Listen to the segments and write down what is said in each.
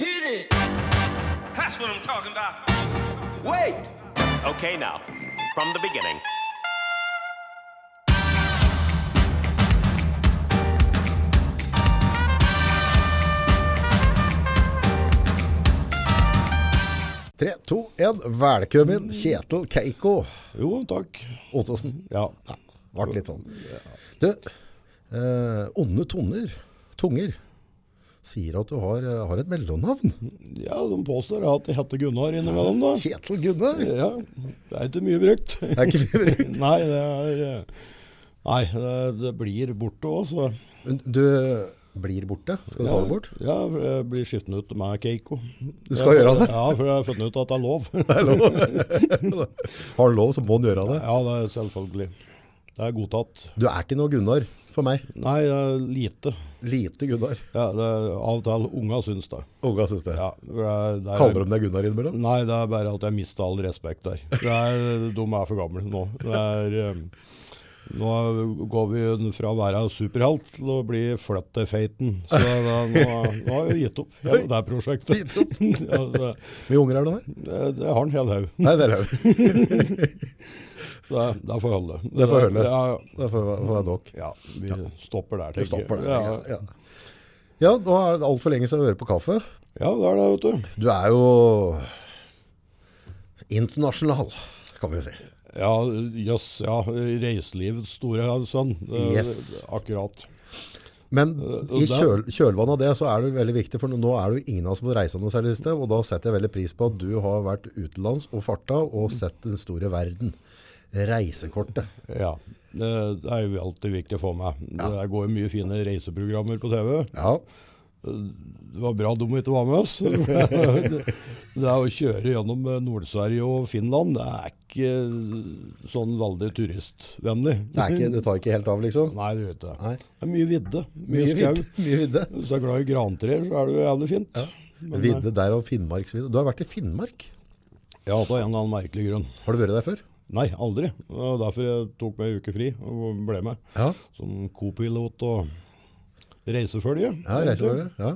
Hey! That's what I'm talking about. Wait! Okay, now, from the beginning. Tre, to, én. Velkommen, Kjetil Keiko Jo, takk. Ottosen. Ja. Ja, Vart litt sånn. Du, eh, Onde toner, tunger, sier at du har, eh, har et mellomnavn. ja, de påstår at jeg heter Gunnar innimellom, da. Kjetil Gunnar. Ja, det er ikke mye brukt. Det er ikke mye brukt. Nei, det er eh, Nei, det, det blir borte òg, så Men Du blir borte. Skal du ta det bort? Ja, for jeg blir skiftende ut med Keiko. Du skal gjøre det? Ja, for jeg har funnet ut at det er lov. Har du lov, så må du gjøre det. Ja, det er selvfølgelig. Det er godtatt. Du er ikke noe Gunnar for meg. Nei, det er lite. Lite Gunnar. Ja, det er, av og til unga syns det. Unga syns det. Ja, for det er, det er, Kaller de deg Gunnar innimellom? Nei, det er bare at jeg mista all respekt der. Det er, de er for gamle nå. Det er, eh, nå går vi fra å være superhelt til å bli flytt til feiten. Så det, er- nå, nå har jeg gitt opp hele det prosjektet. Gitt opp? Ja, det, Hvor mange unger er det du har? det, det har en hel haug. Nei, det er lov. Det, det får holde. Det får holde. Ja, Det får være- får være nok. ja, vi stopper der, Du tenker jeg. stopper der. Ja, Ja, ja. ja nå er det altfor lenge siden vi hører på kaffe. ja, det er det, vet du. Du er jo internasjonal, kan vi si. Ja, jøss. ja, reiselivets store sønn. Det- Yes. Akkurat. Men Eh, og i da- kjøl, kjølvannet av det så er det veldig viktig, for nå er det jo ingen av oss som reiser noe særlig i sted, og da setter jeg veldig pris på at du har vært utenlands og farta og sett den store verden. Reisekortet. Ja. Det, det er jo alltid viktig for meg. Det går jo mye fine reiseprogrammer på TV. Ja, Det var bra de ikke var med oss. det, det å kjøre gjennom eh, Nord-Sverige og Finland, det er ikke sånn veldig turistvennlig. det, er ikke, det tar ikke helt av liksom. Nei, det gjør ikke Nei. det. Det er mye vidde. Mye, Mye skau. vidde. Mye vidde. Hvis du er glad i grantrær, så er det jo jævlig fint. Men, eh, Vidde der og Finnmarksvidde. Du har vært i Finnmark. Ja, av en eller annen merkelig grunn. Har du vært der før? Nei, aldri. Det var derfor jeg tok meg en uke fri og ble med. Ja. Som co-pilot og reisefølge. Ja, reisefølge. Ja.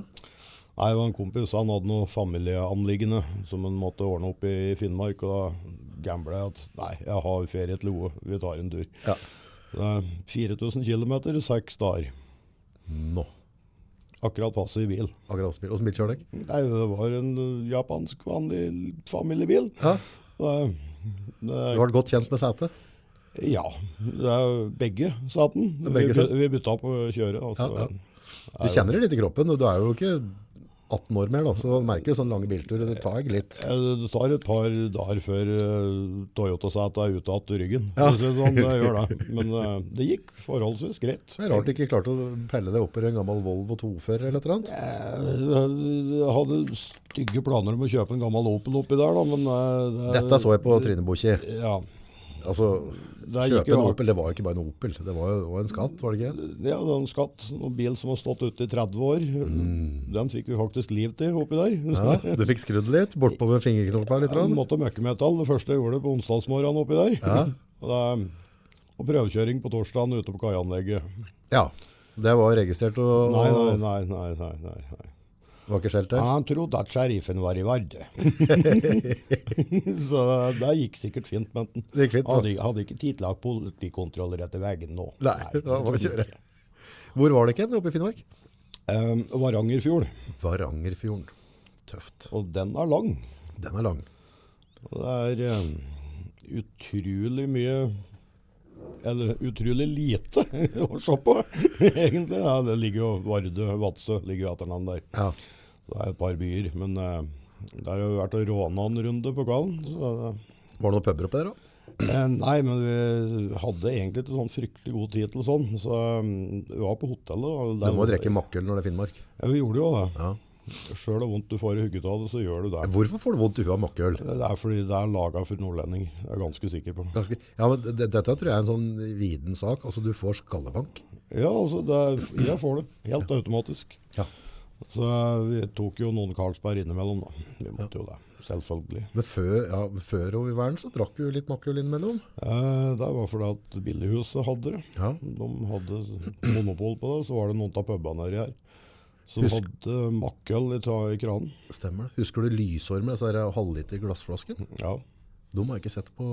Nei, det var en kompis. Han hadde noe familieanliggende som han måtte ordne opp i Finnmark. Og da gambla jeg at nei, jeg har ferie til Loe, vi tar en tur. Ja. Det er 4000 km, seks dager. Nå. Akkurat passe i bil. Akkurat avspill. Åssen bil kjører deg? Nei, det var en ø, japansk vanlig familiebil. Ja. Det, det, Du har vært godt kjent med setet? ja. Det er begge saten. Begge vi, satt. by- vi bytta på å kjøre. Altså. Ja, ja. Du kjenner det litt i kroppen, og du er jo ikke 18 år mer, da, så du merker sånn sånne lange bilturer. Det tar litt. Eh, Det tar et par dager før eh, Toyota-setet er ute av ryggen. for å si det Sånn, det gjør det. Men eh, det gikk forholdsvis greit. Det er rart du ikke klarte å pelle deg opp i en gammel Volvo 2-fører eller et eller annet. Eh, Jeg hadde stygge planer om å kjøpe en gammel Opel oppi der, da, men eh, det, Dette så jeg på Trynebukki. ja, Altså, Der gikk kjøpe jo en alt. Opel, det var jo ikke bare en Opel. Det var jo det var en skatt, var det ikke? det er en skatt. En bil som har stått ute i 30 år. Den fikk vi faktisk liv til oppi der. Mm. Ja, du fikk skrudd litt, bortpå med fingerknoppa litt. Jeg Rann. måtte møkke metall det første jeg gjorde på onsdagsmorgenen oppi der. Ja. Og det er- og prøvekjøring på torsdagen ute på kaianlegget. Ja. Det var registrert og Nei, nei, nei. nei, nei, nei, nei. var ikke skjelt der. Han trodde at sheriffen var i Vardø. så det gikk sikkert fint, men den Det gikk fint, så. hadde, hadde ikke tid til å ha politikontroller etter veien nå. Nei, det var bare å kjøre. Hvor var det ikke oppe i Finnmark? Um, Varangerfjord, Varangerfjorden. Tøft. og den er lang. Den er lang. Og Det er um, utrolig mye eller utrolig lite å se på, egentlig. Ja, det ligger jo Vardø, Vadsø ligger jo etter den der. Ja. Det er et par byer, men eh, det har jo vært å råne en runde på kallen. Så det, Var det noen puber oppe der, da? Eh, Nei, men vi hadde egentlig ikke sånn fryktelig god tid til sånn, så mm, vi var på hotellet. Og Du må jo drikke makkøl når det er Finnmark. Ja, vi gjorde jo det. Ja. Sjøl og vondt du får i hugget av det, så gjør du det. Hvorfor får du vondt i huet av makkøl? Det er fordi det er laga for nordlendinger, jeg er ganske sikker på. Ganske, ja, men det, dette tror jeg er en sånn viden sak. Altså, du får skallebank. Ja, altså, det er, jeg får det. Helt automatisk. Ja. Så eh, vi tok jo noen Carlsberg innimellom, da. Vi måtte jo det. Selvfølgelig. Men før, ja, før over verden så drakk du litt makkøl innimellom. Eh, Det var fordi at Billighuset hadde det. Ja. De hadde monopol på det, så var det noen av pubene nedi her som Husk- hadde makkøl i ta- i kranen. Stemmer det. Husker du lysormer, altså den halvliter glassflasken? Ja. De har jeg ikke sett på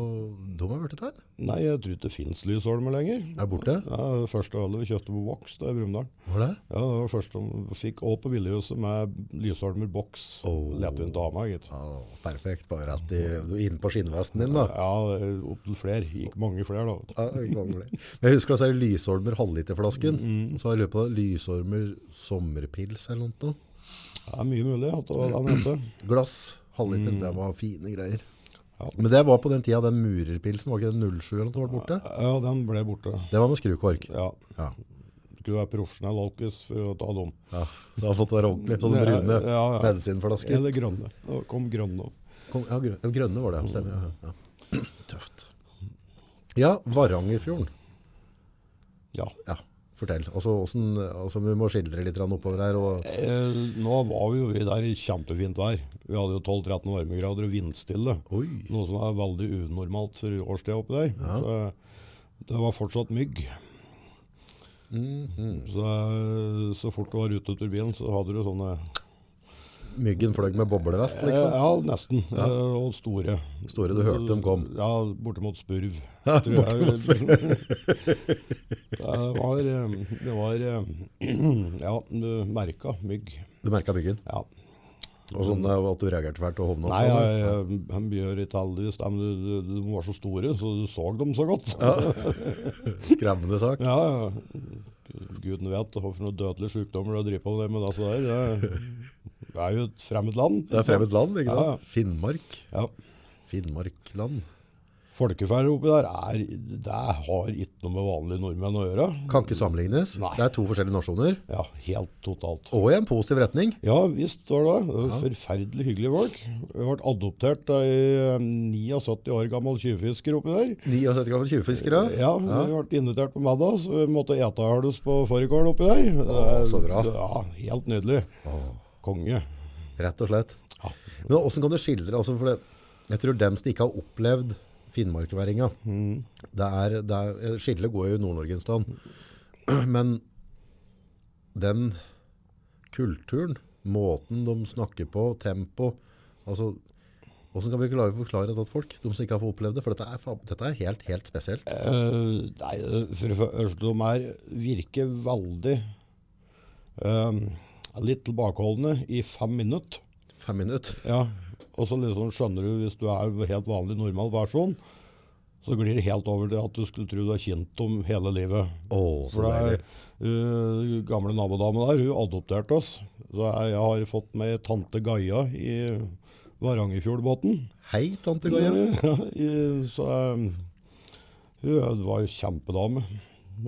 De har blitt tegn. Nei, jeg tror ikke det fins lysolmer lenger. Er det borte? Ja, det første ølet vi kjøpte på boks, det er i Brumunddal. Var det? Ja, det var første som fikk òg på Villehuset med lysolmer boks. Oh. Lettvint dame, gitt. Ja, perfekt. Bare at de, du er inne på skinnvesten din, da. Ja, opptil flere. Gikk mange flere, da. Ja, jeg glemmer det. Men jeg husker altså Lysormer halvliterflasken. Så har jeg lurer på det, Lysormer sommerpils eller noe. Det er mye mulig at det var den hette. Glass, halvliter, det var fine greier. Ja. Men det var på den tida den murerpilsen, var ikke den 07 eller noe som var borte? Ja, den ble borte. Det var med skrukork. Ja. Ja. Skulle være profesjonell alkis for å ta dem. ja. Det har fått være ordentlig. Sånne Ja, brune ja, ja. medisinflasker. Eller grønne. Det kom grønne opp. Kom, ja, grø- ja, grønne var det, ja, stemmer. Ja. Ja. Tøft. Ja, Varangerfjorden. Ja. Ja, fortell. Altså, hvordan, altså, vi må skildre litt grann oppover her. Og, Eh, nå var jo vi der i kjempefint vær. Vi hadde jo 12-13 varmegrader og vindstille. oi, Noe som er veldig unormalt for årstida oppi der. Så, eh, det var fortsatt mygg. Mhm. Så, eh, så fort du var ute av turbinen, så hadde du sånne myggen fløy med boblevest, eh, liksom. Ja, nesten. Eh, og store. Store, du hørte dem kom. Ja, bortimot spurv. Ja, bortimot spurv. det var, eh, det var eh, Ja, du merka mygg. Du merka myggen. Ja. Og sånn eh, at du reagerte fælt og hovna opp. Nei, sånn, jeg, jeg, jeg gjør ikke heldigvis det, men du- du- du- de var så store, så du så dem så godt. Ja, Skremmende sak. ja. Guden vet hva for noen dødelige sykdommer du driver på med. altså, Det, så der. Det, det er jo et fremmed land. Det er fremmed land, ikke Ja, ja. sant? Finnmark. Ja. Finnmarkland. Folkeferd oppi der er, det har ikke noe med vanlige nordmenn å gjøre. Kan ikke sammenlignes. Nei. Det er to forskjellige nasjoner. Ja, helt totalt. Og i en positiv retning. Ja visst var det. det. var Forferdelig hyggelige folk. Jeg ble adoptert eh, av en 79 år gammel tjuvfisker oppi der. 79 gammel tjuvfiskere. Ja, vi ble invitert på middag, så vi måtte ete halus på fårikål oppi der. Å, så bra. Ja, helt nydelig. Konge. Rett og slett. Ja. Men hvordan kan du skildre altså for det, Jeg tror dem som ikke har opplevd finnmarkværinga Mm. det er, det er, Skillet går jo i Nord-Norge en stund. Men den kulturen, måten de snakker på, tempo altså, Hvordan kan vi klare å forklare det til folk, de som ikke har fått opplevd det? For dette er, fa- dette er helt, helt spesielt. Eh, nei, for det første, de er, virker veldig eh, litt tilbakeholdne i fem minutter. Fem minutter. Ja. Og så liksom skjønner du, hvis du er en helt vanlig normal person, så glir det helt over til at du skulle tro du har kjent dem hele livet. Å, så For det deilig. er, uh, gamle nabodame der, hun adopterte oss. Så jeg, jeg har fått med tante Gaia i Varangerfjordbåten. Hei, tante Gaia. Ja, i- så um, hun var jo kjempedame.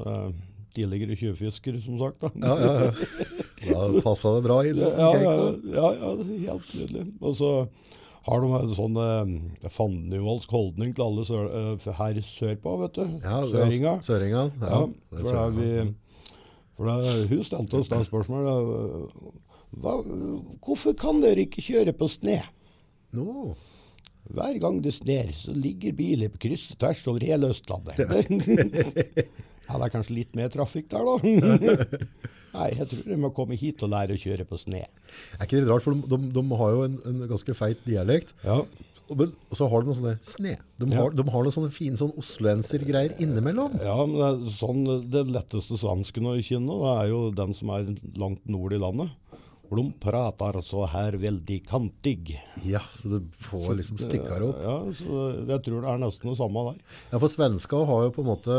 Eh, Tidligere tjuvfisker, som sagt. da. Ja, ja, ja. Da passa det bra inn. Ja, ja, ja, ja, det er helt nydelig. Og så har de en sånn eh, fandenivoldsk holdning til alle sør, eh, her sørpå, vet du. Ja, det er- altså Søringa. Søringa. Ja, Ja, det er for, da er søringa. vi, for da, hun stilte oss da spørsmålet eh, hva, Hvorfor kan dere ikke kjøre på sne? Nå. Hver gang det sner, så ligger biler på kryss og tvers over hele Østlandet. ja, det er kanskje litt mer trafikk der, da. Nei, jeg tror de må komme hit og lære å kjøre på sne. Er ikke det litt rart, for de, de, de har jo en, en ganske feit dialekt. Ja. Og, men, og så har de noen sånne sne. De har, de har noen sånne fine sånn osloenser-greier innimellom. Ja, men det, er sånn, det letteste svansken å kjenne, det er jo den som er langt nord i landet. For de prater så her veldig kantig. Ja, så du får liksom stikker opp. Ja, så jeg tror det er nesten det samme der. Ja, for svenska har jo på en måte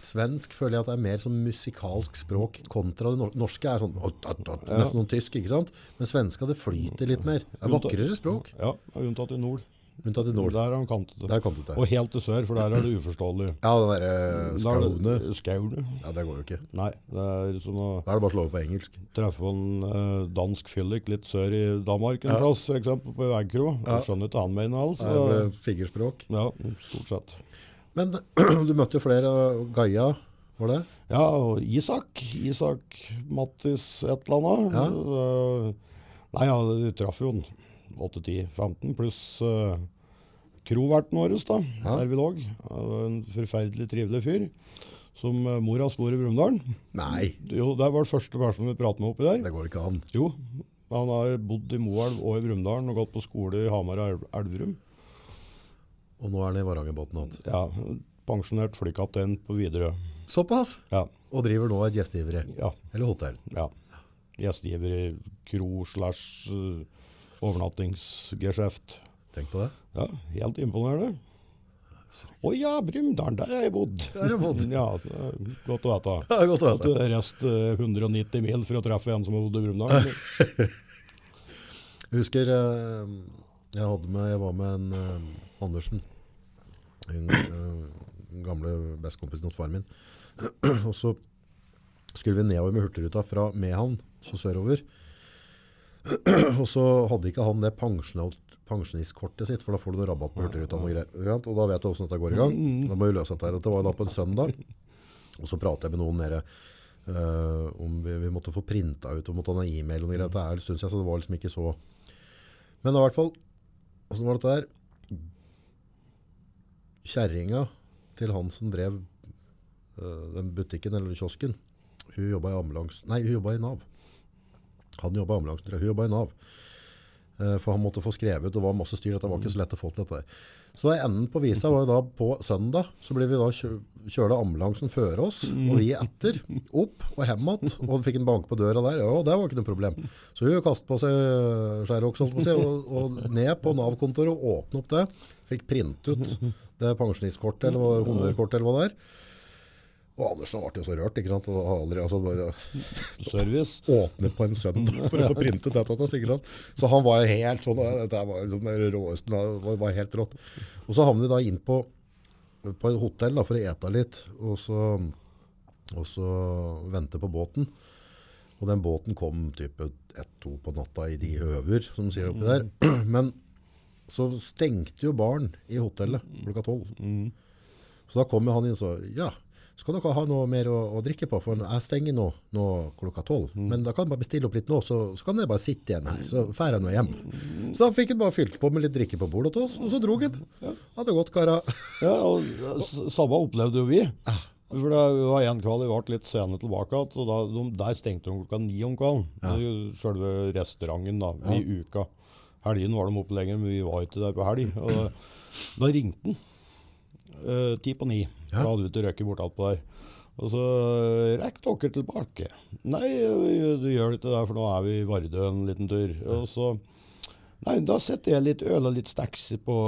Svensk føler jeg at det er mer sånn musikalsk språk kontra det nor- norske. er sånn, «Ott, ott, ott», Nesten noen tysk, ikke sant? Men svenska, det flyter litt mer. Det er vakrere språk, Ja, unntatt i nord. unntatt i nord. Der er han kantete. Der er kantete. Og helt til sør, for der er det uforståelig. Ja, den derre skaune. Skaune. Ja, det går jo ikke. Nei, det er som å Da er det bare å slå over på engelsk. treffe en eh, dansk fyllik litt sør i Danmark en plass, for eksempel, på Vegkro. Jeg skjønner ikke hva han mener, Det er altså. vel fingerspråk. Ja, stort sett. Men du møtte jo flere og Gaia, var det? Ja, og Isak. Isak Mattis et eller annet. Eh, nei, ja, vi traff jo en 8-10-15 pluss uh, kroverten vår, da, der vi lå. Han var En forferdelig trivelig fyr. som eh, mora bor i Brumunddal. Nei, Jo, det var den første personen vi pratet med oppi der. det går ikke an. Jo, han har bodd i Moelv og i Brumunddal og gått på skole i Hamar og Elv- Elverum. Og nå er han i Varangerbotn igjen. Ja, pensjonert flykaptein på Widerøe. Såpass! Ja, Og driver nå et gjestgiveri. ja, Eller hotell. ja. Gjestgiver i kro slash eh, overnattingsgeskjeft. Tenk på det. Ja, helt imponerende. Å ja, Brumdalen, der har jeg bodd. Der har jeg bodd. ja, det er godt å vite. Det er godt å At vite. det er rest eh, 190 mil for å treffe en som har bodd i Brumdalen. Jeg husker eh, jeg, hadde med, jeg var med en eh, Andersen, den eh, gamle bestekompisen hos faren min. og så skulle vi nedover med Hurtigruta fra Mehamn, så sørover. og så hadde ikke han det pensjonalt- pensjonistkortet sitt, for da får du noe rabatt på Hurtigruta. Og, noe greier, ikke sant? og da vet du hvordan dette går i gang. Da må vi løse dette her. Dette var jo da på en søndag. Og så prater jeg med noen nede eh, om vi, vi måtte få printa ut, og måtte ha noe e-mail og noe greier. Det er en stund siden, så det var liksom ikke så Men i hvert fall, åssen var dette her? Kjerringa til han som drev eh, den butikken eller kiosken, hun jobba i ambulansen Nei, hun jobba i Nav. Han jobba i ambulansen, tror jeg. Hun jobba i Nav. Eh, For han måtte få skrevet ut, det var masse styr. Dette var ikke så lett å få til dette der. Så da enden på visa var jo da på søndag, så ble vi da kjø- kjørte ambulansen før oss, og vi etter, opp og hjem igjen, og fikk en bank på døra der. Ja, det var ikke noe problem. Så hun kastet på seg øh, Xerox, holdt på å si, og, og ned på Nav-kontoret og åpne opp det. Fikk print ut det pensjonistkortet eller hva- honnørkortet eller hva det er. Og Andersen ble jo så rørt, ikke sant? Og har aldri, altså, bare- Service. åpne på en søndag for å få printet dette. til oss, ikke sant? Så han var jo helt sånn eh, Dette var liksom det råeste. Det var- var helt rått. Og så havnet vi da inn på, på et hotell da, for å ete litt, og så, og så vente på båten. Og den båten kom type ett-to på natta i de høver, som de sier oppi der. Men så stengte jo baren i hotellet klokka tolv. Så da kom jo han inn og sa ja, skal dere ha noe mer å, å drikke på? For jeg stenger nå, nå klokka tolv. Men da kan dere bare bestille opp litt nå, så, så kan dere bare sitte igjen her. Så drar jeg nå hjem. Så han fikk han bare fylt på med litt drikke på bordet til oss, og så drog han. Ha det godt, kara. Ja, og eh, s- Samme opplevde jo vi. For det var en kveld vi ble litt sene tilbake igjen. og da- de- Der stengte de klokka ni om kvelden. Det er jo Selve restauranten da, i uka. Helgen var de oppe lenger, men vi var ikke der på helg. Og da, da ringte han. Eh, Ti på ni. Da hadde vi ikke røket bort alt på der. Og så rekk dere tilbake. Nei, eh, du gjør ikke det, for nå er vi i Vardø en liten tur. Og så... Nei, da setter jeg litt øl og litt snacks på,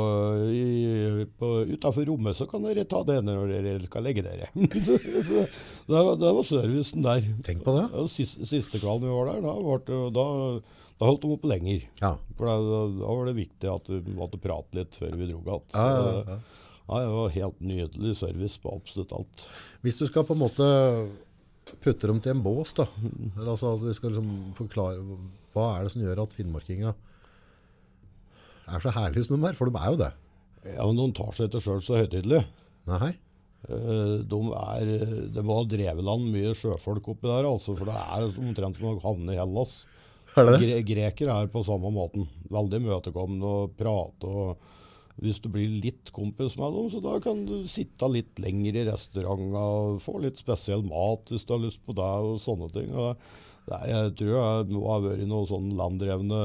i- på utafor rommet, så kan dere ta det når dere skal legge dere. så, så, det, var, det var servicen der. Tenk på det. Og siste, siste kvelden vi var der, da, ble det jo- da, da holdt de oppe lenger. Ja. For da, da, da var det viktig at vi måtte prate litt før vi dro igjen. Ja, ja, ja. Nei, det var helt nydelig service på absolutt alt. Hvis du skal på en måte putte dem til en bås, da. Eller altså, altså vi skal liksom forklare Hva er det som gjør at finnmarkinga er så herlige som de er? For de er jo det. Ja, men de tar seg ikke sjøl så høytidelig. Nei. Eh, De er, det var drevet land mye sjøfolk oppi der, altså, for det er omtrent som å havne i Hellas. Er det det? Gre grekere er på samme måten. Veldig imøtekommende og prate. og Hvis du blir litt kompis med dem, så da kan du sitte litt lenger i restauranten og få litt spesiell mat hvis du har lyst på det, og sånne ting. Og det, er- jeg tror jeg nå har vært i noen sånn landdrevne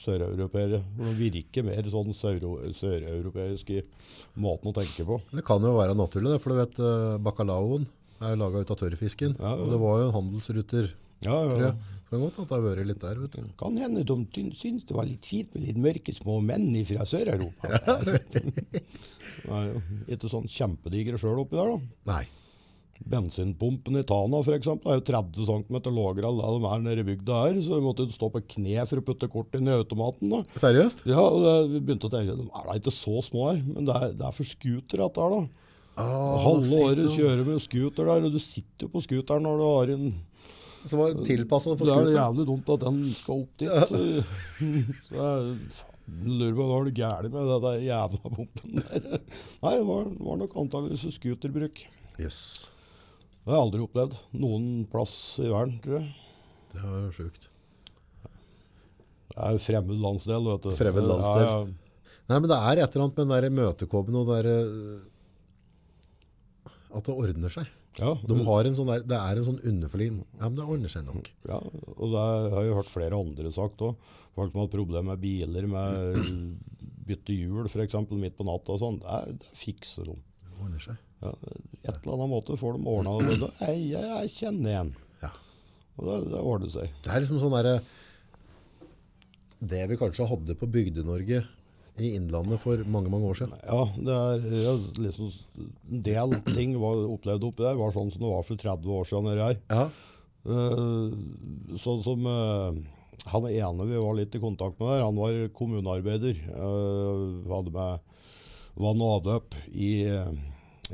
søreuropeere. hvor De virker mer sånn søro- søreuropeisk i måten å tenke på. Det kan jo være naturlig, det, for du vet eh, bacalaoen er jo laga ut av tørrfisken. Ja, ja. Og det var jo handelsruter, Ja, ja, tror ja. jeg. Så det kan godt at det har vært litt der, vet du. Kan hende de tyn- syntes det var litt fint med litt mørke små menn fra Sør-Europa. Det er jo ikke sånn kjempedigre sjøl oppi der, da. Nei. Bensinpumpen i Tana for eksempel, er jo 30 cm lavere enn det de er nede i bygda her, så vi måtte jo stå på kne for å putte kort inn i automaten. da. Seriøst? Ja, og det, Vi begynte å tenke de er da ikke så små her, men det er, det er for scooter dette her, da. Ah, Halve året kjører med scooter der, og du sitter jo på scooteren når du har en Som var tilpassa for det er skuta. jævlig dumt at den skal opp dit. Så, så jeg faen, lurer på hva er det gærent med den der jævla pumpen der. Nei, det var, var nok antakeligvis scooterbruk. Jøss. Det har jeg aldri opplevd noen plass i verden, tror jeg. Det var jo sjukt. Det er jo fremmed landsdel, vet du. Fremmed landsdel. Ja, ja. Nei, men det er et eller annet med den der imøtekommende og den der eh, At det ordner seg. Ja, De har en sånn der, det er en sånn underforlin. Ja, men det ordner seg nok. ja, og det har jeg hørt flere andre sagt òg. Folk som har hatt problemer med biler, med bytte hjul f.eks. midt på natta og sånn. Det, det fikser de. Det ordner seg. Ja, et eller annet måte får de ordna det. Da, Jeg, jeg, jeg kjenner igjen. Ja. Og det, det ordner seg. Det er liksom sånn derre Det vi kanskje hadde på Bygde-Norge i Innlandet for mange, mange år siden. Ja, det er ja, liksom En del ting var opplevd oppi der var sånn som det var for 30 år siden nede her. Ja. Eh, sånn som eh, han ene vi var litt i kontakt med der, han var kommunearbeider. eh, hadde med vann og avløp i,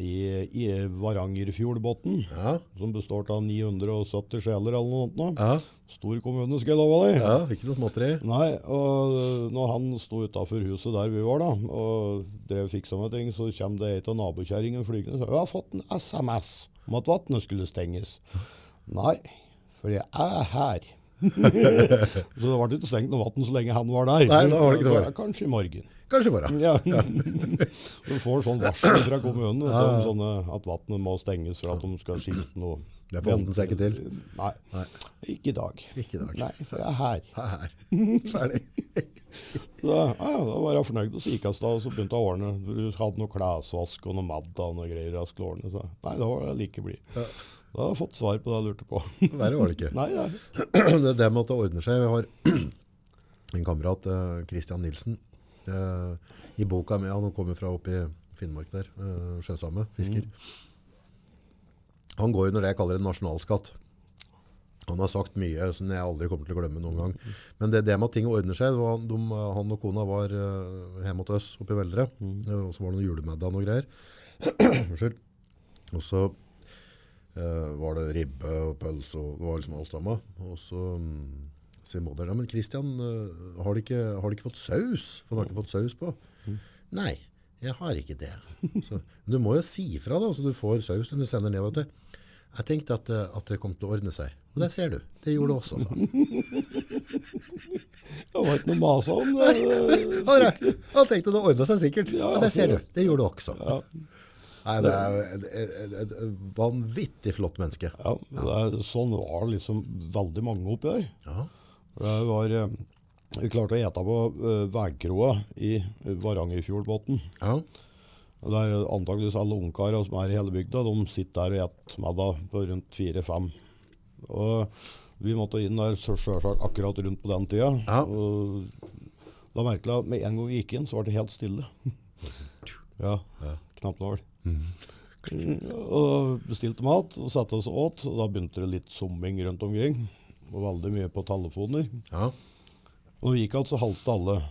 i, i Varangerfjordbotn, Ja. som består av 970 sjeler eller noe sånt. nå. Ja. Stor kommune, skal jeg love deg. ja. Ikke noe småtteri. Nei, og når han sto utafor huset der vi var, da, og drev og fiksa med ting, så kom det ei av nabokjerringene flygende og sa «Vi har fått en SMS om at vannet skulle stenges. Nei, for jeg er her. så det ble ikke stengt noe vann så lenge han var der. Nei, da var det ikke noe. Kanskje i morgen. Kanskje bare. Ja. du får sånn varsel fra kommunen vet du, om sånne, at vannet må stenges for at de skal skifte noe. Det forholdt han seg ikke til. Nei. Ikke i dag. Ikke i dag. Nei, for jeg er her. Her. Ferdig. Så Da, ja, ja, da var jeg fornøyd, og så gikk jeg av sted, og så begynte jeg å ordne. Du hadde noe klesvask og noe madda og noe greier jeg skulle ordne. Så nei, da var jeg like blid. Da hadde jeg fått svar på det jeg lurte på. Verre var det ikke. nei, nei. det, det med at det ordner seg. Jeg har en kamerat, eh, Christian Nilsen, eh, i boka mi. Han kommer fra oppe i Finnmark der. eh, sjøsame, fisker. Han går under det jeg kaller en nasjonalskatt. Han har sagt mye som jeg aldri kommer til å glemme noen gang. Men det, det med at ting ordner seg det var, de, Han og kona var eh, hjemme hos oss oppe i Veldre. eh, Og så var det noen julemiddag og noe greier. Unnskyld. Og så eh, var det ribbe og pølse og det var liksom alt sammen. Og så mm, sier moderen ja, men Christian, eh, har du ikke, har du ikke fått saus? For han har ikke fått saus på. Nei, jeg har ikke det. Så, men du må jo si ifra, da, så du får saus når du sender nedover til. Jeg tenkte at, eh, at det kom til å ordne seg. Og det ser du. Det gjorde det også, sa han. Det var ikke noe masa om det. Ja, det- Han tenkte det ordna seg sikkert. Ja, det ser du. Det gjorde det også. Nei, det er et, et, et vanvittig flott menneske. Ja, det er, sånn var liksom veldig mange oppi der. Ja. Det var, eh, vi klarte å ete på eh, veikroa i Varangerfjordbotn. Ja. Og Det er antakeligvis alle ungkara som er i hele bygda. De sitter der og spiser middag på rundt fire-fem. Og vi måtte inn der så selvsagt akkurat rundt på den tida. Ja. Og da merket jeg at med en gang vi gikk inn, så var det helt stille. ja, knapt nål. Mhm. Og bestilte mat og satte oss åt. Og da begynte det litt summing rundt omkring. Og veldig mye på telefoner. ja. Og når vi gikk alt, så halte alle.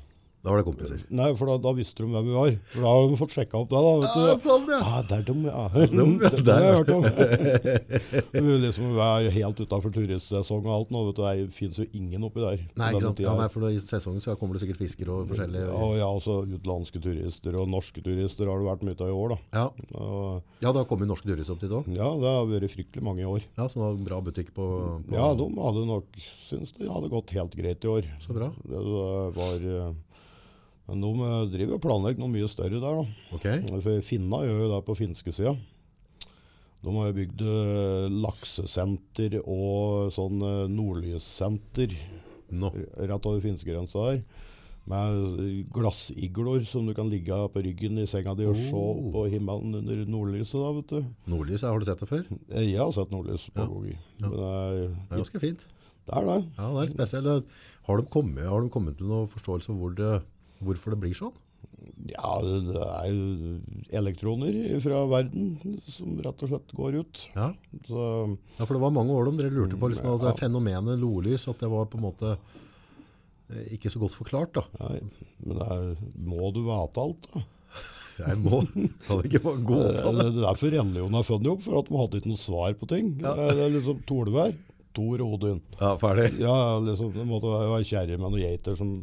Da var det kompiser. Nei, for da, da visste de hvem vi var. For da har de fått sjekka opp det. da, vet du. Ja, sånn, ja. Ja, Ah, det er dem, ja. dem, ja, Det har jeg hørt om. Vi liksom er helt utafor turistsesong og alt nå. vet du, Det fins jo ingen oppi der. på Nei, denne ikke sant? tida. Ja, nei, for da I sesongen så kommer det sikkert fisker og forskjellige Ja, og ja, altså Utenlandske turister og norske turister har det vært mye av i år. da. Ja, Og, ja da kommer norske duris opp dit òg. ja, det har vært fryktelig mange i år. Ja, som har bra butikk på, på Ja, de hadde nok syntes det hadde gått helt greit i år. Så bra. Det var... eh, Men de eh, driver og planlegger noe mye større der, da. Ok. For Finna gjør jo det på finske sida. De har jo bygd eh, laksesenter og sånn eh, nordlyssenter Nå. rett over finskegrensa her. Med glassiglor som du kan ligge på ryggen i senga di og se Oh. opp på himmelen under nordlyset. da, vet du. Nordlys, ja, har du sett det før? Det Eh, Jeg har sett nordlys på Gogi. Men det er er, ganske fint. det er det. Ja, det er litt spesielt. Det- Har de kommet, har de kommet til noen forståelse for hvor det, hvorfor det blir sånn? Ja, det er jo elektroner fra verden som rett og slett går ut. Ja. Så ja, for det var mange år de dere lurte på liksom, at det er fenomenet nordlys, at det var på en måte eh, ikke så godt forklart. da. Nei, men det er, må du vite alt, da? Jeg må, kan det ikke bare gå Det er det er derfor religionen er funnet opp, for at de hadde ikke noe svar på ting. Det er- Det er liksom Tolvær, Tor Odin. Ja, ferdig. Ja, liksom, det måtte være kjerre med noen geiter som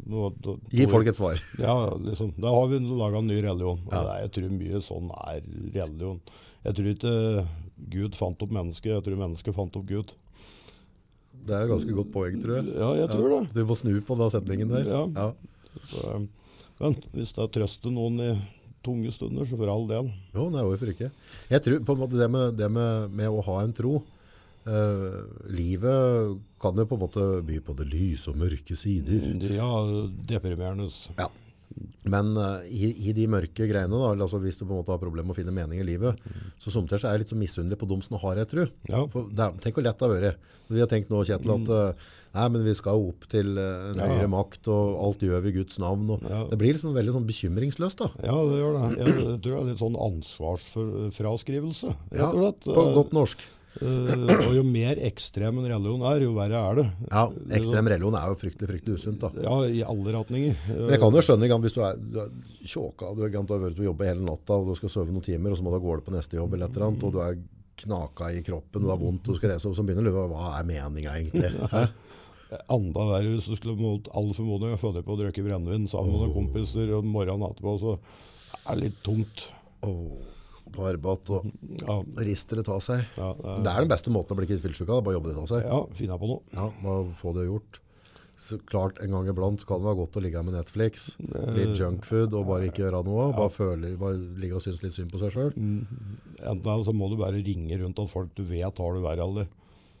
Gi folk et svar. Ja, liksom. Da har vi laga en ny religion. Og det er- jeg tror mye sånn er religion. Jeg tror ikke eh, Gud fant opp mennesket, jeg tror mennesket fant opp Gud. Det er et ganske godt poeng, tror jeg. Ja, jeg tror det. Du må snu på den setningen der. Ja. Ja. Så, Men hvis det trøster noen i tunge stunder, så for all del. Jo, nei, hvorfor ikke? Jeg tror på en måte det med, det med, med å ha en tro eh, Livet kan jo på en måte by på det lyse og mørke sider. Ja, deprimerende. Ja. Men eh, i, i de mørke greiene, da, eller altså hvis du på en måte har problemer med å finne mening i livet, så somtider så er jeg litt så misunnelig på dem som har ei tru. Ja. Mm. For det er- Tenk hvor lett det har vært. Vi har tenkt nå, Kjetil, at eh, nei, men vi skal opp til eh, en Ja. høyere makt, og alt gjør vi i Guds navn. Og Ja. Det blir liksom veldig sånn bekymringsløst. da. Ja, det gjør det. Jeg tror det er litt sånn ansvarsfraskrivelse, rett og slett. på godt norsk. Eh, og jo mer ekstrem en religion er, jo verre er det. Ja, ekstrem religion er jo fryktelig, fryktelig usunt da. Ja, i alle retninger. Eh, Men jeg kan jo skjønne ikke sant, hvis du er, du er tjåka, du er gant, du har vært på jobb hele natta, og du skal sove noen timer, og så må du gå det på neste jobb eller et eller annet, og du er knaka i kroppen, og det er vondt, og du skal reise opp, så begynner du å lure, hva er meningen egentlig? Hæ? Enda verre hvis du skulle mot all formodning ha funnet på å drikke brennevin sammen med noen kompiser og morgenen etterpå, så er det litt tungt. Åh, barbat og Ja, rister det av seg. Ja, det er- det er den beste måten å bli kvitt fyllesyka, det er bare å jobbe det av seg. ja finne på noe. Ja, bare få det gjort. Så klart, en gang iblant kan det være godt å ligge her med Netflix, litt junkfood og bare ikke gjøre noe, bare, føle, bare ligge og synes litt synd på seg selv. Enten så må du bare ringe rundt til folk du vet har det verre, eller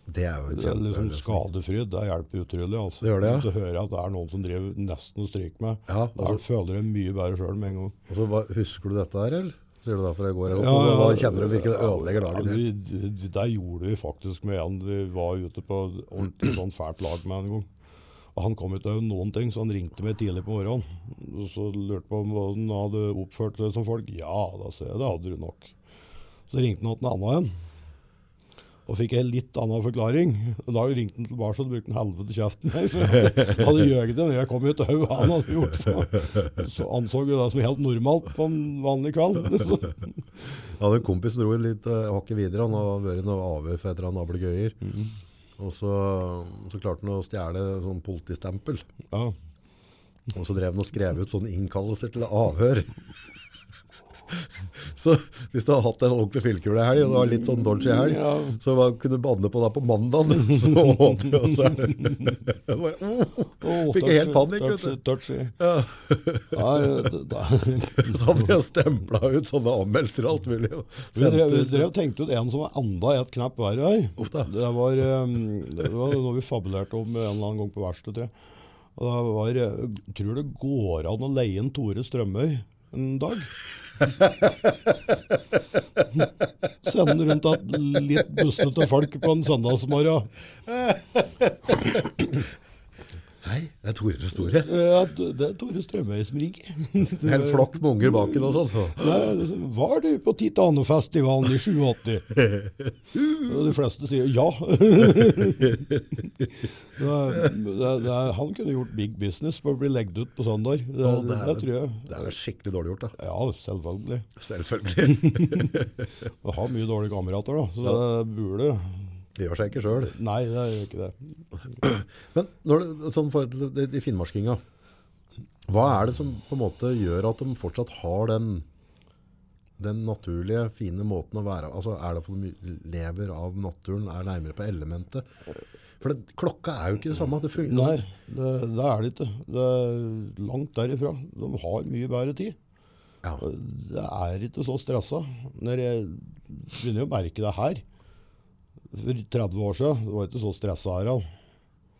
Det er jo en Det er kjempe liksom løsning. skadefryd. Det hjelper utrolig. Altså. Det gjør det, ja. Du hører at det er noen som driver nesten og stryker med. Ja, altså- Da føler jeg mye bedre sjøl med en gang. Og så bare, husker du dette her, eller? Sier du derfor jeg går her? og så bare kjenner du virkelig det ødelegger dagen Ja, din. vi, vi- der gjorde vi faktisk med en vi var ute på et ordentlig sånn fælt lag med en gang. Og Han kom ikke over noen ting, så han ringte meg tidlig på morgenen. Og Så lurte på om han hadde oppført seg som folk. Ja, da sa jeg det hadde du nok. Så ringte han til en annen en. Og fikk en litt annen forklaring. Og Da ringte han tilbake og brukte han helvete kjeften. Nei, for han hadde jøget det. Jeg kom jo til hodet han hadde gjort. Så, så anså jo det som helt normalt på en vanlig kveld. Jeg hadde en kompis som dro litt eh, hakket videre. Han har vært i noe avhør for et eller annet ablegøyer. Mm. Og så, så klarte han å stjele sånn politistempel. Ja. Og så drev han og skrev ut sånne innkallelser til avhør. Så hvis du hadde hatt en ordentlig fyllekule i helg, og det var litt sånn dodgy helg, Ja. så var, kunne du banne på deg på mandag. Så åpner du, og så er det Jeg bare, oh. Åh, Fikk jeg helt touchy, panikk, vet touchy, du. Touchy. Nei, det- det- Så hadde jeg stempla ut sånne anmeldelser og alt mulig. og Vi drev, vi sendte- drev tenkte ut en som var enda et knapp verre her. Uff da. Det var, um, det var noe vi fabulerte om en eller annen gang på verkstedet, tror jeg. Og da var, eh, tror det går an å leie en Tore Strømøy en dag? Sende rundt et litt bustete folk på en søndagsmorgen. Hei, det er Tore fra Store. Eh, Det er Tore Strømøy som ringer. En hel flokk med unger bak henne og sånn. Nei, liksom, Var du på Titanofestivalen i 87? Og de fleste sier ja. det, er- det, er- det, er- han kunne gjort big business på å bli legget ut på søndag. Det, Å, det, dæven. tror jeg. Det er jo skikkelig dårlig gjort, da. Ja, selvfølgelig. Selvfølgelig. Jeg har mye dårlige kamerater, da. Så det burde Det gjør seg ikke sjøl. Nei, det gjør ikke det. Men når det, sånn forhold til de- de finnmarkinga, hva er det som på en måte gjør at de fortsatt har den, den naturlige, fine måten å være Altså, Er det for de lever av naturen, er nærmere på elementet? For det, klokka er jo ikke det samme. Det fungerer, Nei, det, det er det ikke. Det er langt derifra. De har mye bedre tid. Ja. Det er ikke så stressa. Når jeg begynner å merke det her For 30 år siden det var ikke så stressa her. Al.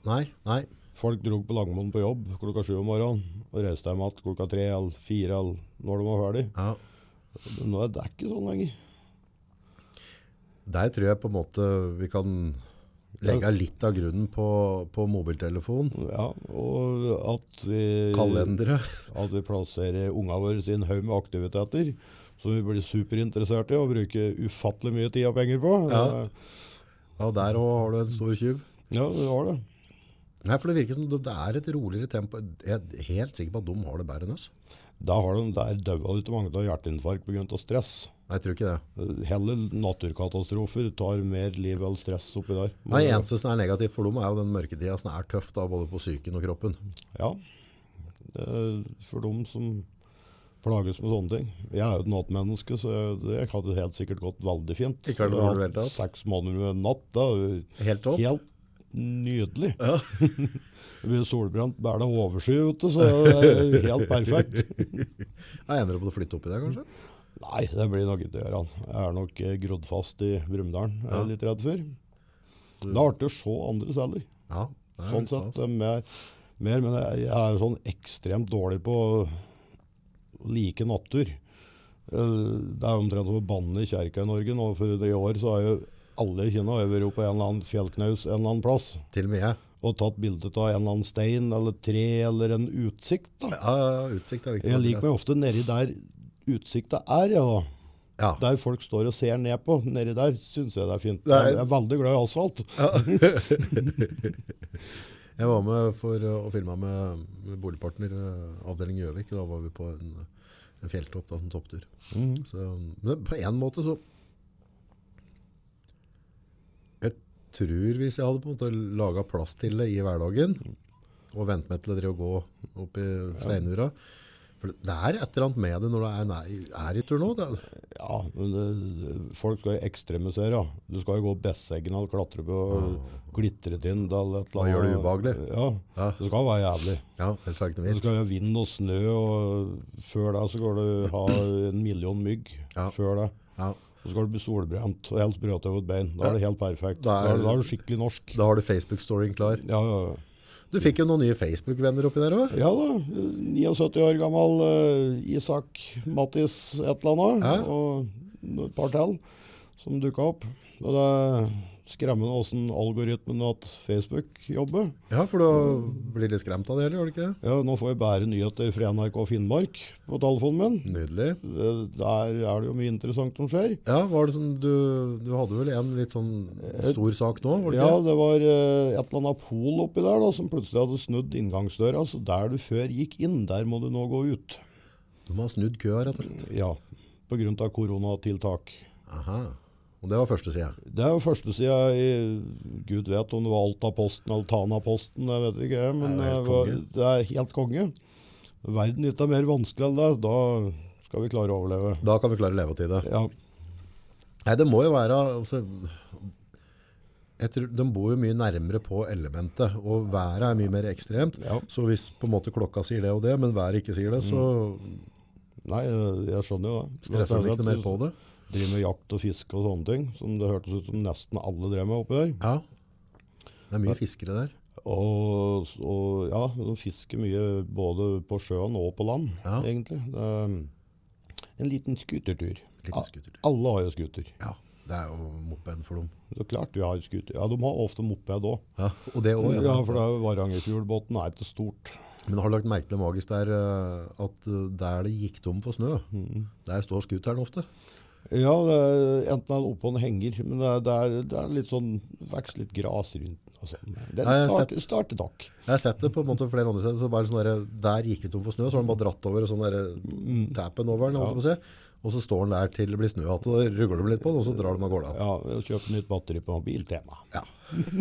Nei, nei. Folk dro på Langmoen på jobb klokka sju om morgenen og reiste hjem igjen klokka tre eller fire eller når de var ferdig. Ja. Men nå er det ikke sånn lenger. Der tror jeg på en måte vi kan legge litt av grunnen på, på mobiltelefon, Ja, og at vi, kalendere. at vi plasserer unga våre i en haug med aktiviteter som vi blir superinteressert i og bruker ufattelig mye tid og penger på. Ja. Ja, der også har du en stor tjuv. ja det var det. Nei, for det virker som det er et roligere tempo. Jeg er helt sikker på at de har det bedre enn oss. Da har de der daua det ikke mange av hjerteinfarkt pga. stress. Nei, jeg tror ikke det. Heller naturkatastrofer tar mer liv enn stress oppi der. Nei, eneste som er negativt for dem er jo den mørketida som er tøff da, både på psyken og kroppen. Ja. Det er For dem som plages med sånne ting. Jeg er jo et nattmenneske, så jeg, jeg hadde helt sikkert gått veldig fint. Ikke vært Jeg har dårlig i det hele tatt. hatt Seks måneder med natt, da. Helt topp. Helt nydelig. Vi er solbrent bæla oversky, vet du, så det er helt perfekt. Jeg ender opp med å flytte opp i det, kanskje? Nei, det blir nok ikke Gøran. Jeg er nok eh, grodd fast i Brumunddalen, er jeg litt redd for. Det er artig å se andre steder. Ja. det er Sånn litt sett stas. eh, mer, mer men jeg jeg er jo sånn ekstremt dårlig på å like natur. Eh, Det er jo omtrent som å banne i kjerka i Norge nå, for i år så har jo alle i Kina har jo vært oppe på en eller annen fjellknaus en eller annen plass Til og med jeg. og tatt bilde av en eller annen stein eller tre eller en utsikt. da. Ja, ja, ja, utsikt er viktig. Jeg liker meg ofte nedi der utsikta er, ja da. Ja. Der folk står og ser ned på, nedi der syns jeg det er fint. Nei. Jeg er veldig glad i asfalt. Jeg var med for å filme med, med boligpartner eh, avdeling Gjøvik. Da var vi på en, en fjelltopp da, som topptur. Så, men det, på en måte så Jeg tror hvis jeg hadde på en måte laga plass til det i hverdagen, og vent meg til å drive og gå opp i steinura For det er et eller annet med det når du er, nær- er i tur nå. Det, er- Ja, men det, folk skal jo ekstremisere. ja. Du skal jo gå Besseggen eller klatre på glitretrinn eller et eller Da gjør det annet. ubehagelig. Ja, det skal være jævlig. ja, ellers er det ikke Det noe vits. skal være vind og snø, og før det så skal du ha en million mygg. Ja. Før det. Ja. Og så skal du bli solbrent og helst brødtøvet bein. Da er det helt perfekt. Da Da er- er, da er du skikkelig norsk. Da har du Facebook-storyen klar. Ja, ja, ja. Du fikk jo noen nye Facebook-venner oppi der òg. Ja da. 79 år gammel eh, Isak Mattis et eller annet. Ja. Og et par til som dukka opp. Og det er skremmende åssen algoritmen at Facebook jobber. Ja, for du blir litt skremt av det heller, gjør du ikke det? Ja, nå får jeg bare nyheter fra NRK Finnmark på telefonen min. Nydelig. Eh, Der er det jo mye interessant som skjer. Ja, var det sånn, du, du hadde vel en litt sånn stor sak nå, var det Ja, ikke? det var eh, et eller annet pol oppi der da, som plutselig hadde snudd inngangsdøra. Så der du før gikk inn, der må du nå gå ut. De har snudd køa, rett og slett. Ja, pga. koronatiltak. Aha. Og det var første sida. Det er jo førstesida i Gud vet om det var Altaposten eller Tanaposten, jeg vet ikke. jeg, Men Nei, det er det, helt var, konge. det er helt konge. Verden ikke er mer vanskelig enn det. Da skal vi klare å overleve. Da kan vi klare levetid. det. Ja, Nei, det må jo være altså, jeg tror, De bor jo mye nærmere på elementet, og været er mye mer ekstremt. Ja. Så hvis på en måte klokka sier det og det, men været ikke sier det, så Nei, jeg skjønner jo Mm. det. stresser de ikke noe mer på det. Driver med jakt og fiske og sånne ting, som det hørtes ut som nesten alle drev med oppi der. Ja. Det er mye fiskere der. Og, og ja, de fisker mye både på sjøen og på land, Ja. egentlig. Det er en liten skutertur. Liten skutertur. Alle har jo skuter. Ja, Det er jo moped for dem. Det er klart vi har skuter. Ja, de har ofte moped òg. Ja, og det også, Ja, for det er jo Varangerfjordbotn er ikke stort. Men har du lagt merke til magisk der eh, at eh, der det gikk tom for snø, der står skuteren ofte? Ja, det er, enten er det oppå en henger, men det er, det er, det er litt sånn Vokser litt gras rundt den og sånn. Det Ja, jeg har starter, starter takk. Jeg har sett det på en måte flere andre steder, så bare sånn der, der gikk vi tom for snø, så har den bare dratt over og sånn der tapen over den, holdt jeg på å si. og så står den der til det blir snø, at og ruggler de litt på den, og så drar de av gårde. igjen. Ja, jeg kjøper nytt batteri på Biltema Ja.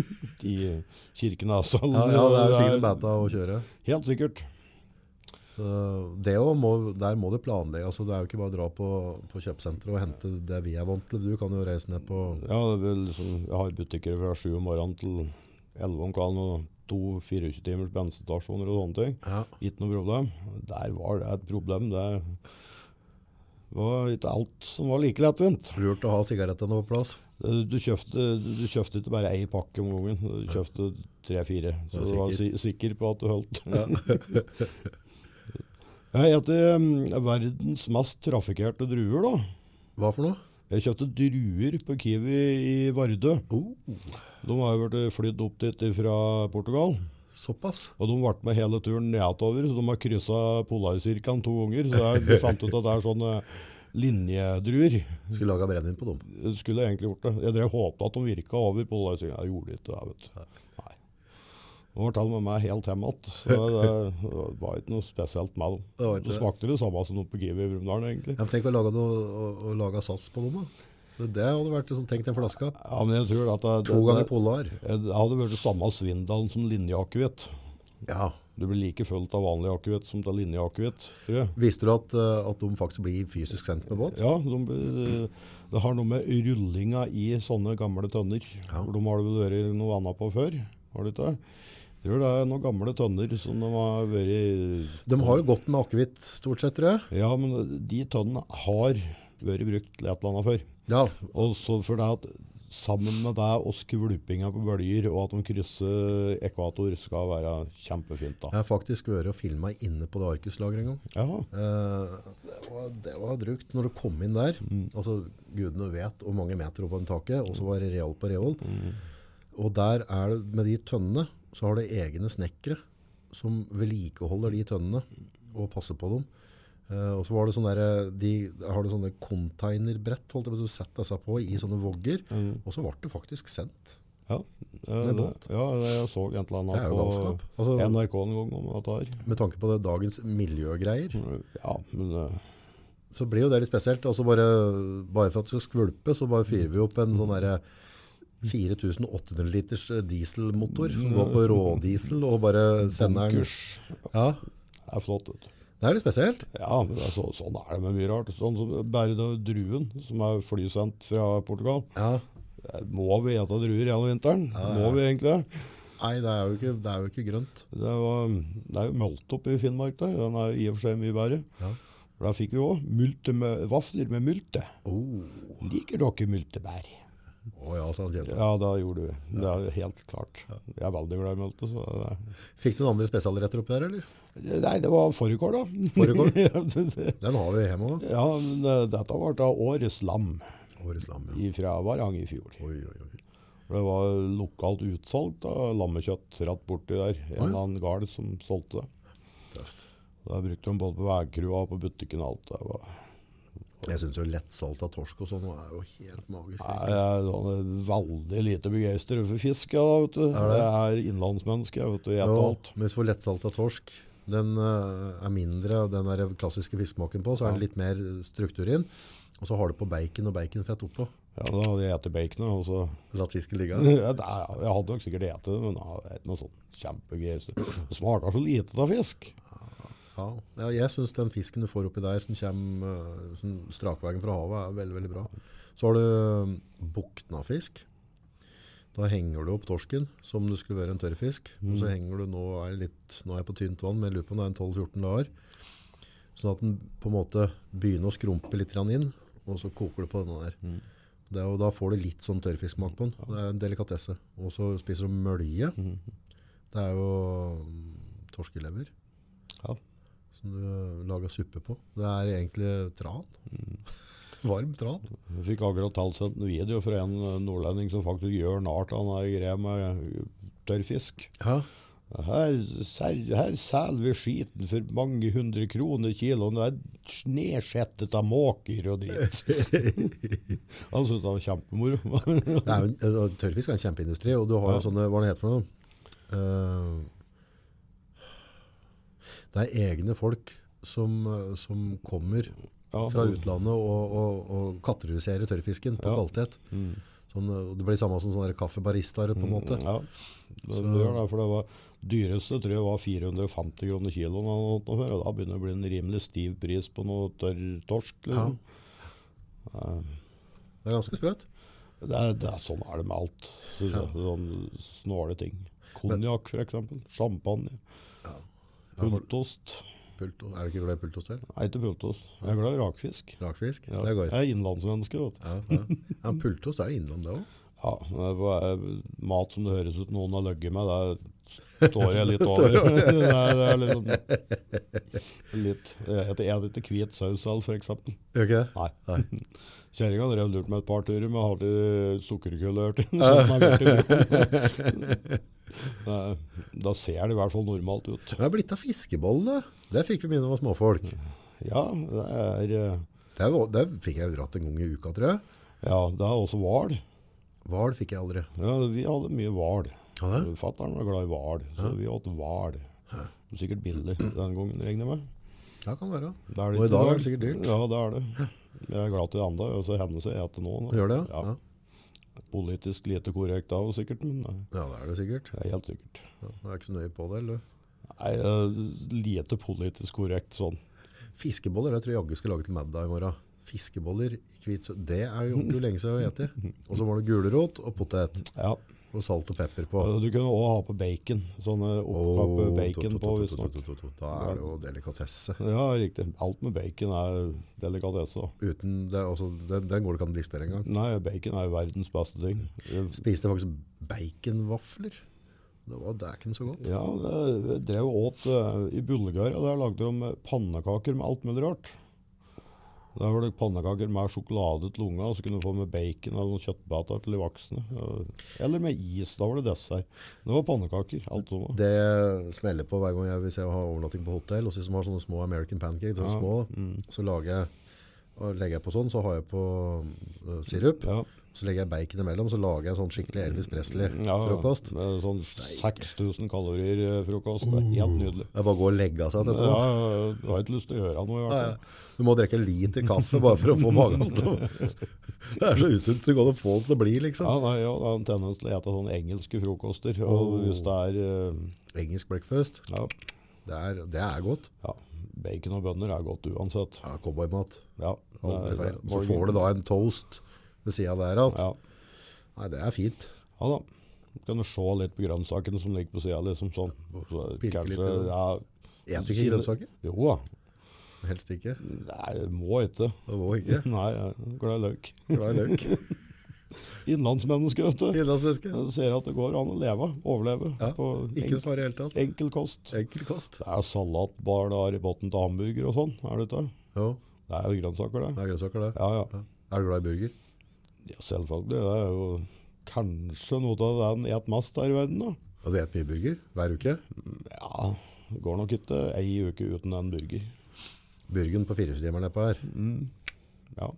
i eh, Kirkenes. altså. Ja, ja, det er jo sikkert en beta å kjøre. Helt sikkert. Så det også må, der må du planlegge, altså det er jo ikke bare å dra på, på kjøpesenteret og hente det vi er vant til. Du kan jo reise ned på, Ja, det er vel liksom, jeg har butikker fra sju om morgenen til elleve om kvelden og to 24-timers bensinstasjoner og sånne ting. ja, Ikke noe problem. Der var det et problem. Det var ikke alt som var like lettvint. lurt å ha sigarettene på plass. Du du kjøpte, du kjøpte ikke bare ei pakke om gangen, du kjøpte tre-fire. Så Ja, du var si sikker. sikker på at du holdt. Jeg heter um, verdens mest trafikkerte druer, da. Hva for noe? Jeg kjøpte druer på Kiwi i Vardø. Oh, De har jo blitt flydd opp dit fra Portugal. såpass. Og de ble med hele turen nedover, så de har kryssa Polarsirkelen to ganger. Så jeg de fant ut at det er sånne linjedruer. Skulle lage brennvin på dem. Jeg skulle egentlig gjort det. Jeg drev håpet at de virka over Polarsirkelen. Jeg gjorde ikke det, vet du. Nei. De var til og med meg helt hjem igjen, så det var ikke noe spesielt Det var med dem. ikke Det det. smakte det samme som oppe på Kiwi i Brumunddal, egentlig. Ja, men tenk å lage, noe, å, å lage sats på dem, da. Det, det hadde vært liksom, tenkt en flaske. av. Ja, men jeg tror at det, To det, ganger det, Polar. det hadde vært det samme svindelen som linjeakevitt. Ja. Du blir like fullt av vanlig akevitt som av linjeakevitt, tror jeg. Visste du at, eh, at de faktisk blir fysisk sendt med båt? Ja, de, blir- det har noe med rullinga i sånne gamle tønner. For De har det vel vært noe annet på før. Har du ikke det? Jeg Tror det er noen gamle tønner som de har vært De har jo gått med akevitt stort sett, tror jeg. Ja, men de tønnene har vært brukt til et eller annet før. Ja, Og så for det at sammen med det og skvulpinga på bølger, og at de krysser ekvator, skal være kjempefint. jeg da. har faktisk vært og filma inne på det Arkuslageret en gang. Ja, Eh, det, var, det var drukt når du kom inn der. Altså, gudene vet hvor mange meter opp på taket, og så var det real på real. Og der er det, med de tønnene, så har det egne snekkere som vedlikeholder de tønnene og passer på dem. Eh, og så var det sånne der, de har det sånne containerbrett, holdt jeg på, å si, så setter disse på i sånne vogger, og så ble det faktisk sendt. ja. Eh, Med det- båt. ja, jeg så et eller annet Det er jo på galskap. Altså- NRK en gang om dette her. Med tanke på det, dagens miljøgreier, Ja, men eh, så blir jo det litt spesielt. Altså bare, bare for at det skal skvulpe, så bare fyrer vi opp en sånn derre 4800 liters eh, dieselmotor som går på rådiesel og bare sender den. kurs Ja, er flott. vet du. det er litt spesielt. Ja, men det er så, sånn er det med mye rart. Sånn som Bare det druen, som er flysendt fra Portugal. Ja. Eh, Må vi ete druer gjennom vinteren? Må vi egentlig det? Nei, det er jo ikke, det er jo ikke grønt. Det, var, det er jo malt opp i Finnmark der. Den er i og for seg mye bedre. Ja. For Der fikk vi òg vafler med multe. Oh. Liker dere multebær? Å ja, sa han tjente. Ja, det gjorde vi. Det er helt klart. Jeg er veldig glad i multe. Så det er. Fikk du noen andre spesialretter opp der, eller? Nei, det var fårikål, da. Fårikål? ja, det- det- Den har vi hjemme òg. ja, men eh, dette var da årets lam Årets lam, ja. fra Varang i fjor. Oi, oi, oi. Det var lokalt utsalg av lammekjøtt rett borti der. En Å, ja. eller annen gard som solgte det. Tøft. Da brukte de både på veikroa og på butikken og alt. Det var Jeg syns jo lettsalt av torsk og sånn nå er jo helt magisk. Nei, Jeg er sånn veldig lite begeistret for fisk. Ja, da, vet du. Er det? Jeg er innlandsmenneske. Jeg vet du, jeg Ja, etter alt. men hvis du får lettsalta torsk, den eh, er mindre av den der klassiske fiskemaken på, så er det litt mer struktur inn. Og så har du på bacon og baconfett oppå. Ja, da hadde jeg spist baconet. Og så Latt fisken ligge. jeg, jeg hadde nok sikkert spist det, men jeg er ikke noe sånn kjempebegeistret. Det smaker så lite av fisk. Ja. Ja, jeg syns den fisken du får oppi der som kommer eh, som strakveien fra havet, er veldig veldig bra. Så har du eh, bukna fisk. Da henger du opp torsken som om det skulle være en tørrfisk. Og så henger du nå er, jeg litt, nå er jeg på tynt vann, men jeg lurer på om det er en 12-14 dager. Sånn at den på en måte begynner å skrumpe litt grann inn, og så koker du på denne der. Det, er jo- da får du litt sånn tørrfisksmak på den. Det er en delikatesse. Og så spiser du mølje. Det er jo mm, torskelever Ja. som du eh, lager suppe på. Det er egentlig tran. Varm tran. Jeg fikk akkurat tilsendt en video fra en eh, nordlending som faktisk gjør nart av den greia med eh, tørr fisk. Ja. Her, sel- her selger vi skiten for mange hundre kroner kiloen. Det er snesettet av måker og dritt. Han syntes det var kjempemoro. Det er jo, en- eh, og tørrfisk er en kjempeindustri, og du har jo sånne, hva er det heter for noe? Eh, det er egne folk som, eh, som kommer Ja. fra utlandet og, og, og kategoriserer tørrfisken på kvalitet. Sånn, eh, det blir samme som sånne der kaffebaristaer på en måte. ja. Men det gjør det, for det var dyreste tror jeg var 450 kroner kiloen. eller noe sånt nå før, og Da begynner det å bli en rimelig stiv pris på noe tørr torsk. Liksom. Det er ganske sprøtt. Det er, det er, sånn er det med alt. Synes jeg. Sånne snåle ting. Konjakk, f.eks. Champagne. Pultost. Pulto. Er du ikke glad i pultost selv? Nei, ikke pultost. Jeg er glad i rakfisk. Rakfisk? Ja, Det går. Jeg er innlandsmenneske. Vet. du. Ja, ja. ja, pultost er jo innland det også. Ja, det er bare mat som det høres ut noen har løgget med, der står jeg litt Står over. over. det, er, det er liksom litt Jeg heter- jeg heter ikke hvit saus selv, for eksempel. Gjør ikke det? Nei. Kjerringa drev og lurte meg et par turer, men hadde sukkerkullørt i den. så den er borte i broen. Nei, Da ser det i hvert fall normalt ut. Det er blitt av fiskebolle. Det fikk vi mye når vi var småfolk. Ja, det er eh, Det, var, det fikk jeg vratt en gang i uka, tror jeg. Ja, det er også hval. Hval fikk jeg aldri. Ja, vi hadde mye hval. Ja, det? Fatter'n var glad i hval, så vi åt hval. Det var Sikkert billig den gangen, regner jeg med. Ja, kan være. Det det Og i ikke dag er vel? det sikkert dyrt. Ja, det er det. Jeg er glad til det enda, og så hender det seg etter nå. da. Gjør det, ja? Ja. ja? Politisk lite korrekt da, og sikkert, men eh, Ja, det er det sikkert. det er helt sikkert. Ja, jeg er ikke så nøye på det, eller? Nei, eh, lite politisk korrekt sånn. Fiskeboller, det tror jeg Jaggu skal lage til middag i morgen. Fiskeboller i hvit saus. Det er jo ikke lenge siden jeg har spist. Og så var det gulrot og potet. Ja, Og salt og pepper på. Du kunne også ha på bacon. Sånne oppkappe Åh, to, bacon to, på, to, to, to, visstnok. to, to, to. Da er det jo delikatesse. Ja, riktig. Alt med bacon er delikatesse. da. Uten det, altså, den, den går det ikke an å listere engang. Nei, bacon er jo verdens beste ting. Spiste faktisk baconvafler. Det var dæken så godt. Ja, det- jeg drev og åt eh, i Bulgaria. Der lagde de eh, pannekaker med alt mulig rart. Der var det pannekaker med sjokolade til unga, og så kunne du få med bacon eller noen kjøttbiter til de voksne. Eh, Eller med is. Da var det dessert. Det var pannekaker. alt som var. Det smeller på hver gang jeg vil se å ha overnatting på hotell. Og så hvis de har sånne små American pancakes, så, små, Mm. så lager jeg, og legger jeg på sånn, så har jeg på øh, sirup. Ja. Så legger jeg bacon imellom, så lager jeg en sånn skikkelig Elvis Presley-frokost. med Sånn 6000 kalorier-frokost. eh, Det Mm. er helt nydelig. Jeg bare går og legger av seg Ja, etterpå. ja, du har ikke lyst til å gjøre noe, i hvert fall. Du må drikke en liter kaffe bare for å få magen til å Det er så usunt det går an å få det til å bli, Ja, liksom. nei, ja, det er en tendens til å ete sånne engelske frokoster. Oh. Og hvis det er eh, Engelsk breakfast, ja, det er, det er godt. ja, bacon og bønner er godt uansett. Ja, Cowboymat. Ja, Aldri feil. Så får du da en toast ved sida der alt. Ja, Nei, det er fint. ja da. Så Kan du se litt på grønnsakene som ligger på sida, liksom sånn. Så Pirke litt i kanskje- det. ja, Jeg tror ikke kine- grønnsaker. Jo da. Helst ikke. Nei, må Det ikke. var ikke. Nei, jeg er glad i løk. Glad i løk. Innlandsmenneske, vet du. Innlandsvæske. Jeg ser at det går an å leve, overleve, Ja, på ikke noe enkel, fare i hele tatt. enkel kost. Enkel kost. Det er salatbar der i bunnen til hamburger og sånn, er det ikke? det? Jo, Det er jo grønnsaker, det det. er grønnsaker det. Ja, ja. Er du glad i burger? ja selvfølgelig. Det er jo kanskje noe av det en et mest her i verden, da. Ja, du et Altså, mye burger hver uke. Ja, det går nok ikke ei uke uten en burger. Burgen på firehjulsdimmer nedpå her. Ja.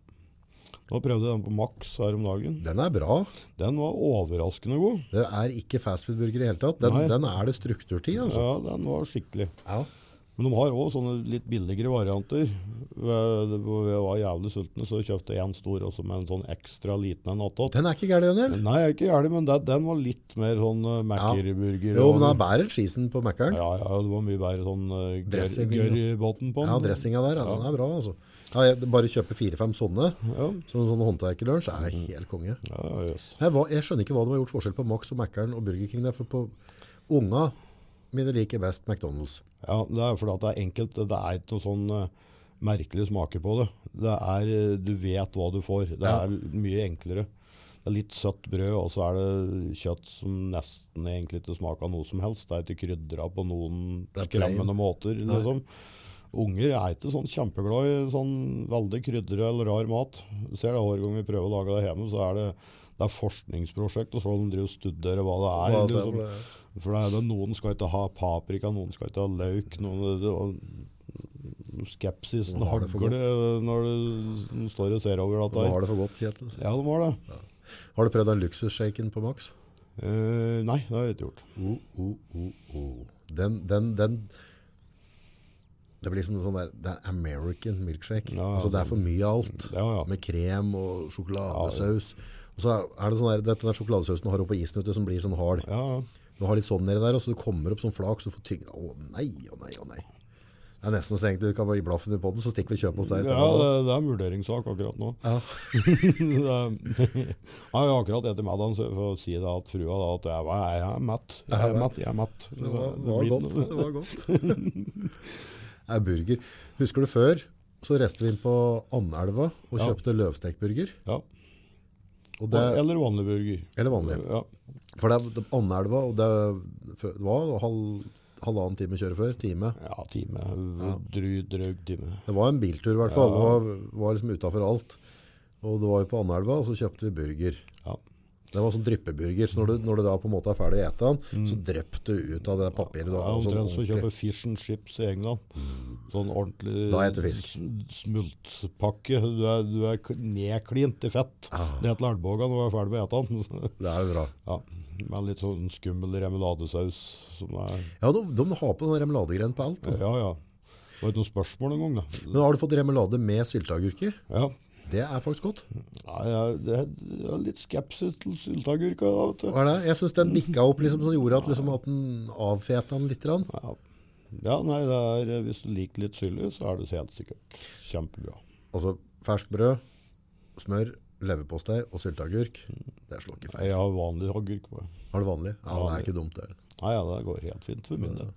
Nå prøvde jeg den på Max her om dagen. Den er bra. Den var overraskende god. Det er ikke fastfood-burger i hele tatt. Den, Nei. den er det strukturtid, altså. Ja, den var skikkelig. Ja. Men de har òg sånne litt billigere varianter. Eh, Hvor jeg var jævlig sulten, så kjøpte jeg en stor også med en sånn ekstra liten en attåt. Den er ikke gæren, den heller. Nei, jeg er ikke gæren, men det- den var litt mer sånn eh, Mackerburger. Jo, og- men sånn. den er bedre enn cheesen på Mækkern. Ja, ja, det var mye bedre sånn eh, Dressing, gørr gørr i båten på den. Ja, dressinga der, ja, den er bra, altså. Ja, jeg, bare kjøpe fire-fem sånne, Ja, sånn, sånn håndverkerlunsj, er helt konge. ja, jøss. Jeg, var, jeg skjønner ikke hva de har gjort forskjell på Max og Mækkern og Burger King. der, For på unga mine liker best McDonald's. Ja, det er fordi at det er enkelt. Det er ikke noe sånn eh, merkelig smaker på det. Det er, eh, Du vet hva du får. Det Ja. er l- mye enklere. Det er litt søtt brød, og så er det kjøtt som nesten egentlig ikke smaker noe som helst. Det er ikke krydra på noen Det er plain. skremmende måter. liksom. Unger er ikke sånn kjempeglad i sånn veldig krydra eller rar mat. Du ser det Hver gang vi prøver å lage det hjemme, så er det, det er forskningsprosjekt. og så de driver og studerer hva det er. Hva det er, liksom. hva det er. For det er det, noen skal ikke ha paprika, noen skal ikke ha løk. Noen, det, og, skepsisen Noen har det for hagler når du står og ser over Hva dette. her. har det for godt, Kjetil? Ja, de har det. Har du prøvd den luksusshaken på Max? Eh, nei, det har jeg ikke gjort. Oh, oh, oh, oh. Den, den, den Det blir som en sånn der Det er American milkshake. Ja, ja, altså, det er for mye av alt. Ja, ja. Med krem og sjokoladesaus. Og så er- er det sånn der, du vet, den der sjokoladesausen du har oppå isen vet du, som blir sånn hard. Ja, ja. Du har litt sånn nedi der, og så det kommer opp som flak, så du får tygge Å nei, å nei, å nei. Det er nesten så egentlig du kan bare gi blaffen i podden, så stikker vi og kjøper hos deg. i Ja, stedet. det, det er en vurderingssak akkurat nå. Ja. Det er- jeg har jo akkurat etter middagen så jeg får si det at frua da at jeg, var- jeg er mett. Jeg er mett, jeg er mett. Det var, Det var blir- godt. Det var godt. Det er burger. Husker du før? Så reiste vi inn på Andelva og Ja. kjøpte løvstekburger. Ja. Og det, Eller vanlig burger. eller vanlig. Ja. For det, er- det er Andelva, og det, er- fø- det var halv, halvannen time å kjøre før. Time. ja, time. Dry, drøg time. Det var en biltur i hvert fall. Det var, var liksom utafor alt. Og det var jo på Andelva, og så kjøpte vi burger. Ja. Det var sånn dryppeburger, så når du, når du da på en måte er ferdig å ete den, så drypp du ut av det papiret du Det har. er sånn Mm. omtrent som å ordentlig. Mm. kjøpe fish and chips i England. Sånn ordentlig Da heter det fisk. sm- smultpakke. Du er, du er k- nedklint i fett Ah. ned til albuen når du er ferdig med å ete den. Det er jo bra. Ja, med litt sånn skummel remeladesaus. Som er, Ja, de, de har på sånn remeladegren på alt. da. ja, ja. Det var ikke noe spørsmål engang, da. Men har du fått remelade med sylteagurker? Ja. Det er faktisk godt. Ja, jeg, det er, jeg har litt skepsis til sylteagurka. da, vet du. Hva er det? Jeg syns den bikka opp liksom, som gjorde at, liksom, at den avfeta den litt. grann. Ja. ja, nei, det er, hvis du liker litt sylje, så er det helt sikkert kjempebra. Altså ferskt brød, smør, leverpostei og sylteagurk, det slår ikke feil. Jeg har vanlig agurk. på. Har du vanlig? Ja, det er ikke dumt det. Nei, ja, det går helt fint for min del.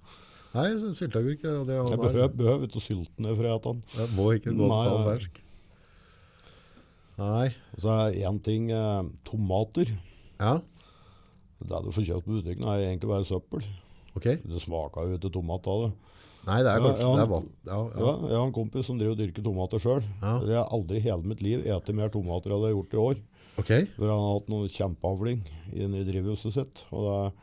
Nei, så sylteagurk ja, det Jeg han har. behøver, behøver ikke å sylte ned fra etan. Jeg må ikke gå og Nei, ta den nei. fersk. Nei. Og så er én ting eh, tomater. Ja, Det du får kjøpt på butikken, er egentlig bare søppel. ok. Det smaker jo ikke tomat av det. Nei, det er Ja, kanskje ja. det er vatt. Ja, Ja, ja. jeg har en kompis som driver og dyrker tomater sjøl. Ja. Jeg har aldri i hele mitt liv spist mer tomater enn jeg har gjort i år. Ok. For han har hatt noe kjempeavling inne i drivhuset sitt. Og det er,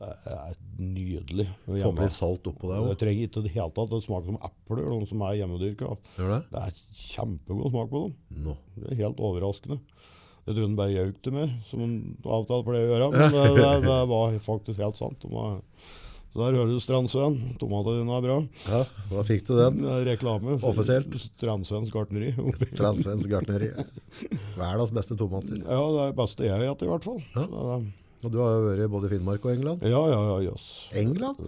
det er nydelig. Få på litt salt oppå det, deg det òg. trenger ikke i det hele tatt. Det smaker som epler, de som er hjemmedyrka. Gjør det? Det er kjempegod smak på dem. Nå. Det er helt overraskende. Jeg trodde den bare gjøk det med, som en avtale pleier å gjøre. Men det, det, det var faktisk helt sant. De var, så der hører du Strandsøen. Tomatene dine er bra. Ja, da fikk du den. Det er eh, Reklame. for Offisielt. Strandsøens gartneri. Transvensk gartneri. Verdens beste tomater. Ja, det er det beste jeg har hatt, i hvert fall. Ja. Så det- Og du har jo vært både i Finnmark og England. Ja, ja, ja, jøss. England?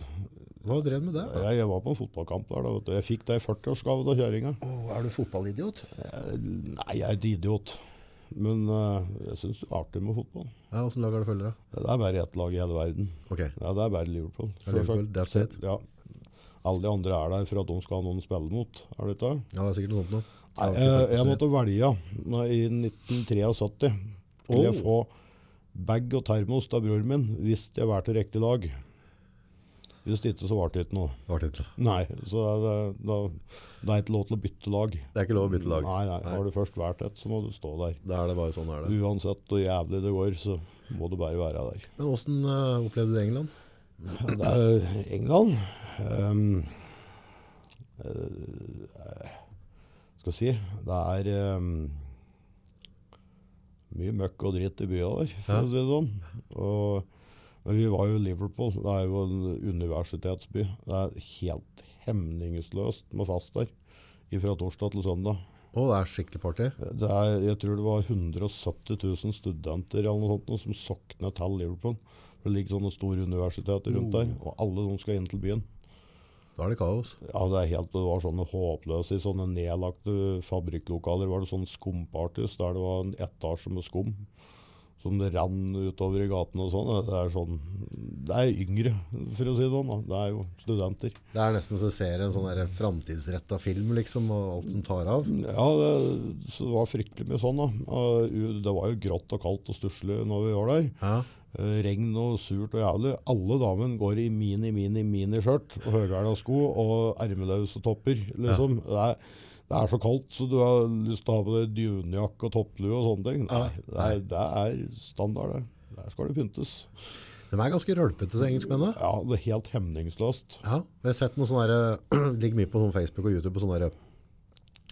Hva drev du med det? Jeg, jeg var på en fotballkamp der. Da, vet du. Jeg fikk det i 40-årsgave av kjerringa. Eh, Å, er du fotballidiot? Nei, jeg er et idiot. Men eh, jeg syns det er artig med fotball. Ja, Åssen lag har du følgere? Det er bare ett lag i hele verden. Ok. Ja, det er bare Liverpool. Ja, Liverpool, selvsagt. that's it. Ja. Alle de andre er der for at de skal ha noen å spille mot. Er det ikke det? Ja, det er sikkert noe sånt noe. Nei, Jeg har jeg, ikke Eh, jeg fått måtte velge Nå, i 1973. Skulle jeg Oh. få bag og termos av broren min hvis jeg var til riktig lag. Hvis ikke, så var det ikke noe. det. Var tittel. Nei, så det, det, det er ikke lov til å bytte lag. Det er ikke lov å bytte lag. Nei, nei, Har du først vært et, så må du stå der. Da er det bare sånn er det. Uansett hvor jævlig det går, så må du bare være der. Men åssen eh, opplevde du England? Det er England. ehm, eh, skal jeg si Det er ehm, mye møkk og dritt i bya der, for å si det sånn. Og, men vi var jo i Liverpool. Det er jo en universitetsby. Det er helt hemningsløst med fest der. Fra torsdag til søndag. Å, det er skikkelig party. Det er, jeg tror det var 170 000 studenter eller noe sånt, nå som sokna til Liverpool. For Det ligger sånne store universiteter rundt der, og alle de skal inn til byen. Da er det kaos. Ja, Det er helt, det var sånne håpløse, i sånne nedlagte fabrikklokaler. var det sånne skumpartys der det var en etasje med skum som det rann utover i gatene og sånn. Det er sånn, det er yngre, for å si det sånn. da. Det er jo studenter. Det er nesten så du ser en sånn der framtidsretta film, liksom, og alt som tar av. Ja, det, så det var fryktelig mye sånn. da. Og u- Det var jo grått og kaldt og stusslig når vi var der. Ja. Eh, Regn og surt og jævlig. Alle damene går i mini, mini, miniskjørt og høyhæla sko og ermeløse topper. liksom. Det, er, det er så kaldt, så du har lyst til å ha på deg dunjakke og topplue og sånne ting. Nei, det er, det er standard, det. Der skal det pyntes. De er ganske rølpete, så engelskmennene. Ja, det er helt hemningsløst. Ja. Jeg har sett noe sånn der, det ligger mye på sånn Facebook og YouTube på sånne der, eh,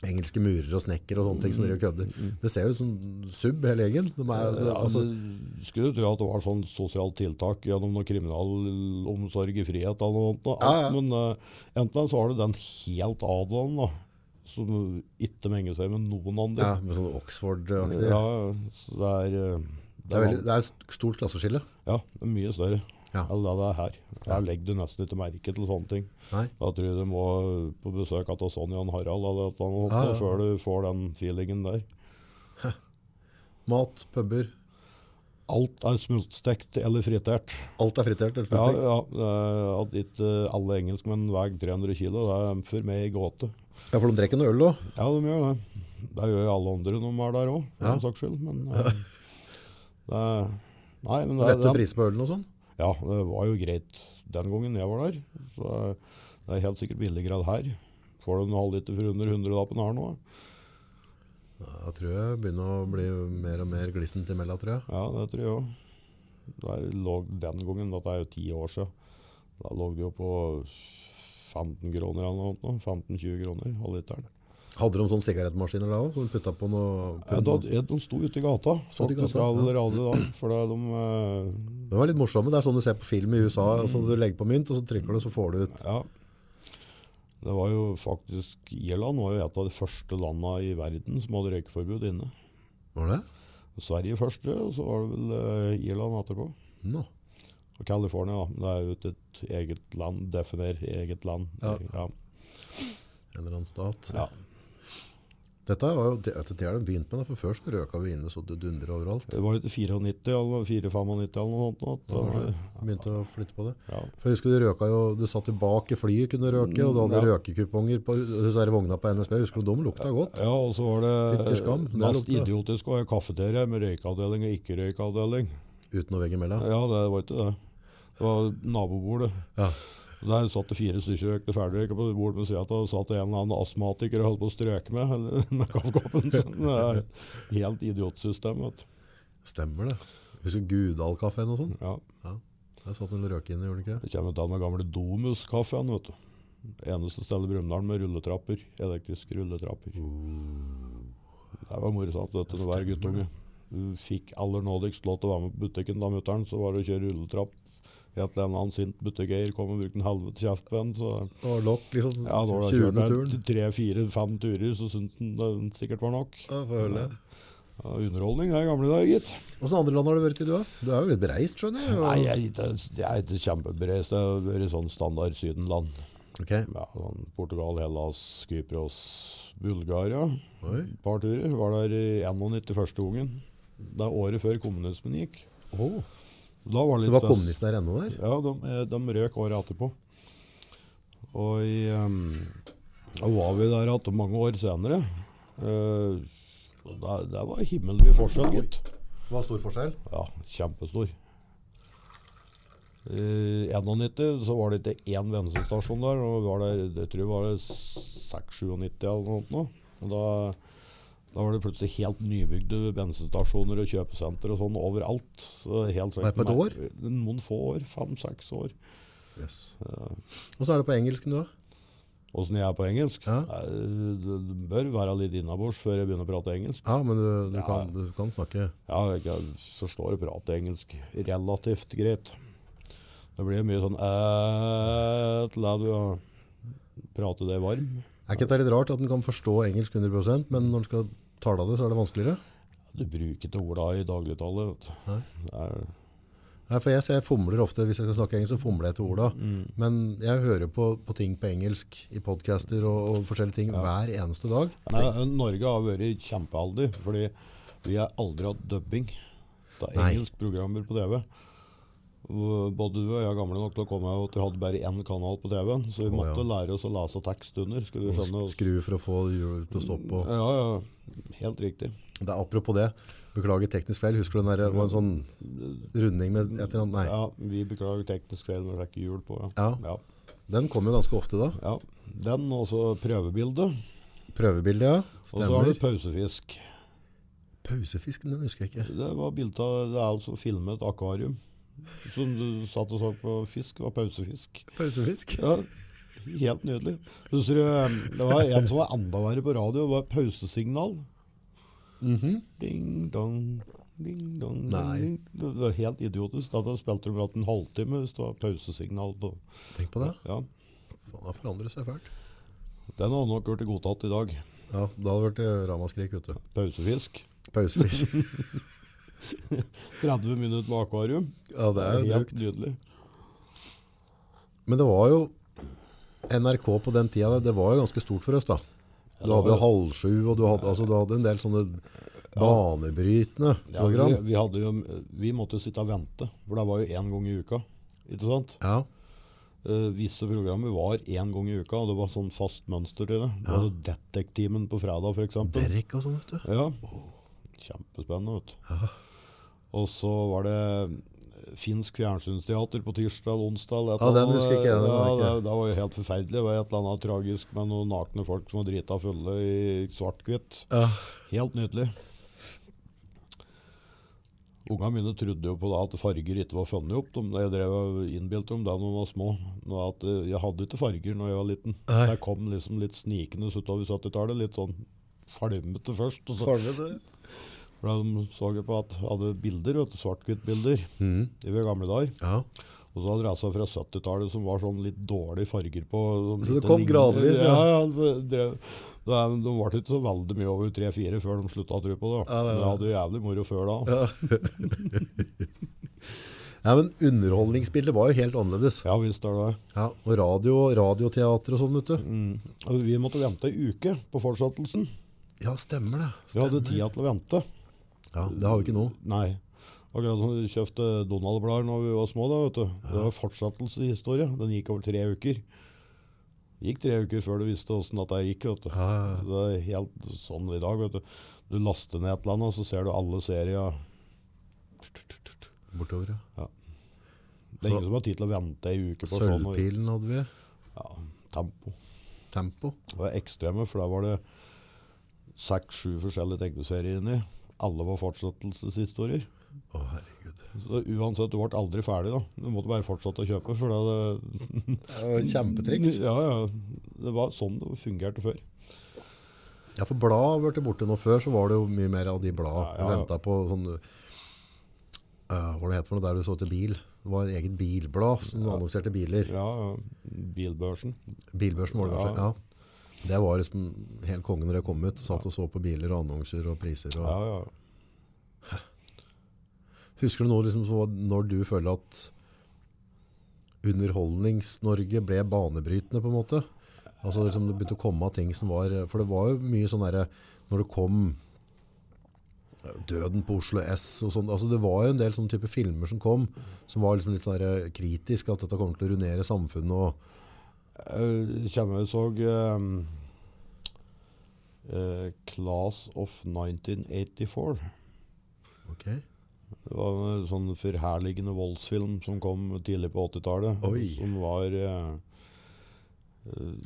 engelske murer og snekker og sånne ting som driver og kødder. Det ser jo ut som sub hele gjengen. De er, det, Mm, Ja, altså, men skulle du tro at det var sånn sosialt tiltak gjennom noe kriminalomsorg i frihet eller noe sånt. da. Ja, ja. Men uh, enten så har du den helt advaren da, som ikke menger seg med noen andre. ja, med sånn Oxford-aktig. Ja, så det er, eh, Det er, veldig, det er et stort klasseskille. Ja, det er mye større Ja. enn det det er her. Her legger du nesten ikke merke til sånne ting. Nei. Da tror jeg du må på besøk av Sonja og Harald eller et eller annet, Ja, ja. før du får den feelingen der. Mat, puber, Alt er smultstekt eller fritert. alt er fritert. eller Ja, spesifikt. ja, det er at ikke alle engelskmenn veier 300 kilo, det er for meg i gåte. Ja, for de drikker noe øl òg. Ja, de gjør det. Det gjør jo alle andre når de er der òg, for Ja. den saks skyld. Men eh, det er, nei, men det, er- Lette det, er- priser på ølen og sånn. Ja, det var jo greit den gangen jeg var der. Så det er helt sikkert billigere enn her. Får du en halvliter for under 100-lappen her nå? Jeg tror jeg begynner å bli mer og mer glissent imellom, tror jeg. Ja, det tror jeg òg. Der lå den gangen, dette er jo ti år siden, da lå det jo på 15 kroner eller noe. sånt nå, 15-20 kroner halvliteren. Hadde de sånne sigarettmaskiner da òg, som de putta på noe Ja, da, ja, de sto ute i gata, Stod i faktisk gata, ja. allerede da. For da de, eh, De var litt morsomme. Det er sånn du ser på film i USA. Altså, du legger på mynt, og så trykker du, så får du ut ja. Det var jo faktisk Irland var jo et av de første landene i verden som hadde røykeforbud inne. Var det? Sverige først, og så var det vel eh, Irland etterpå. Nå. Og California, da. Det er jo ikke et eget land. Definer eget land. Ja. ja. En eller annen stat. ja. Dette var jo det, det har de begynt med, da, for før så røka vi inne så det dundrer overalt. Det var jo til 94 eller 94 eller noe sånt. nå, da var det- Begynte å flytte på det. Ja. For jeg husker du røka jo, du satt jo bak i flyet kunne røke, og du hadde Ja. røkekuponger på disse her vogna på NSB. Husker du de lukta godt? Ja, og så var Fytti det skam, det mest lukta. idiotisk å ha kaffeterie med røykeavdeling og ikke-røykeavdeling. Uten noe veggimellom. Ja, det var ikke det. Det var nabobordet. Ja. Og Der satt det fire stykker og røykte ferdigrøyka på bordet ved siden av. og satt en eller annen astmatiker og holdt på å strøke med, eller, med kaffekoppen. Så det er helt idiotsystem. Vet. du. Stemmer det. Husker du Gudal-kafeen og sånn? Ja. Ja. Der satt en røk inne, gjorde den ikke det? Det kommer til den gamle Domus-kaffen. vet du. Eneste stedet i Brumunddal med rulletrapper. Elektriske rulletrapper. Det var morsomt vet du, å være guttunge. Du fikk aller nådigst lov til å være med på butikken da, mutter'n. Så var det å kjøre rulletrapp. Helt til en annen sint butikkeier kom og brukte en helvete kjeft på en. Så Det var lokk, liksom. ja, da var det 20. kjørt turen. tre-fire-fem turer, så syntes han det sikkert var nok. Ja, får høre det. Ja, underholdning det i gamle dager, gitt. Åssen andre land har du vært i, du? da? Du er jo litt bereist, skjønner jeg. og- Nei, jeg er ikke- jeg er ikke kjempebereist. Jeg har vært sånn standard Sydenland. Ok. Ja, sånn Portugal, Hellas, Kypros, Bulgaria. Oi. Et par turer. Var der i 91 første gangen. Det er året før kommunismen gikk. Åh. Da var det Så litt var stress. kommunisten der ennå der? Ja, de, eh, de røk året etterpå. Og i, ehm, da var vi der igjen mange år senere. Eh, og der, der var himmelvid forskjell, gitt. Hva er stor forskjell? Ja, kjempestor. I 91 så var det ikke én bensinstasjon der. og vi var der, Det tror jeg var det 96-97 eller noe. sånt nå. Og da, da var det plutselig helt nybygde bensinstasjoner og kjøpesenter og sånn overalt. Så helt Bare på et år? Noen få år. Fem-seks år. Yes. Og så er det på engelsk nå? Åssen jeg er på engelsk? Ja. Nei, Det det bør være litt innabords før jeg begynner å prate engelsk. Ja, men du, du, kan, du kan snakke Ja, jeg forstår å prate engelsk relativt greit. Det blir mye sånn «æ», til deg du har- prate deg varm. Er ikke det litt rart at en kan forstå engelsk 100 men når en skal tale det, så er det vanskeligere? Du bruker ikke orda i dagligtale. vet du. Det er- Nei, for jeg, ser jeg fomler ofte, Hvis jeg skal snakke engelsk, så fomler jeg til orda. Men jeg hører på, på ting på engelsk i podcaster og, og forskjellige ting hver eneste dag. Nei, Norge har vært kjempeheldig, fordi vi har aldri hatt dubbing av Nei. engelskprogrammer på TV. Og Både du og jeg er gamle nok til å komme over at vi hadde bare én kanal på TV-en, så vi Å, ja. måtte lære oss å lese tekst under. skulle vi skjønne oss. Skru for å få hjulet til å stoppe. Og. Sånn Ja, ja, helt riktig. Det er apropos det. Beklager teknisk feil. Husker du den der, det var en sånn runding med et eller annet? Nei. Ja, vi beklager teknisk feil når det er ikke hjul på. Ja. ja. Den kom jo ganske ofte da. ja. Den og så prøvebildet. Prøvebildet, ja. Og så har Stemmer. du pausefisk. Pausefisken, den husker jeg ikke. Det var bildet av, det er altså filmet et akvarium. Som du satt og så på fisk, var pausefisk. Pausefisk? Ja, helt nydelig. Husker du, um, det var en som var enda verre på radio, det var pausesignal. Ding dong, ding dong. Mhm. Nei. Ding, ding. Det var helt idiotisk. Da spilte de blant en halvtime hvis det var pausesignal på. Tenk på det. Ja. Faen, det forandrer seg fælt. Den hadde nok vært godtatt i dag. Ja, da hadde det vært eh, ramaskrik ute. Pausefisk. Pausefisk. 30 minutter med akvarium. Ja, det er jo Helt brukt. nydelig. Men det var jo NRK på den tida, det var jo ganske stort for oss da. Du det var hadde jo jo- halv sju, og du hadde, altså, du hadde en del sånne banebrytende Ja, vi, program. vi, hadde jo, vi måtte jo sitte og vente, for det var jo én gang i uka. Ikke sant? Ja, Eh, visse programmer var én gang i uka, og det var sånn fast mønster til det. Det var Detektimen på fredag, f.eks. Derek og sånn, vet du. Ja. Kjempespennende, vet du. Og så var det eh, finsk fjernsynsteater på tirsdag eller onsdag. eller et Ja, eller den annet. husker ikke jeg, den Ja, var det, ikke- det var jo helt forferdelig. Det var et eller annet tragisk med noen nakne folk som var drita fulle i svart-hvitt. Ja. Helt nydelig. Unga mine trodde jo på det at farger ikke var funnet opp. De, jeg drev og innbilte dem da de var små. Nå At eh, jeg hadde ikke farger når jeg var liten. Nei. Jeg kom liksom litt snikende utover 70-tallet. Litt sånn falmete først. Og så, for de så jo på at jeg hadde bilder, vet du, svart-hvitt-bilder Mm. i ved gamle dager. Ja. Og så adressa fra 70-tallet som var sånn litt dårlige farger på. Sånn Så det lite kom lign- gradvis, ja. Ja, ja altså, så drev, da, de ble ikke så veldig mye over tre-fire før de slutta å tro på det. Ja, det er da. Men det. jeg hadde jo jævlig moro før da. ja, men underholdningsbildet var jo helt annerledes. Ja, visst er det det. Ja, og radio og radioteater og sånn, vet du. Altså, Og Vi måtte vente ei uke på fortsettelsen. Ja, stemmer det. Vi hadde Stemmer. tida til å vente. Ja, det har vi ikke nå. Nei. Akkurat som vi kjøpte Donald-blader da vi var små. da, vet du. Det var fortsettelseshistorie. Den gikk over tre uker. Det gikk tre uker før du visste åssen dette gikk. vet du. Det er helt sånn i dag. vet Du Du laster ned et eller annet, og så ser du alle serier. Bortover, ja. Det er ingen som har tid til å vente ei uke på sånn. og- Sølvpilen hadde vi. Ja, tempo. Tempo. Det var ekstreme, for da var det seks-sju forskjellige tegneserier inni. Alle var fortsettelseshistorier. Å, herregud. Så uansett, du ble aldri ferdig, da. Du måtte bare fortsette å kjøpe. for det, Kjempetriks. Ja, ja. Det var sånn det fungerte før. Ja, for blad har vært borte nå før, så var det jo mye mer av de blad. Ja, ja, ja. Jeg ventet på sånn, eh, hva det heter for noe der du så til bil. Det var et eget bilblad som annonserte biler. Ja, Bilbørsen. Bilbørsen var det Ja. kanskje, ja. Det var liksom helt kongen når jeg kom ut, satt og så på biler og annonser og priser. Og... Ja, ja. Husker du noe liksom, så var- når du føler at underholdnings-Norge ble banebrytende på en måte? Altså liksom, det begynte å komme av ting som var For det var jo mye sånn derre Når det kom eh, Døden på Oslo S og sånn altså, Det var jo en del sånne type filmer som kom som var liksom litt sånn derre kritisk at dette kommer til å ruinere samfunnet og Jeg kommer og Eh, så ehm, eh, Class of 1984. Ok. Det var en sånn forherligende voldsfilm som kom tidlig på 80-tallet. Oi. Som var eh, eh,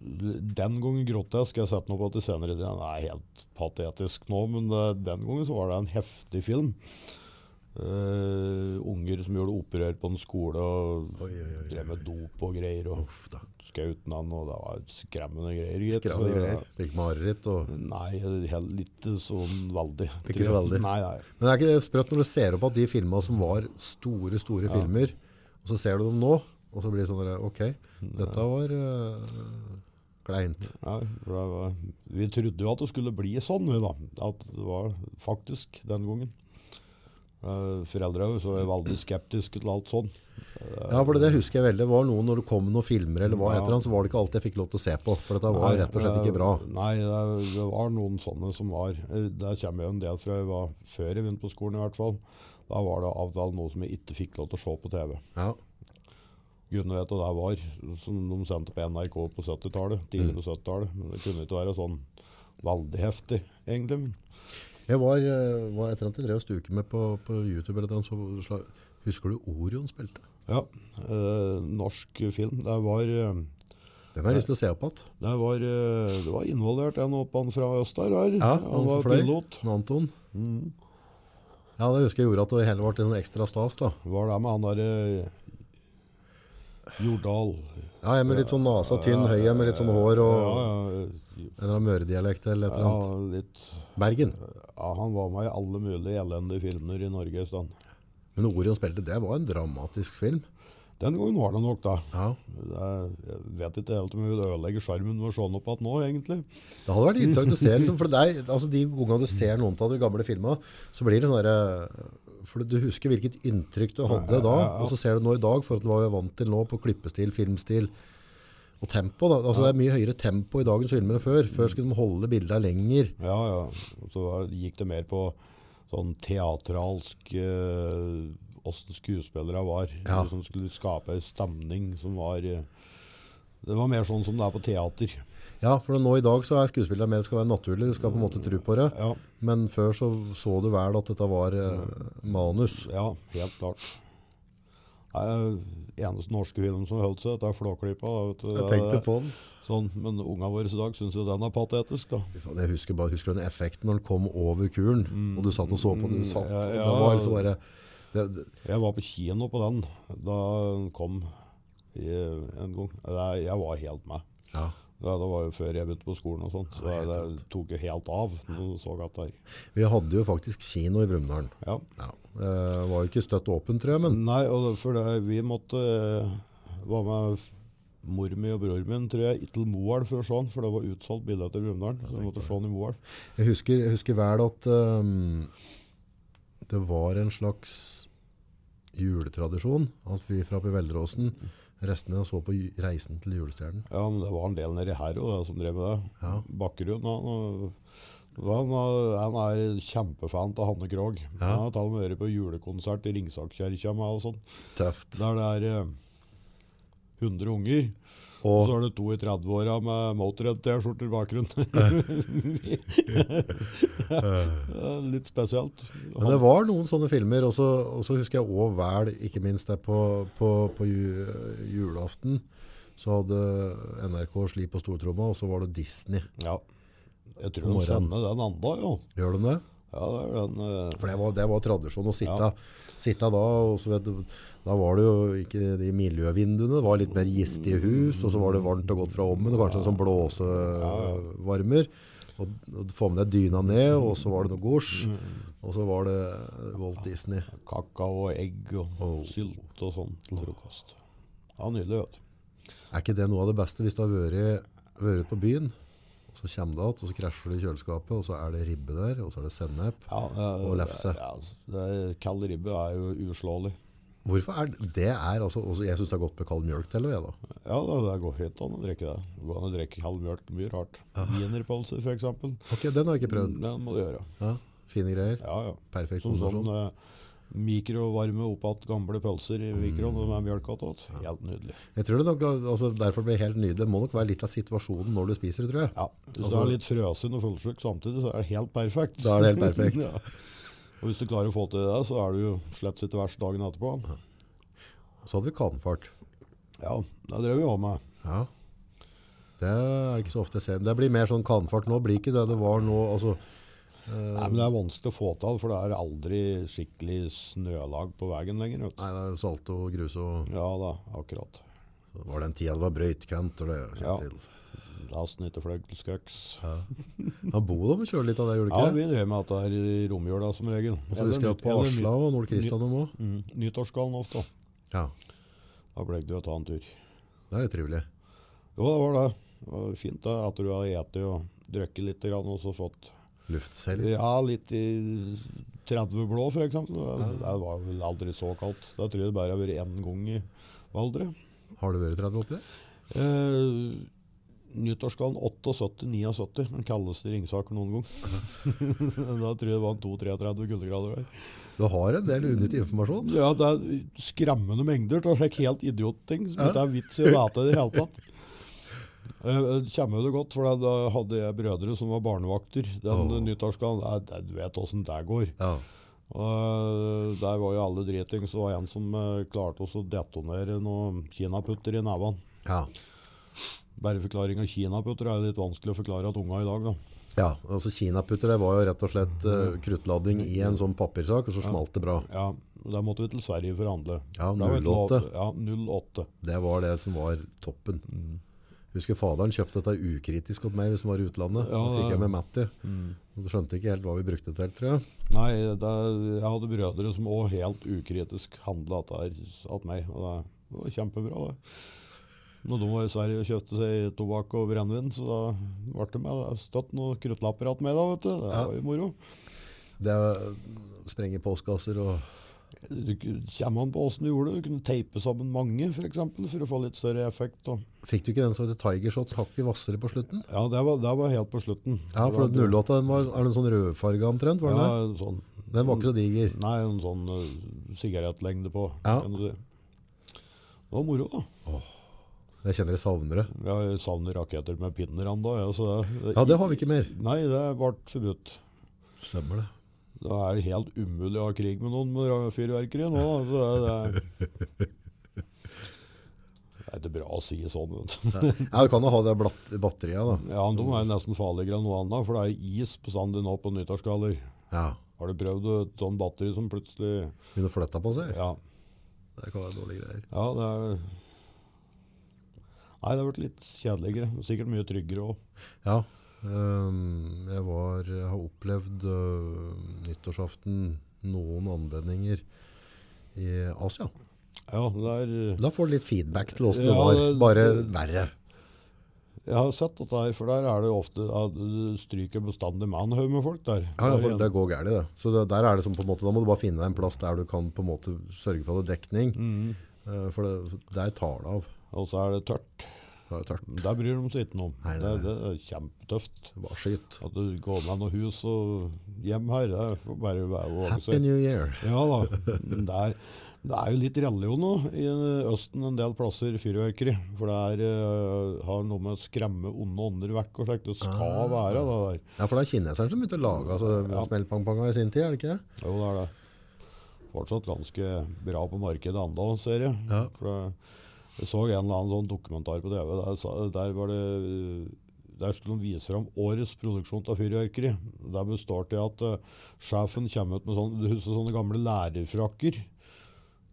Den gangen grotesk. Jeg har sett noe på at det senere i Den er helt patetisk nå, men eh, den gangen så var det en heftig film. Eh, unger som gjorde opprør på en skole og Oi, oi, oi. drev med dop og greier. Uff da. Og skjøt navn, og det var skremmende greier. gitt. Skrevne Så, eh, greier. Fikk mareritt og Nei, helt ikke sånn veldig. Ikke så veldig. Nei, nei. Men det er ikke det sprøtt når du ser opp at de filmene som var store, store filmer, og så ser du dem nå, og så blir det sånn der, ok, dette var øh, kleint. Nei, for det var, vi trodde jo at det skulle bli sånn, vi da. At det var faktisk den gangen. Eh, Foreldre er jo så veldig skeptiske til alt sånn. Ja, for det husker jeg veldig. Det var noe når det kom noen filmer, eller hva Ja. heter han, så var det ikke alt jeg fikk lov til å se på, for dette var rett og slett ikke bra. Eh, Nei, det, det var noen sånne som var. eh, Der kommer jo en del fra jeg var før jeg begynte på skolen i hvert fall. Da var det avtalt noe som jeg ikke fikk lov til å se på TV. Ja, Gudene vet hva det var, som de sendte på NRK på 70-tallet. Tidlig på 70-tallet. Men det kunne ikke være sånn veldig heftig, egentlig. men- jeg var, øh, var etter at jeg drev og stuket med på, på YouTube, eller et eller annet, så sla- husker du Orion spilte? Ja, eh, norsk film. Det var, eh, Den har jeg lyst til å se opp at. det var, eh, det var involvert en opp han fra øst der. her. han var fløy. pilot. Mm. Han Anton. Ja, det husker jeg gjorde at det hele ble en ekstra stas da. Var det med han der eh, Jordal? Ja, jeg med litt sånn nasa, tynn, høy, jeg med litt sånn hår og Ja, ja, en eller annen møredialekt eller et eller ja, annet. litt. Bergen. Ja, han var med i alle mulige elendige filmer i Norge en stund. Men Orion spilte, det var en dramatisk film. Den gangen var det nok, da. Ja, Det er- Jeg vet ikke helt om jeg vil ødelegge sjarmen med å se den opp igjen nå, egentlig. det hadde vært interessant å se, liksom, for deg, altså de gangene du ser noen av de gamle filmene, så blir det sånn der, for du husker hvilket inntrykk du hadde da, og så ser du nå i dag, for at du var vant til nå på klippestil, filmstil, og tempo da, altså det er mye høyere tempo i dagens filmer enn før, før skulle de holde bildet lenger, Ja, ja. Og Så var- gikk det mer på sånn teatralsk eh, Åssen skuespillere var. Ja. Som skulle skape en stemning som var eh, Det var mer sånn som det er på teater. ja, for nå i dag så er skuespillere mer, det skal være naturlig, du skal på en måte tro på det, Ja, men før så så du vel at dette var eh, manus, ja helt klart. Nei, eh, eneste norske film som holdt seg, det er Flåklypa. da, vet du. Jeg tenkte på den. Sånn, men unga våre i dag syns jo den er patetisk, da. Fy faen, Jeg husker bare husker den effekten når den kom over kuren, og du satt og så på den. Du satt, ja, og ja. Det var liksom bare det, det, Jeg var på kino på den da den kom i, en gang. Jeg, jeg var helt med. ja. Det, det var jo før jeg begynte på skolen og sånt. Så det, det tok jo helt av når du så at der. Vi hadde jo faktisk kino i Brumunddal. Ja. Ja. Det var jo ikke støtt åpen, tror jeg, men Nei, og det, for det, vi måtte eh, var med f- mor mi og bror min, tror jeg, til Moelv for å se den, for det var utsolgt billetter til Brumunddal. Så vi måtte se den i Moelv. jeg husker, jeg husker vel at ehm, det var en slags juletradisjon at vi fra Piveldråsen restene og så på ju- Reisen til julestjernen. Ja, men det var en del nedi her også, da, som drev med det. Ja. Bakkerud han, og- han, han er kjempefan av Hanne Krogh. Han har tatt med øre på julekonsert i Ringsakskjerka med og sånn. Tøft. Der det er eh, 100 unger. Og så er det to i 30-åra med Motorhead-T-skjorter i bakgrunnen. Eh, Litt spesielt. Men det var noen sånne filmer, og så og så husker jeg også vel, ikke minst det på, på, på ju, julaften, så hadde NRK Sli på stortromma, og så var det Disney. Ja. Jeg tror morgenen. de sender den enda, jo. Gjør de det? Ja, det er den eh, For det var, det var tradisjon å sitte, Ja. sitte da, og så vet du, da var det jo ikke de miljøvinduene, det var litt mer gistige hus, og så var det varmt og godt fra ommen, og kanskje en sånn blåsevarmer. Og, og få med deg dyna ned, og så var det noe gors, og så var det Walt Disney. kakao og egg og sylt og sånn til frokost. Ja, nydelig, vet du. Er ikke det noe av det beste hvis du har vært, vært ute på byen, og så kommer du igjen, og så krasjer du i kjøleskapet, og så er det ribbe der, og så er det sennep, Ja, eh, og lefse. Ja, det er, kald ribbe er jo uslåelig. Hvorfor er det? Det er altså, også, jeg synes det er godt med kald mjølk til, og jeg da. Ja, det, det går fint an å drikke det. Det går an å drikke halv mjølk mye rart. Wienerpølser, for eksempel. Ok, den har jeg ikke prøvd. Det må du gjøre. Ja, fine greier. Ja, ja. Perfekt Mm. Som sånn kombinasjon. eh, mikrovarme oppatt gamle pølser i mikroen med mjølk attåt. Helt nydelig. Jeg tror det nok, altså, derfor blir det helt nydelig. Det må nok være litt av situasjonen når du spiser det, tror jeg. Ja, Hvis du Altså- er litt frøsen og fullsjuk samtidig, så er det helt perfekt. Da er det helt perfekt. Ja. Og hvis du klarer å få til det, så er du jo slett ikke verst dagen etterpå. Så hadde vi kanfart. Ja, det drev vi òg med. Ja. Det er ikke så ofte jeg ser. Det blir mer sånn kanfart nå. Blir ikke det det var nå. Altså, Nei, men Det er vanskelig å få til, for det er aldri skikkelig snølag på veien lenger. Vet du. nei, det er salt og grus og Ja da, akkurat. så Var det en tid det var brøytkant? og Det, Ja. Kjetil? Lasten ikke fløy til skøks. ja, Bodø må kjøre litt av det, gjorde Ja, det ikke? vi drev med dette her i romjula som regel. Og så husker jeg på Asla og Nord-Kristian og også. Mm, Nyttårsgallen ofte. Ja, Da ble det jo å ta en tur. det er litt trivelig. Jo, det var det. Det var fint da, etter du hadde spist og drukket litt grann, og så fått Luftseil. ja, litt i 30 blå, for eksempel. Det, det var vel aldri så kaldt. Da tror jeg det bare har vært én gang i Valdre. Har du vært 30 oppi der? Eh, Nyttårsgallen 78-79. Den kaldeste Ringsaker noen gang. da tror jeg det var en 2-33 kuldegrader der. Du har en del unyttig informasjon. Ja, det er skremmende mengder av slike helt idiotting som ikke er vits i å vite i det hele tatt. Eh, Det kommer det godt, for da hadde jeg brødre som var barnevakter den Åh. nyttårsdagen. Nei, det- Du vet åssen det går. Ja. Og eh, der var jo alle dritings. Det var en som eh, klarte oss å detonere noen kinaputter i nevene. ja. Bare forklaring av kinaputter er litt vanskelig å forklare at unga i dag, da. Ja, altså Kinaputter det var jo rett og slett eh, kruttlading i en sånn papirsak, og så smalt det bra. Mm. Ja, Der måtte vi til Sverige for å handle. Ja, Da var det lov- 08. Ja, 08. Det var det som var toppen. Mm. Husker faderen kjøpte dette ukritisk åt meg hvis han var i utlandet. Ja, Mm. da fikk det- jeg med Matti. Du skjønte ikke helt hva vi brukte det til, tror jeg. Nei, det, jeg hadde brødre som òg helt ukritisk handla til meg. Og det, det var kjempebra, det. Når de var i Sverige og kjøpte seg tobakk og brennevin, så da ble det meg støtt noen kruttlapper att meg, da, vet du. Det var jo moro. Det sprenger postkasser og Du kunne- Kommer an på åssen du gjorde det. Du kunne teipe sammen mange, f.eks., for, eksempel, for å få litt større effekt. Og. Fikk du ikke den som heter Tiger Shots hakket hvassere på slutten? Ja, det var, det var helt på slutten. Ja, for at 08 den var, er det en sånn rødfarga omtrent, var den Ja, en sånn, det? Den var ikke så diger. nei, en sånn eh, sigarettlengde på, Ja. kan du si. Det var moro, da. Jeg kjenner jeg savner det. Jeg savner raketter med pinner ennå. Ja, så det- Ja, det har vi ikke mer. Nei, det ble forbudt. Stemmer det. Det er helt umulig å ha krig med noen med ra- fyrverkeri nå. da, Så det, det, det er ikke bra å si sånn. Vet. du. Ja, du kan jo ha det blatt, batteriet da. Ja, De er nesten farligere enn noe annet, for det er is bestandig nå på nyttårsgaller. Ja, Har du prøvd et sånt batteri som plutselig begynner å flytte på seg. Ja, Det kan være dårlige greier. ja det er Nei, det har vært litt kjedeligere. Sikkert mye tryggere òg. Ja. øhm, jeg var, jeg har opplevd øh, nyttårsaften noen anledninger i Asia. Ja, det er Da får du litt feedback til åssen det Ja, var, det- bare verre. Jeg har sett dette her, for der er det jo ofte at du stryker bestandig mannhaug med folk der. Ja, ja, Der for igjen. det går gærent, det. Så det, der er det som på en måte, da må du bare finne deg en plass der du kan på en måte sørge for at det er dekning. Eh, For det, der tar det av. Og så er det tørt. Da er det tørt. Der bryr de seg ikke noe om. Nei, det, nei, det er kjempetøft. Bare skyt. At du går med noe hus og hjem her, det får bare være å våge Happy seg. New Year. Ja da. men Det er, det er jo litt rally jo nå i Østen en del plasser fyrverkeri. For det er, eh, har noe med å skremme onde ånder vekk og slikt. Det skal være det der. Ja, for det er kineseren som begynte å lage altså, smellpangpanga i sin tid, er det ikke det? Jo, det er det. Fortsatt ganske bra på markedet enda, ser jeg. Ja. For jeg, jeg så en eller annen sånn dokumentar på TV. Der, sa- der var det der skulle de vise fram årets produksjon av fyrverkeri. Der består det i at eh, sjefen kommer ut med sånne, du husker sånne gamle lærerfrakker.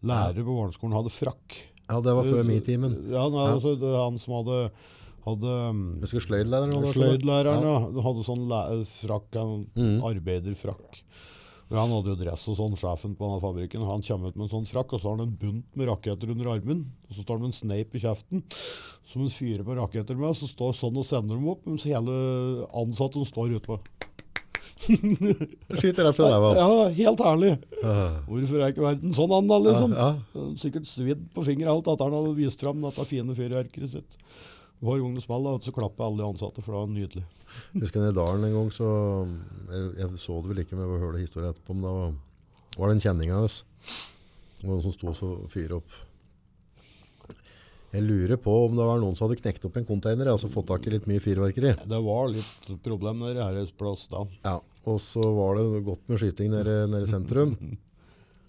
Lærere på barneskolen hadde frakk. Ja, det var før me-timen. Ja, nei, altså, det, er han som hadde, hadde mm, Husker sløydlæreren? nå, da, sånn? Sløydlæreren, ja. Du hadde sånn læ- frakk, en Mm. arbeiderfrakk. Men han hadde jo dress og sånn, sjefen på denne fabrikken. Han kommer ut med en sånn frakk, og så har han en bunt med raketter under armen. Og så tar han en sneip i kjeften som han fyrer på raketter med, og så står sånn og sender dem opp, mens hele ansatte står utpå. Ja. Skyt rett fra deg, Ja, helt ærlig. Hvorfor er ikke verden sånn an, da, liksom? Ja, Sikkert svidd på fingeren alt etter han hadde vist fram dette fine fyrverkeriet sitt. Hver gang det small, da, så klapper alle de ansatte, for det var nydelig. Husker jeg i dalen en gang, så jeg, jeg så det vel ikke, men jeg hørte historien etterpå, men da var- var det en kjenning av oss. Det var noen som sto og så fyrer opp. Jeg lurer på om det var noen som hadde knekt opp en container, altså fått tak i litt mye fyrverkeri. Det var litt problem der i Herøys plass da. Ja, og så var det godt med skyting nede, nede i sentrum.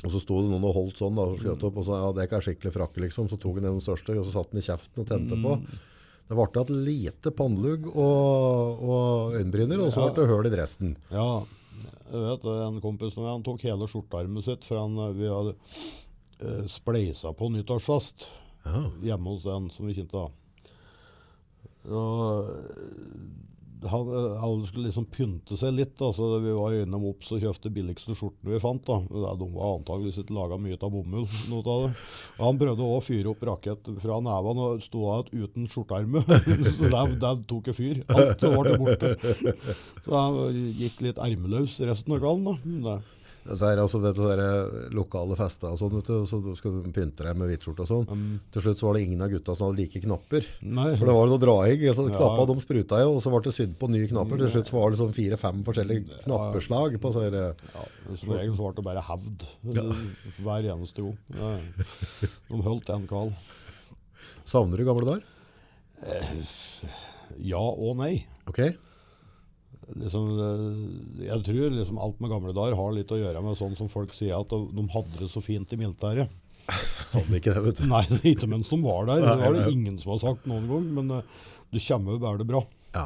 Og så sto det noen og holdt sånn, da, og så skjøt opp, og så ja, det er ikke skikkelig frakke, liksom. Så tok han den største, og så satt han i kjeften og tente på. Det ble et lite pannelugg og, og øyenbryner, og så ble det høl i dressen. Ja, jeg vet det, en kompis av meg, han tok hele skjortearmet sitt, for han, eh, vi hadde eh, spleisa på nyttårsfast hjemme hos en som vi kjente da. Og eh, han, eh, alle skulle liksom pynte seg litt, da, så vi var innom Ops og kjøpte billigste skjortene vi fant. da. Det er- De var antageligvis ikke laga mye av bomull. noe av det. Og han prøvde også å fyre opp rakett fra nevene og sto av uten skjortearme. Så der, der tok jeg fyr. Alt var borte. Så han gikk litt ermeløs resten av kvelden. da. Men det- Dette er altså vet du, sånne der lokale fester og sånn, vet du, og så skal du pynte deg med hvitskjorte og sånn. Til slutt så var det ingen av gutta som hadde like knapper. Mm. Nei. For det var noe draing, altså knappa de spruta jo, og så ble det sydd på nye knapper. Til slutt så var det sånn fire-fem forskjellige knappeslag på sånne eh, der- Ja, som regel så ble det bare hevd eh, hver eneste gang. Ja. De holdt en kveld. Savner du gamle dager? Ja og nei. Ok. Liksom, eh, jeg tror liksom alt med gamle dager har litt å gjøre med sånn som folk sier at de hadde det så fint i militæret. Hadde ikke det, vet du. Nei, ikke mens de var der. Det var det ingen som har sagt noen gang. Men eh, du kommer jo bare det bra. Ja.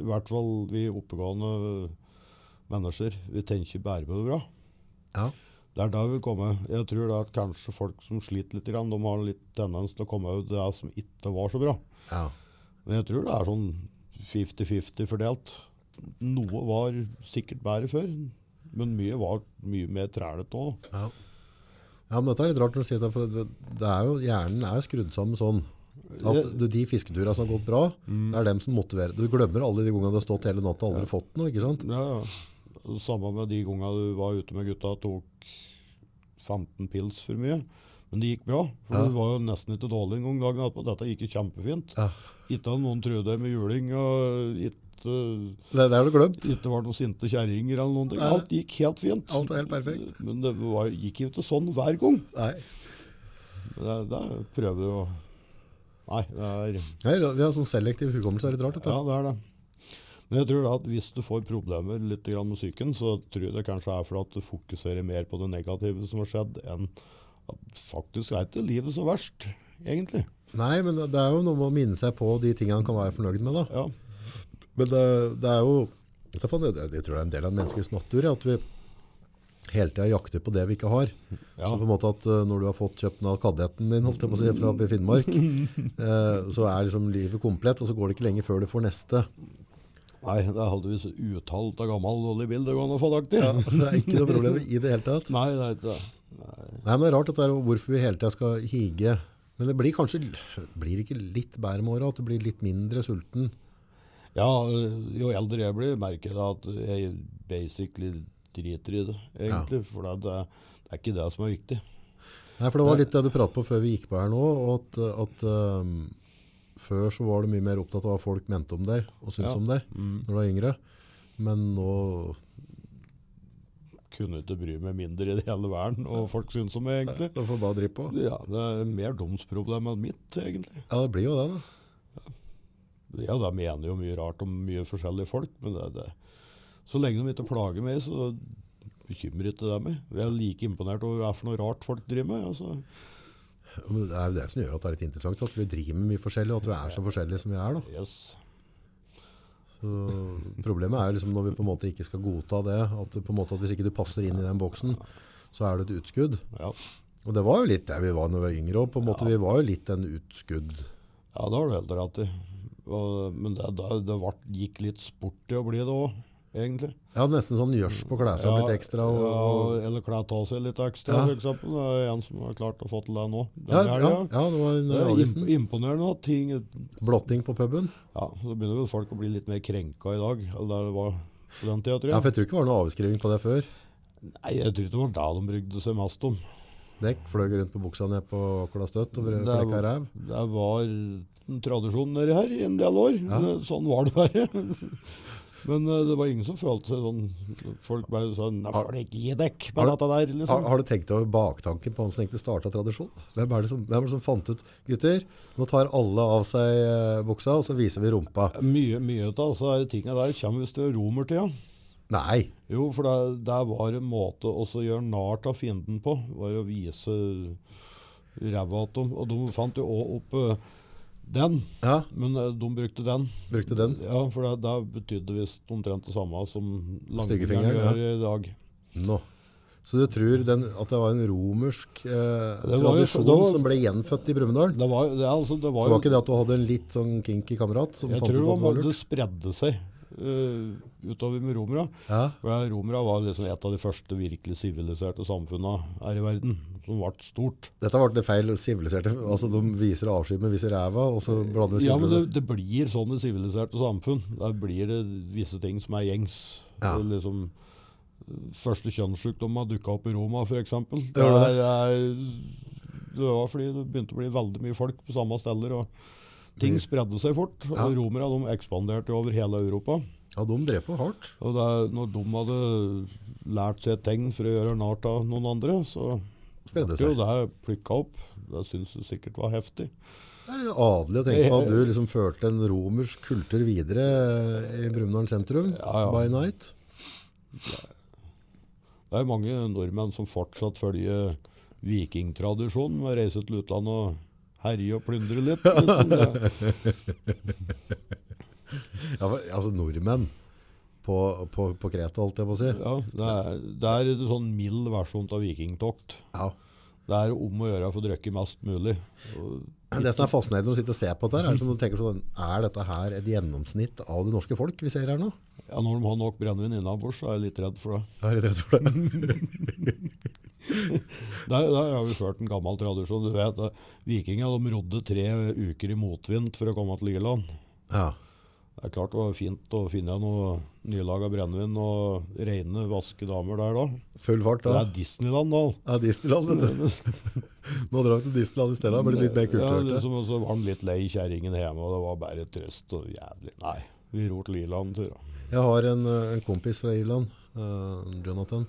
I hvert fall vi oppegående mennesker. Vi tenker bare på det bra. ja. Det er der vi vil komme. Jeg tror da at kanskje folk som sliter litt, grann, de har litt tendens til å komme ut det som ikke var så bra. ja. Men jeg tror det er sånn 50-50 fordelt. Noe var sikkert bedre før, men mye var mye mer trælete òg. Ja. ja, men dette er litt rart når du sier det, for det, det er jo, hjernen er jo skrudd sammen sånn. At du, de fisketurene som har gått bra, det er dem som motiverer. Du glemmer alle de gangene du har stått hele natta og aldri fått noe, ikke sant? Mm. Ja, ja. Samme med de gangene du var ute med gutta og tok 15 pils for mye. Men det gikk bra, for du var jo nesten ikke dårlig en gang dagen etterpå. Dette gikk jo kjempefint. Ja. Ikke at noen trodde deg med juling, og ikke Det, det har du glemt. ikke var noen sinte kjerringer eller noen ting. Alt gikk helt fint. Alt er helt perfekt. Men det var, gikk jo ikke sånn hver gang. Nei. Det, det prøver jo Nei, det er Nei, vi har sånn selektiv hukommelse, det er litt rart dette. Ja, det er det. Men jeg tror da at hvis du får problemer litt grann med psyken, så tror jeg det kanskje er fordi at du fokuserer mer på det negative som har skjedd, enn at faktisk er ikke livet så verst, egentlig. Nei, men det det er jo noe med å minne seg på de tingene han kan være fornøyd med da. Ja. Men det, det er jo, jeg tror det det tror jeg er en del av menneskets natur, ja, at vi hele tiden jakter på det vi ikke har. Ja. Så på en måte at eh, når du har fått kjøpt den av kadetten din, holdt jeg på å si, fra oppe i Finnmark, eh, så er liksom livet komplett, og så går det ikke lenge før du får neste. Nei, det er heldigvis uttalt av gammel dårlig bil det går an å få tak i. Det er ikke noe problem i det hele tatt. Nei, det er ikke det. Nei, men det er rart at det er hvorfor vi hele tiden skal hige. Men det blir kanskje, blir det ikke litt bedre med året, at du blir litt mindre sulten? Ja, øh, jo eldre jeg blir, merker jeg at jeg øh, basically driter i det, egentlig. For det, det er ikke det som er viktig. Nei, for det var litt det du pratet på før vi gikk på her nå, og at, at um, før så var du mye mer opptatt av hva folk mente om deg, og syntes Ja. om deg, Mm, når du var yngre. Men nå, Kunne ikke bry meg mindre i det hele verden og folk syns om meg, egentlig. da får jeg bare drive på. Ja, det er mer domsproblem enn mitt, egentlig. Ja, det blir jo det da. Ja, de mener jo mye rart om mye forskjellige folk, men det, det. så lenge de ikke plager meg, så bekymrer ikke det meg. Jeg er like imponert over hva for noe rart folk driver med. Altså. Men det er jo det som gjør at det er litt interessant, at vi driver med mye forskjellig, og at vi er så forskjellige som vi er. Da. Yes. Så problemet er liksom når vi på en måte ikke skal godta det, at, på en måte at hvis ikke du passer inn i den boksen, så er du et utskudd. Ja. Og det var jo litt der vi var når vi var yngre, og på en måte vi var jo litt en utskudd. Ja, det har du helt rett i. Og- Men det, det, det vart- gikk litt sport i å bli det òg, egentlig. Ja, nesten sånn gjørs på klesa ja, litt ekstra. Og, ja, og, eller kle av seg litt ekstra, Ja. for eksempel. Det er en som har klart å få til det nå. ja, denne ja, helgen. ja, det var en Det er imp avisen. imponerende at ting Ja, Blotting på puben. så begynner jo folk å bli litt mer krenka i dag enn det var på den tida, tror Ja, jeg. for jeg tror ikke det var noe avskriving på det før. Nei, jeg tror ikke det var det de brydde seg mest om. Dekk fløy rundt på buksa ned på Akla støtt og Det er- flekka ræv. Det var en tradisjon nedi her i en del år. Det- Sånn var det bare. Men eh, det var ingen som følte seg sånn Folk bare sa 'nei, får det ikke gi dekk med Har- dette der', Har, liksom. har du tenkt over baktanken på han som egentlig starta tradisjon? Hvem er, det som, hvem er det som fant ut Gutter, nå tar alle av seg eh, buksa, og så viser vi rumpa. Mye, mye av disse tinga der kommer visst fra romertida. Nei! Jo, for det, det var en måte også å gjøre narr av fienden på. Var å vise ræva at dem. Og de fant jo òg opp eh, den, Ja, men eh, de brukte den. brukte den. Ja, For det, det betydde visst omtrent det samme som langfingeren Styggefingeren, ja. gjør i dag. Nå. Så du tror den, at det var en romersk eh, jo- tradisjon det var- som ble gjenfødt i Brumunddal? Det var, det, er altså, det Det var, var jo- ikke det at du hadde en litt sånn kinky kamerat som Jeg fant tror ut at det, det var, var det lurt? spredde seg eh, utover med romere. Ja. For det- Romere var liksom et av de første virkelig siviliserte samfunna her i verden, som ble stort. Dette ble det feil siviliserte. Altså, de viser avskyd, men viser ræva, og så blander de Ja, men det, silver. det blir sånn i siviliserte samfunn. Der blir det visse ting som er gjengs. Ja. Det er Liksom, første kjønnssykdom har dukka opp i Roma, f.eks. Det, gjorde det. er- det var fordi det begynte å bli veldig mye folk på samme steder. og Ting spredde seg fort. Ja. og Romere de ekspanderte jo over hele Europa. Ja, de drev på hardt. Og det, er- når de hadde lært seg et tegn for å gjøre narr av noen andre, så Spredde ble jo seg. det plukka opp. Det syns du sikkert var heftig. Det er litt adelig å tenke på at du liksom førte en romersk kultur videre i Brumunddal sentrum Ja, ja. by night. Det er mange nordmenn som fortsatt følger vikingtradisjonen med å reise til utlandet og herje og plyndre litt. Liksom. Det- Ja, for- altså nordmenn på, på, på Kreta, holdt jeg på å si. Ja, det, er, det er en sånn mild versjon av vikingtokt. Ja. Det er om å gjøre å få drikke mest mulig. Og- Det som er fascinerende når du sitter og ser på dette, her, er liksom du tenker sånn, er dette her et gjennomsnitt av det norske folk vi ser her nå? Ja, når de har nok brennevin innabords, så er jeg litt redd for det. Jeg er litt redd for det. Der, der har vi ført en gammel tradisjon. Du vet, eh, Vikinger de rodde tre uker i motvind for å komme til Irland. Ja. Det er klart det var fint å finne noe nylaga brennevin og reine, vaske damer der da. Full fart Det da. er Disneyland da. Ja, Disneyland, vet du. Nå drar vi til Disneyland i stedet. Det blir litt mer Ja, kulturelt. liksom, og så var han litt lei kjerringen hjemme, og det var bare trøst og jævlig. Nei, vi ror til Irland, tror jeg. Jeg har en, eh, en kompis fra Irland, eh, Jonathan,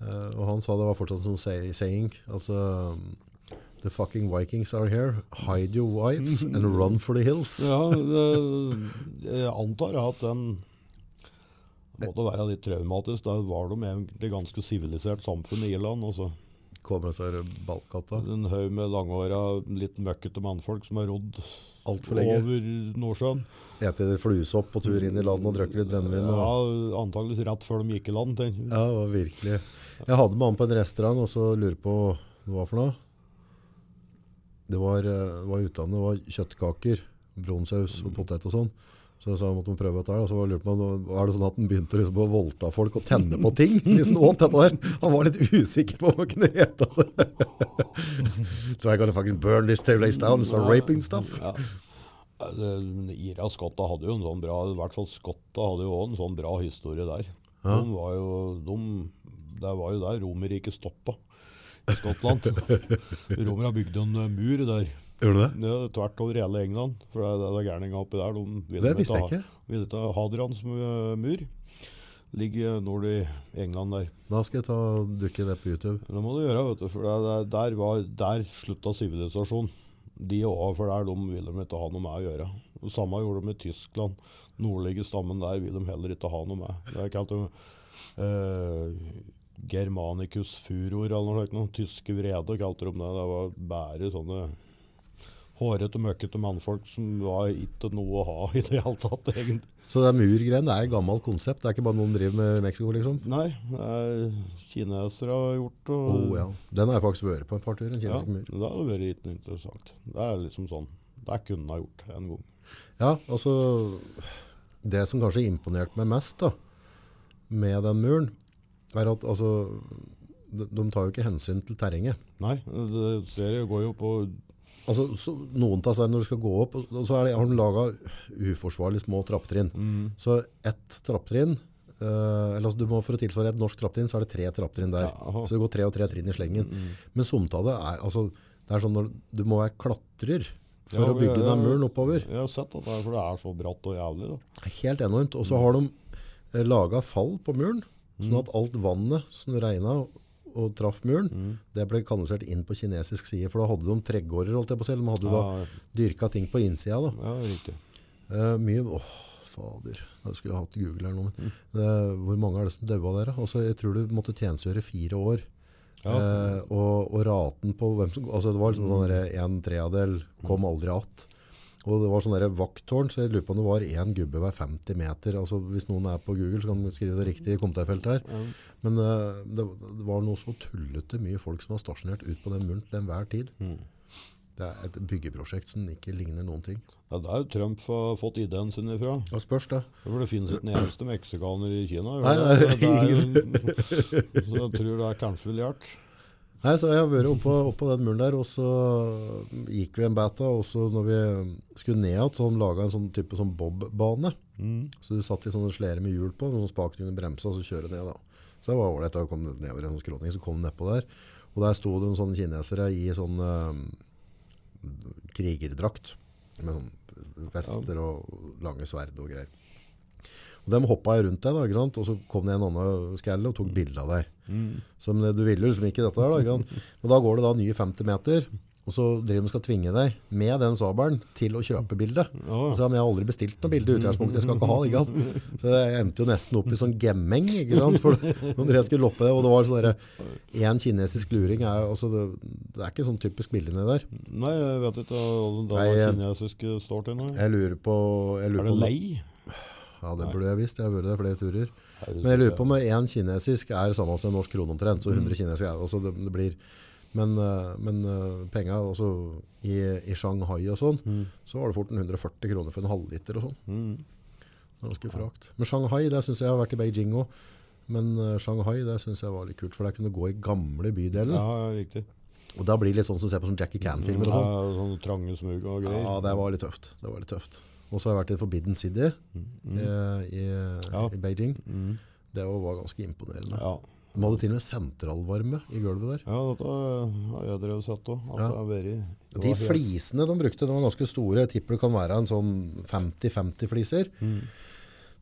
eh, og han sa det var fortsatt sånn say, saying, altså The fucking Vikings are here. Hide your wives and run for the hills. Ja, det, jeg antar at den måtte være litt traumatisk. Da var de egentlig ganske sivilisert samfunn i Irland. altså. Og så Kommer så er det ballkatta. en haug med langhåra, litt møkkete mannfolk som har rodd Altfor lenge. over Nordsjøen. Eter fluesopp på tur inn i landet og drøkker litt brennevin. Ja, Og, antageligvis rett før de gikk i land, tenker jeg. ja, det var virkelig. Jeg hadde med han på en restaurant og så lurer på hva det var for noe. Det var, eh, det var i utlandet, det var kjøttkaker, brunsaus og potet og sånn. Så jeg sa jeg måtte prøve dette her, og så var jeg lurt på om det- er det sånn at han begynte liksom å voldta folk og tenne på ting hvis han åt dette der. Han var litt usikker på om han kunne ete det. So I gotta fucking burn this table lace down, it's a raping stuff. Ja. Det- men Ira Skotta hadde jo en sånn bra I hvert fall Skotta hadde jo også en sånn bra historie der. De var jo, de, det var jo der Romerriket stoppa. i Skottland. Romerne bygde en eh, mur der. Gjør du det? Det er tvert over hele England. For det er, det er gærninga oppi der. De ville Det ikke visste jeg ha- ikke. ville ikke ha Hadrian som eh, mur. Ligger nord i England der. Da skal jeg ta dukke det på YouTube. Det må du gjøre, vet du, for det, det, der, var, der slutta sivilisasjonen. De òg, for der de ville de ikke ha noe med å gjøre. Det samme gjorde de med Tyskland. Nordlige stammen der vil de heller ikke ha noe med. Det er kalt eh, Germanicus furor eller noe slikt. noe. Tyske vrede kalte de det. Det var bare sånne hårete, møkkete mannfolk som var ikke noe å ha i det hele tatt, egentlig. Så det er murgreien, det er et gammelt konsept. Det er ikke bare noen driver med i Mexico, liksom. Nei, eh, kinesere har gjort det. og- Oh, ja. Den har jeg faktisk vært på et par turer, en Eh, Ja, kinesisk mur. det hadde vært litt interessant. Det er liksom sånn. Det kunne jeg gjort en gang. Ja, altså Det som kanskje imponerte meg mest da, med den muren, er at altså, de, de tar jo ikke hensyn til terrenget. Nei, det ser jeg går jo på Altså, så, noen tar seg når du skal gå opp, og og så er det, har de laga uforsvarlig små trappetrinn. Mm. Så ett trappetrinn eh, eller altså, du må For å tilsvare et norsk trappetrinn, så er det tre trappetrinn der. Jaha. så det går tre og tre trinn i Mm, slengen. Men somt av det er altså, det er sånn når du må være klatrer for Ja, å bygge ja, ja. den muren oppover. Jeg har sett at det er, for det er så bratt og jævlig, da. Helt enormt. Og så har de laga fall på muren, sånn at alt vannet som regna og traff muren, det ble kanalisert inn på kinesisk side. For da hadde de tregårder, holdt jeg på å si. eller De hadde Ja. da dyrka ting på innsida. da. Ja, riktig. Eh, mye Åh, fader. Jeg skulle hatt Google her nå. Men, eh, hvor mange er det som daua der? da? Altså, jeg tror du måtte tjenestegjøre fire år. Ja. Eh, og, og raten på hvem som altså Det var liksom sånn der en tredjedel kom aldri att. Og det var sånn der vakttårn, så jeg lurer på om det var én gubbe hver 50 meter. altså Hvis noen er på Google, så kan de skrive det riktig i kommentarfeltet her. Men eh, det, det var noe så tullete mye folk som var stasjonert ut på den muren til enhver tid. Det er et byggeprosjekt som ikke ligner noen ting. Ja, det er jo Trump har fått ideen sin ifra. Da spørs det. For det finnes ikke en eneste meksikaner i Kina. gjør Nei, nei, det? det er jo, så jeg tror det er kanskje ville gjort. Nei, så jeg har vært oppå, oppå den muren der, og så gikk vi en beta, og så når vi skulle ned igjen, så hadde de laget en sånn type sånn bobbane. Så du satt i sånne slere med hjul på, med sånn spaken under bremsa, og så kjøre ned da. Så det var ålreit, da kom du nedover en sånn skråning, så kom du nedpå der. Og der sto det noen sånne kinesere i sånn eh, krigerdrakt, med sånn vester og lange sverd og greier. Og de hoppa jo rundt deg, da, ikke sant? og så kom det en annen skalle og tok bilde av deg. Så men du ville jo liksom ikke dette her, da. Ikke sant? Men da går det da nye 50 meter, og så driver de og skal tvinge deg med den sabelen til å kjøpe bildet. Ja. Så jeg, men jeg har aldri bestilt noe bilde i utgangspunktet, jeg skal ikke ha det. ikke sant? Så jeg endte jo nesten opp i sånn gemmeng, ikke sant? For det- når jeg skulle loppe det, og det var sånn derre En kinesisk luring er jo altså, det, det er ikke sånn typisk bilde nedi der. Nei, jeg vet ikke hva det Nei, eh, kinesiske står til nå. Jeg lurer på jeg lurer Er det på- lei? Ja, det burde jeg visst. Jeg har vært der flere turer. Men jeg lurer på om én kinesisk er samme som en norsk krone omtrent. Så 100 kinesiske er også, det, det blir. Men, eh, men eh, penga også i, i Shanghai og sånn, så var det fort en 140 kroner for en halvliter og sånn. Det var Ganske frakt. Men Shanghai, der syns jeg jeg har vært i Beijing òg. Men eh, Shanghai det syns jeg var litt kult, for der kunne du gå i gamle bydeler. Ja, ja, riktig. Og da blir det litt sånn som du ser på sånn Jackie Can-filmer. og Ja, sånn. sånne trange smug og greier. Ja, det var litt tøft. Det var litt tøft. Og så har jeg vært i Forbidden City eh, i, Mm, Ja. Mm. i Beijing. Det var var ganske imponerende. Ja. De hadde til og med sentralvarme i gulvet der. Ja, dette eh, har jeg drevet sett òg. At det er veldig det De var helt- flisene de brukte, de var ganske store. Jeg tipper det kan være en sånn 50-50 fliser. Mm.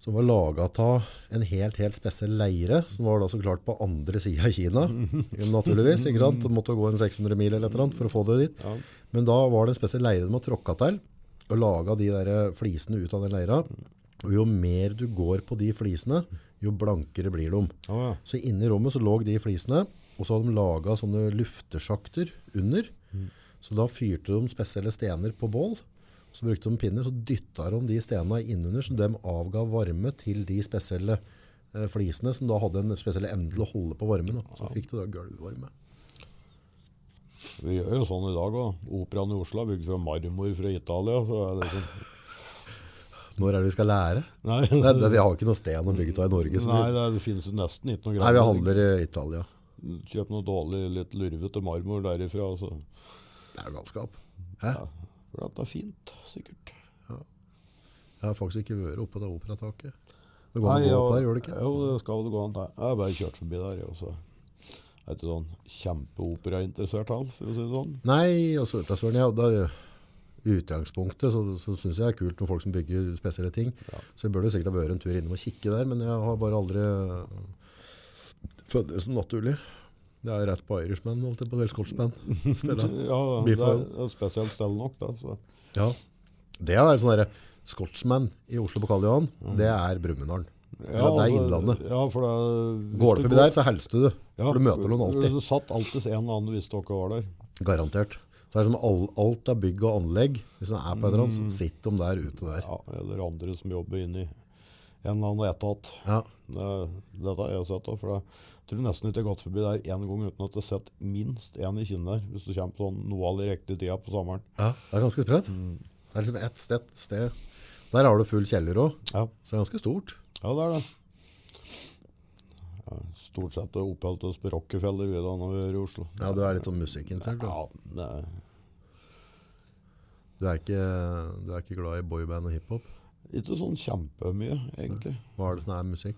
Som var laga av en helt helt spesiell leire, som var da så klart på andre sida av Kina. naturligvis, ikke sant? Du måtte gå en 600 mil eller et eller annet for å få det dit. Ja. Men da var det en spesiell leire de har tråkka til, og laga de der eh, flisene ut av den leira. Og jo mer du går på de flisene, jo blankere blir de. Å ja. Så inne i rommet så lå de flisene, og så hadde de laga sånne luftesjakter under. Så da fyrte de spesielle stener på bål. Så brukte de pinner, så dytta de de stenene innunder, så de avga varme til de spesielle eh, flisene, som da hadde en spesiell evne til å holde på varmen. Da. Så fikk det da gulvvarme. Vi gjør jo sånn i dag òg. Operaen i Oslo er bygd fra marmor fra Italia. Så er det liksom Når er det vi skal lære? Nei, Nei, det, vi har ikke noe sted å bygge av i Norge. Som Nei, vi, det, det finnes jo nesten ikke noe nei, vi greier. handler i Italia. Kjøp noe dårlig, litt lurvete marmor derifra. Altså. Det er jo galskap. Hæ? For at det er fint, sikkert. Jeg har faktisk ikke vært oppe på det operataket. Det går an å gå opp der, gjør det ikke? Jo, det skal det gå an. til. Jeg har bare kjørt forbi der, jeg, og så er ikke sånn kjempeoperainteressert han, for å si det sånn. Nei, altså, vet du, Søren, ja, da, i utgangspunktet så, så syns jeg det er kult med folk som bygger spesielle ting. Så jeg burde jo sikkert ha vært en tur innom og kikke der, men jeg har bare aldri funnet det som naturlig. Det er rett på Irishman, alltid på velskottsmenn. Ja, det Beef er oil. et spesielt sted nok, da. Så. Ja. Det er sånn derre Scotchman i Oslo på Karl Johan, det er Brumunddal. Ja, Eller det er altså, Innlandet. Ja, for det, Går du forbi der, så helste du. For du møter noen alltid. Du satt alltid en eller annen hvis dere var der. Garantert. Så er det som all, alt av bygg og anlegg. Hvis det er på en eller annen, så sitter de der ute der. Ja, eller andre som jobber inne i en eller annen etat. Ja. Det, dette har jeg sett da, for jeg tror nesten ikke jeg har gått forbi der en gang uten at jeg har sett minst en i kinnet der, hvis du kommer på sånn noe av de riktige tida på sommeren. Ja, det er ganske sprøtt. Det er liksom ett sted, sted. Der har du full kjeller òg, Ja, så det er ganske stort. ja det er det. Ja, Stort sett har oppholdt oss på Rockefeller vi da når vi er i Oslo. Ja, Du er litt sånn musikkinnsert. Ja, Du. det er, Du, er ikke- du er ikke glad i boyband og hiphop? ikke sånn kjempemye, egentlig. Hva er det som er musikk?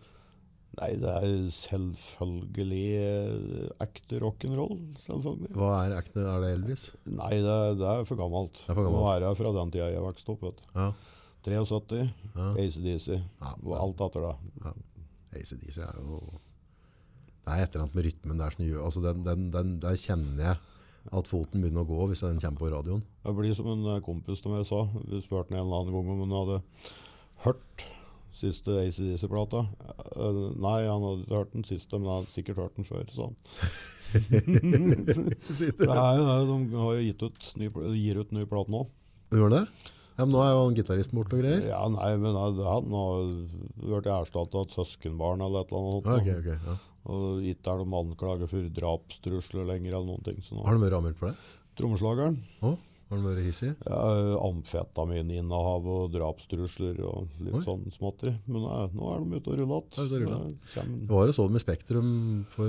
Nei, det er selvfølgelig eh, ekte rock'n'roll, selvfølgelig. Hva er ekte? Er det Elvis? Nei, det, er- det er for gammelt. er for gammelt. Nå er jeg fra den tida jeg vokste opp, vet du. Ja. 73, Ja. ACDC Ja, og alt etter det. ACDC er jo Det er et eller annet med rytmen der som gjør altså den, den, den, Der kjenner jeg at foten begynner å gå hvis den kommer på radioen. Jeg blir som en eh, kompis som jeg sa. Vi spurte han en eller annen gang om han hadde hørt siste ACDC-plata. Eh, Nei, han hadde ikke hørt den siste, men han hadde sikkert hørt den før, sa han. Sitter. Nei, nei, de har jo gitt ut ny, pl- gir ut ny plate nå. Gjør det? Ja, men nå er jo han gitaristen borte og greier. Ja, nei, men nei, det- han har vært erstattet av et søskenbarn eller et eller annet. Ja, ok, ok, ja. Og ikke er de anklaget for drapstrusler lenger eller noen ting. Så nå. Har han vært anmeldt for det? Trommeslageren. Å? Har han vært hissig? Ja, amfetamininnehav og drapstrusler og litt Oi. sånn småtteri. Men nei, nå er de ute og ruller Er de ute og ruller igjen. Det var jo sånn med Spektrum for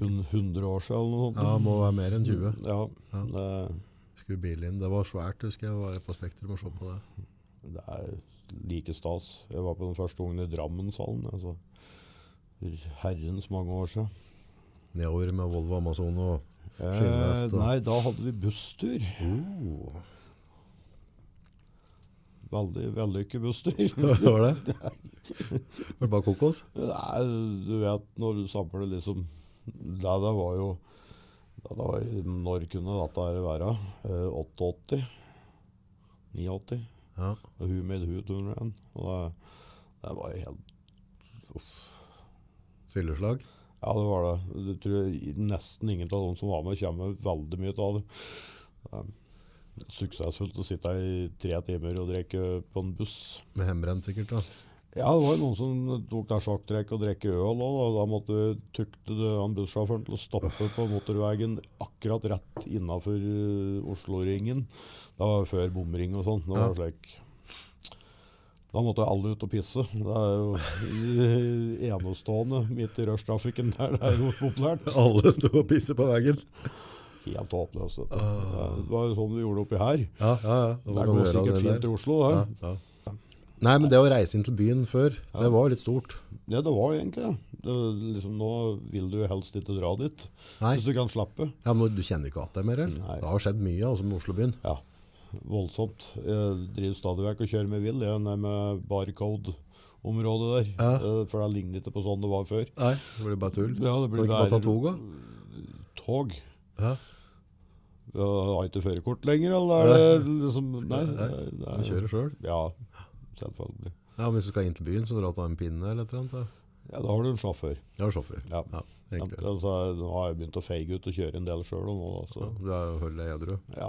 Hun 100 år siden eller noe sånt. Ja, må være mer enn 20. Ja, det- Skulle bilen inn. Det var svært, husker jeg. å Være på Spektrum og se på det. Det er like stas. Jeg var på den første gangen i Drammenshallen. Altså. Herrens mange år siden. Nedover med Volvo Amazon og Eh, skinnvest og nei, da hadde vi busstur. Oh, Veldig vellykket busstur. Hva var det? Var det bare kokos? Nei, du vet når du samler liksom Det der var jo det der var, Når kunne dette her være? Eh, 88? 89? Ja. Og Who made who turner igjen? Og det, det var jo helt Uff. Fylleslag? Ja, det var det. Du tror jeg nesten ingen av dem som var med, kommer veldig mye ut av det. det er suksessfullt å sitte her i tre timer og drikke på en buss. Med hjemmebrent sikkert, da. Ja, det var jo noen som tok der sjakktrekk og drikke øl òg. Da. da måtte tukte du han bussjåføren til å stoppe på motorveien akkurat rett innafor eh, Oslo-ringen. Det var før bomring og sånn. Det var slik. Da måtte alle ut og pisse. Det er jo enestående midt i rushtrafikken der. Det er jo populært. Alle sto og pisset på veggen. Helt håpløst. dette. Ah. Det var jo sånn vi gjorde oppi her. Ja, ja, ja. Det går sikkert fint i Oslo, det. Ja, ja. Nei, men det å reise inn til byen før, det var litt stort. Ja, det var egentlig det. det. Liksom, nå vil du jo helst ikke dra dit, Nei. hvis du kan slappe. Ja, men Du kjenner ikke at det er mer? eller? Nei. Det har skjedd mye altså, med Oslobyen. Ja, voldsomt. Jeg driver stadig vekk og kjører med vill, jeg ned med barcode-området der. Ja. Eh, For det ligner ikke på sånn det var før. Nei, det blir bare tull. Ja, det blir Kan ikke bare ta bare- toga? Tog. Ja. Jeg har ikke førerkort lenger, eller er det liksom Nei. det- det Du er- kjører sjøl? Ja, selvfølgelig. Ja, men hvis du skal inn til byen, så dra ta en pinne eller et eller annet. da. Ja, da har du en sjåfør. Jeg har sjåfør. Ja. Ja, Ja, egentlig. altså, nå har jeg begynt å feige ut og kjøre en del sjøl nå, da, Ja, så Du er jo høl deg edru. ja.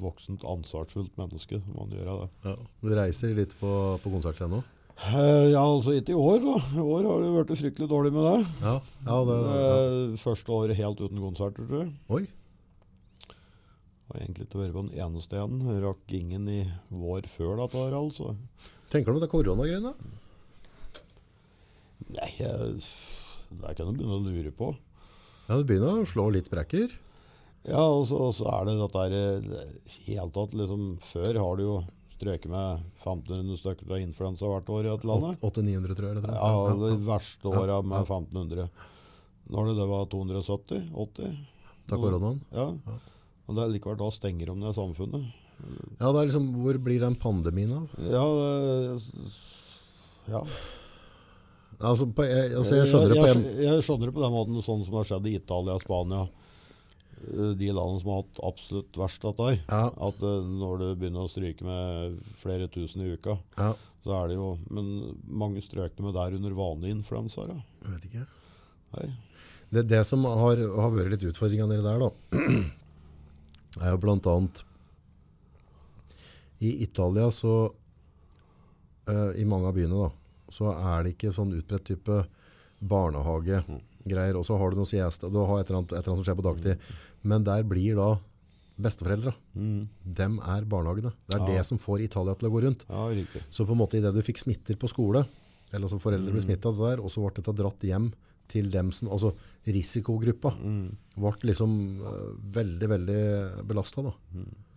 Voksent, ansvarsfullt menneske, man gjør av det. Ja. Du reiser litt på, på konserter ennå? Eh, Ja, altså ikke i år, da. I år har det vært fryktelig dårlig med det. Ja. ja, det ja. Eh, Første året helt uten konserter, tror jeg. Oi. Har egentlig ikke vært på den eneste en. Rakk ingen i vår før dette her, altså. Tenker du om det er koronagreiene? da? Nei, jeg, det kan du begynne å lure på. Ja, det begynner å slå litt sprekker. Ja, og så, og så er det dette her eh, det- Helt tatt, liksom Før har du jo strøket med 1500 stykker av influensa hvert år i dette landet. 800-900, tror jeg. Eller, et eller Ja, annet. de verste åra med 1500. Når det, det var 270-80. Da koronaen? Ja. Og det er likevel da stenger om det samfunnet. Ja, det er liksom, hvor blir den pandemien av? Ja, det, ja. Altså, på, jeg, altså, jeg skjønner det på en... jeg, jeg skjønner det på den måten, sånn som det har skjedd i Italia og Spania. Eh, De landene som har hatt absolutt verst dette her. Ja. At eh, når du begynner å stryke med flere tusen i uka, Ja, så er det jo Men mange strøkene med der under vanlige influensaer. da. jeg vet ikke. Nei. Det, det som har, har vært litt utfordringa nede der, da, er jo blant annet I Italia så eh, I mange av byene, da, så er det ikke sånn utbredt type barnehagegreier. Og så har du noe siesta, du har et eller, annet, et eller annet som skjer på dagtid. Men der blir da besteforeldra. Dem er barnehagene. Det er det som får Italia til å gå rundt. Ja, riktig. Så på en måte i det du fikk smitter på skole, eller altså foreldre Mm. ble smittet av det der, og så ble dette dratt hjem til dem som, altså risikogruppa, Mm. ble liksom eh, veldig, veldig belastet da.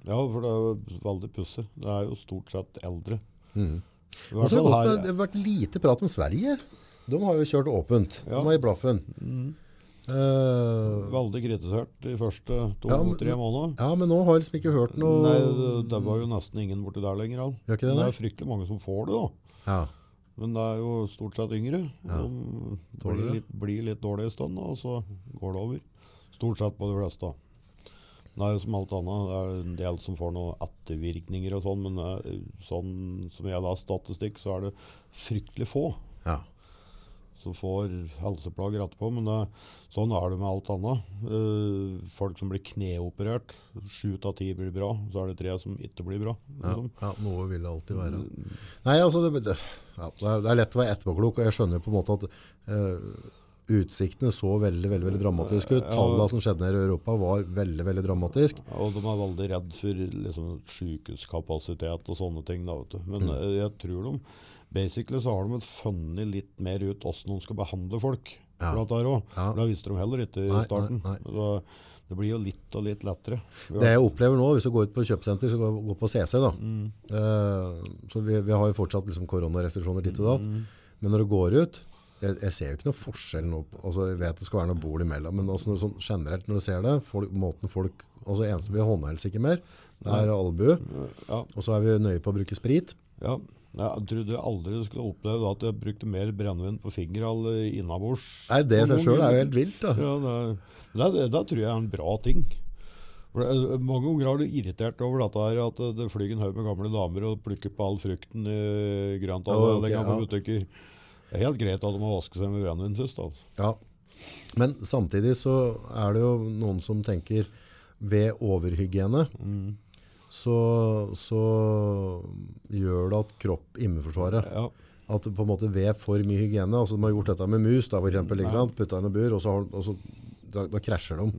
Ja, for det er jo veldig pussig. Det er jo stort sett eldre. Mm. I Og hvert så har det gått fall med- her, Altså, eh, det har vært lite prat om Sverige. De har jo kjørt åpent. De er i blaffen. Mm. Eh, veldig kritisert de første Ja, men- to-tre månedene. ja, men nå har jeg liksom ikke hørt noe... Nei, det, det var jo nesten ingen borti der lenger. Al. Gjør ikke det, Men nei? er fryktelig mange som får det, da. Ja, Men det er jo stort sett yngre. som blir, Dårligere. litt, blir litt dårlig en stund, og så går det over. Stort sett på de fleste. Det er jo som alt annet. Det er en del som får noen ettervirkninger og sånn, men eh, sånn som jeg la statistikk, så er det fryktelig få ja. som får helseplager etterpå. Men det, sånn er det med alt annet. Eh, folk som blir kneoperert, sju av ti blir bra, så er det tre som ikke blir bra. Ja, Liksom. ja, noe vil det alltid være. Nei, altså, det, det, ja, det er- det er lett å være etterpåklok, og jeg skjønner jo på en måte at eh, utsiktene så veldig, veldig, veldig dramatisk ut. Tallene som skjedde nede i Europa var veldig, veldig dramatisk. Og de er veldig redd for liksom, sykehuskapasitet og sånne ting. Da, vet du. Mm. Men eh, jeg tror de Basically så har de funnet litt mer ut åssen de skal behandle folk. Ja. For at det er også- Ja. for Det visste de heller ikke i Nei, starten. nei, Så Det blir jo litt og litt lettere. Det jeg opplever nå, hvis du går ut på kjøpesenter, så går går på CC da. Mm. Eh, så vi, vi har jo fortsatt liksom koronarestriksjoner ditt og datt. Mm. Men når du går ut, jeg, jeg ser jo ikke noe forskjell nå. på- Altså, jeg vet det skal være noe bord imellom, men altså, når, sånn, generelt når du ser det, folk, måten folk, altså eneste vi håndhelse ikke mer, det er albu, Ja. og så er vi nøye på å bruke sprit. Ja, jeg trodde aldri du skulle oppleve at jeg brukte mer brennevin på fingre eller innabords. Nei, det i seg Noen selv er jo ganger. helt vilt da. Ja, det, er- det, er- det tror jeg er en bra ting. For det, eh, mange ganger har du irritert over dette her, at eh, det- det flyr en haug med gamle damer og plukker på all frukten i Ja, ok, grøntavdelinga på ja. butikker. Det er helt greit at de må vaske seg med brennevin først. altså. Ja. Men samtidig så er det jo noen som tenker ved overhygiene så, så gjør det at kropp immunforsvaret Ja. at på en måte ved for mye hygiene altså de har gjort dette med mus da for eksempel ikke sant? putta inn i bur og så, har, og så da, da krasjer de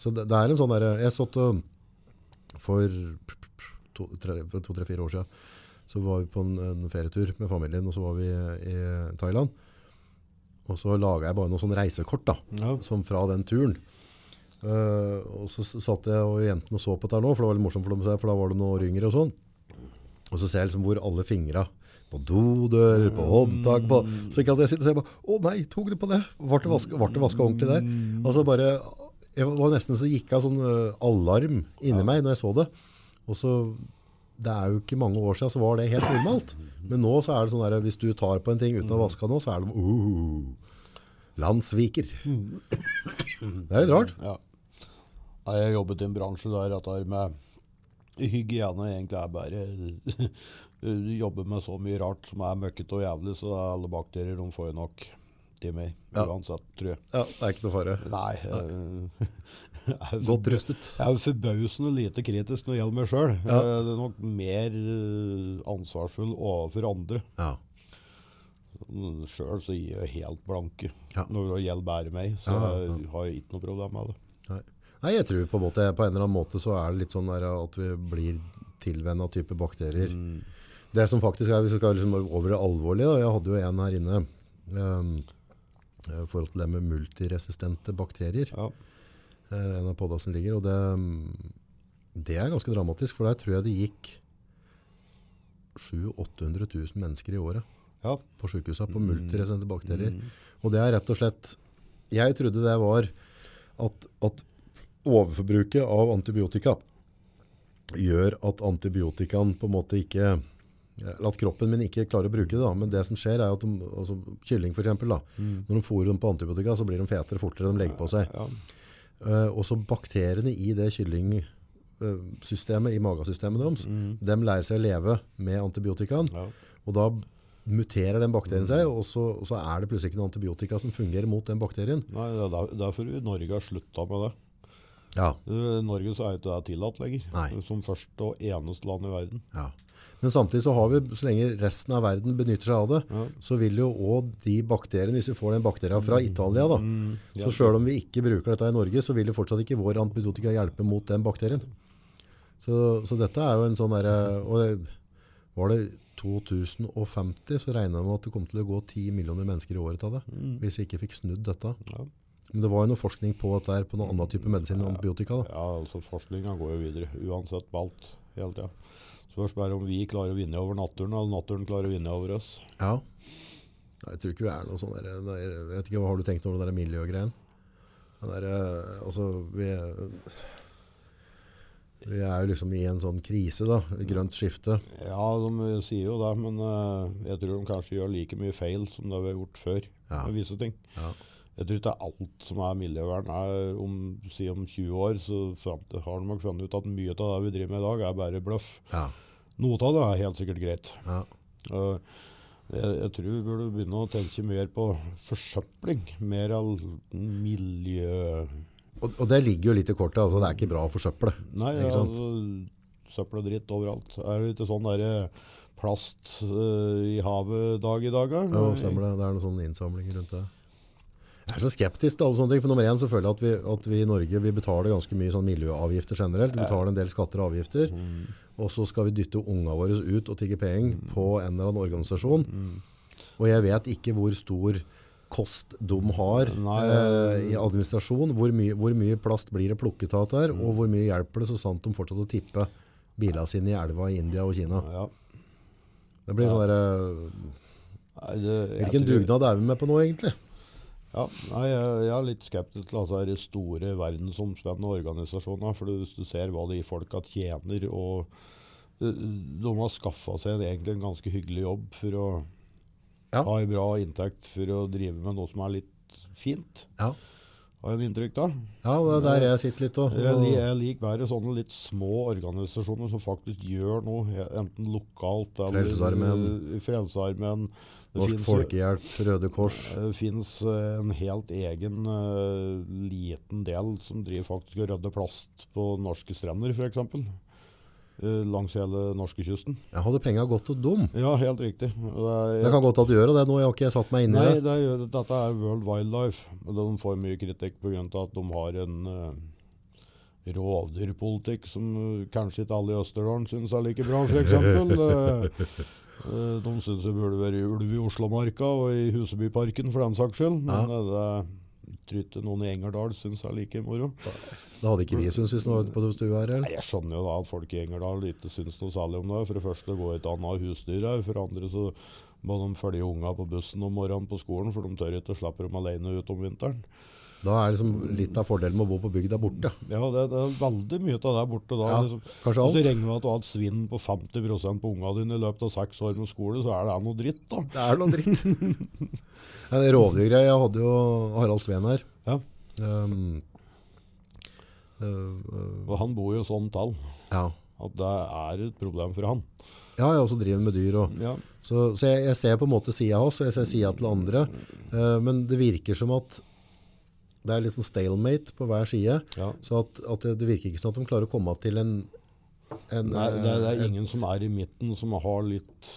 så det, det er en sånn der jeg satt og for to-tre-fire år siden så var vi på en, en ferietur med familien og så var vi i Thailand og så laget jeg bare noen sånne reisekort da Ja. som fra den turen Eh, og så s- satt jeg og jentene og så på dette her nå, for det var litt morsomt for dem å se, for da var det noen år yngre og sånn. Og så ser jeg liksom hvor alle fingra på dodør, på håndtak på, Så ikke at jeg sitter og ser på Å nei, tok det på det? Ble det vaska ordentlig der? Altså bare Jeg var nesten så gikk av sånn ø, alarm inni meg når jeg så det. Og så Det er jo ikke mange år siden så var det helt normalt. Men nå så er det sånn der hvis du tar på en ting uten å vaske den nå, så er det uh, Landssviker. Det er litt rart. Ja. Nei, Jeg har jobbet i en bransje der at det med hygiene egentlig er bare Du jobber med så mye rart som er møkkete og jævlig, så alle bakterier de får jo nok timer Ja. uansett, tror jeg. Ja, det er ikke noe fare. Nei. eh, jeg er forba- Godt rustet. Jeg er forbausende lite kritisk når det gjelder meg sjøl. Jeg er nok mer eh, ansvarsfull overfor andre. Ja. Sjøl så gir jeg helt blanke. Ja. Når det gjelder bare meg, så eh, har jeg ikke noe problem med det. Nei. Nei, jeg tror på en måte på en eller annen måte så er det litt sånn der at vi blir tilvenna type bakterier. Det som faktisk er, hvis vi skal liksom over det alvorlige, da, jeg hadde jo en her inne um, i forhold til det med multiresistente bakterier, Ja. eh, en av podkasten ligger, og det, mm, det er ganske dramatisk, for der tror jeg det gikk 700 800 000 mennesker i året ja. på sykehuset på multiresistente bakterier. Og det er rett og slett Jeg trodde det var at, at overforbruket av antibiotika gjør at antibiotikaen på en måte ikke eller at kroppen min ikke klarer å bruke det. Da. Men det som skjer er at de, altså, kylling for eksempel, da, når de fôrer dem på antibiotika, så blir de fetere fortere de legger på seg. Ja. Eh, også bakteriene i det kyllingsystemet, i magesystemet deres, de lærer seg å leve med antibiotikaen. Ja. Og da muterer den bakterien seg, og så, og så er det plutselig ikke noe antibiotika som fungerer mot den bakterien. Nei, det er der- derfor i Norge har slutta med det. Ja, I Norge så er ikke det tillatt lenger. Nei. Som første og eneste land i verden. ja. Men samtidig så har vi, så lenge resten av verden benytter seg av det, så vil jo også de bakteriene, hvis vi får den bakterien fra Italia da, så selv om vi ikke bruker dette i Norge, så vil det fortsatt ikke vår antibiotika hjelpe mot den bakterien. Så, så dette er jo en sånn derre Og det, var det 2050, så regna jeg med at det kom til å gå 10 millioner mennesker i året av det. Hvis vi ikke fikk snudd dette. Ja. Men det var jo noe forskning på dette her, på noen annen type medisin enn antibiotika. Da. Ja, altså Forskninga går jo videre, uansett på alt, hele tida. Spørs bare om vi klarer å vinne over naturen, eller naturen klarer å vinne over oss. Ja. Nei, Jeg tror ikke vi er noe sånn der, der Jeg vet ikke, hva har du tenkt over det der miljøgreien? Det der, eh, altså, vi, vi er jo liksom i en sånn krise, da. Et grønt skifte. Ja, de sier jo det, men eh, jeg tror de kanskje gjør like mye feil som det vi har gjort før Ja. med visse ting. Ja. Jeg tror ikke alt som er miljøvern er om, si om 20 år, så fant, har de nok funnet ut at mye av det vi driver med i dag, er bare bløff. Ja. Noe av det er helt sikkert greit. ja. Eh, jeg, jeg tror vi burde begynne å tenke mer på forsøpling. Mer av miljø... Og, og det ligger jo litt i kortet. Altså, det er ikke bra å forsøple. Nei, ikke sant? altså, søppel og dritt overalt. Er det ikke sånn der plast eh, i havet-dag i dag? da? Ja, altså. stemmer det. Det er noen sånne innsamlinger rundt det. Jeg er så skeptisk til alle sånne ting. For nummer én så føler jeg at vi, at vi i Norge vi betaler ganske mye sånn miljøavgifter generelt. Vi betaler en del skatter og avgifter. Mm. Og så skal vi dytte unga våre ut og tigge penger på en eller annen organisasjon. Mm. Og jeg vet ikke hvor stor kost de har Nei. eh, i administrasjon. Hvor mye, hvor mye plast blir det plukket av der, Mm. og hvor mye hjelper det så sant de fortsatt å tippe bilene sine i elva i India og Kina. Ja. Det blir sånn derre Nei, det- jeg Hvilken tror- dugnad er vi med på nå, egentlig? Ja, nei, jeg, jeg er litt skeptisk til altså, de store verdensomspennende organisasjonene. For hvis du ser hva de folka tjener og eh, De har skaffa seg en, egentlig en ganske hyggelig jobb for å Ja. ha en bra inntekt for å drive med noe som er litt fint, Ja. har jeg en inntrykk av. Ja, det er eh, der jeg sitter litt og, Jeg, og li- jeg liker bedre sånne litt små organisasjoner som faktisk gjør noe, he- enten lokalt eller Frelsesarmeen. eh, Frelsesarmeen. Det Norsk finnes jo- eh, Folkehjelp, Røde Kors. Det fins en helt egen eh, liten del som driver faktisk og rydder plast på norske strender, f.eks. Uh, langs hele norskekysten. Jeg hadde penga gått til dem. Ja, helt riktig. Det er, Det kan godt at du gjør det nå, jeg har ikke satt meg inn i Nei, det. det er, dette er World Wildlife. og De får mye kritikk pga. at de har en eh, rovdyrpolitikk som eh, kanskje ikke alle i Østerdalen syns er like bra, f.eks. Uh, de syns det burde være ulv i Oslomarka og i Husebyparken, for den saks skyld. Men eh, det tror ikke noen i Engerdal syns er like moro. Det hadde ikke vi syntes hvis vi var ute på stua her. Nei, Eller? Jeg skjønner jo da at folk i Engerdal ikke syns noe særlig om det. For det første går ikke an å ha husdyr her. For det andre så må de følge unga på bussen om morgenen på skolen, for de tør ikke slipper dem alene ut om vinteren. Da er liksom litt av fordelen med å bo på bygda borte. Ja, det, det er veldig mye av det borte da. Liksom, Ja, kanskje alt. Hvis du regner med at du har et svinn på 50 på unga dine i løpet av seks år med skole, så er det noe dritt, da. Det er noe dritt. Ja, det Rovdyrgreia. Jeg hadde jo Harald Sveen her. Ja, Um, øh, øh, og han bor jo sånn tall ja. at det er et problem for han. ja, jeg også driver med dyr. og... Ja. Så, så jeg, jeg ser på en måte sida hans, og jeg ser sida til andre. eh, men det virker som at det er litt sånn stalemate på hver side. Ja. Så at, at det, det virker ikke sånn at de klarer å komme til en, en Nei, det, det er eh, ingen som er i midten som har litt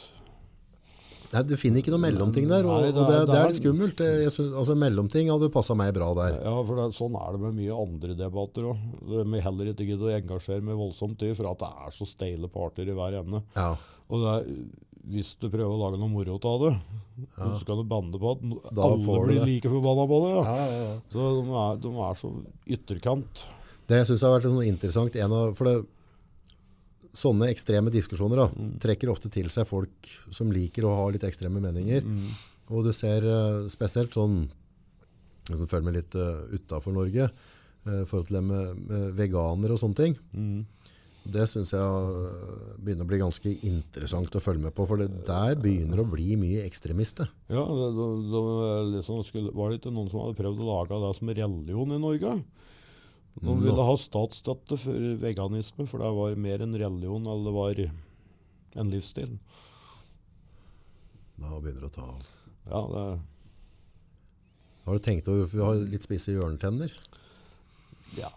Nei, Du finner ikke noen mellomting der, og, Nei, det er- og det, det det er- er litt skummelt. Jeg, jeg synes, altså, mellomting hadde passa meg bra der. Ja, for det, sånn er det med mye andre debatter òg. Vi heller ikke gidder å engasjere meg voldsomt i, for at det er så steile parter i hver ende. Ja, Og det er, hvis du prøver å lage noe moro ut av det, så kan du banne på at no- Da alle får du blir det. like forbanna på det. Ja. ja, ja, ja. Så de er, de er så ytterkant. Det jeg syns har vært sånn interessant en av, For det, sånne ekstreme diskusjoner da, trekker ofte til seg folk som liker å ha litt ekstreme meninger. Og du ser eh, spesielt sånn jeg som føler meg litt uh, utafor Norge, eh, i forhold til det med, med veganere og sånne ting. Det syns jeg eh, begynner å bli ganske interessant å følge med på, for det der begynner å bli mye ekstremister. Ja, det, de, de, liksom skulle, Var det ikke noen som hadde prøvd å lage det som religion i Norge? De ville ha statsstøtte for veganisme, for det var mer en religion enn det var en livsstil. Da begynner det å ta av. Ja, det, Har du tenkt over, for vi har litt spisse hjørnetenner? ja.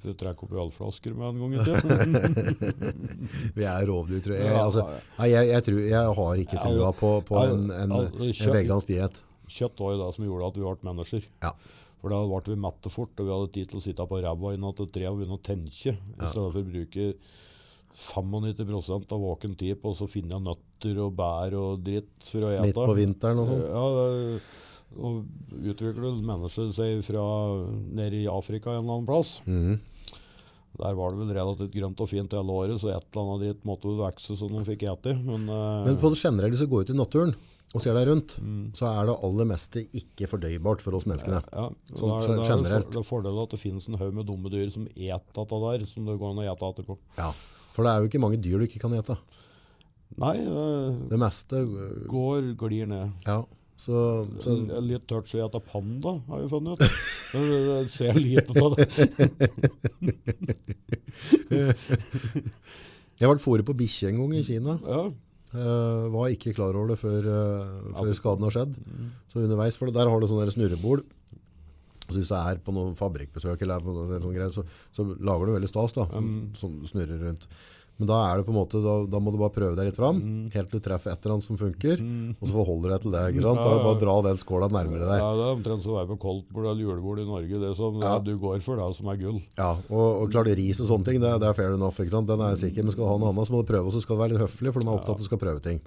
Du trekker opp i ølflasker med en gang i tiden. Vi er rovdyr, tror jeg. Jeg, Ja, altså, ja. nei, jeg, jeg, tror, jeg har ikke Ja, trua på, på ja, en, en, ja, en kjøtt- vegansk diett. Kjøtt var jo det som gjorde at vi ble mennesker. Ja. For da ble vi mette fort, og vi hadde tid til å sitte på ræva innan til tre og begynne å tenke, i stedet for å bruke 95 av våken tid på å så finne nøtter og bær og dritt for å ete. Midt på vinteren og sånn. Ja, det- og utvikler mennesker seg fra nede i Afrika en eller annen plass. Mhm. Der var det vel relativt grønt og fint hele året, så et eller annet dritt måtte vel vokse som de fikk ete. Men, eh, Men på det generelle så går vi ut i naturen og ser deg rundt, så er det aller meste ikke fordøybart for oss menneskene. Mm. ja, sånn da er- da er det generelt. for- Det er fordelen at det finnes en haug med dumme dyr som et dette der, som det går an å ete etterpå. Ja. For det er jo ikke mange dyr du ikke kan ete. Nei, det Det meste øh, går, glir ned. Ja. Så, så L- Litt touchy å ete panda, har jeg funnet ut. Men det- det Ser lite av det. Jeg har vært fôret på bikkje en gang i Kina. Ja. Eh, var ikke klar over det før, eh, før skaden har skjedd. Så underveis, for der har du sånne der snurrebol. Så hvis du er på noen fabrikkbesøk, eller er på noe sånt greier, så, så lager du veldig stas da, som snurrer rundt. Men da er det på en måte, da, da må du bare prøve deg litt fram, helt til du treffer et eller annet som funker, og så forholder du deg til det, ikke sant? Da er det bare å dra den skåla nærmere deg. Ja, det er omtrent som å være på koldtbord eller julebord i Norge. Det som Ja. det du går for, det er som er gull. Ja, og, og klart ris og sånne ting, det, det er fair enough. Ikke sant? Den er sikker, men skal du ha noe annet, så må du prøve, og så skal du være litt høflig, for de er opptatt av at du skal prøve ting.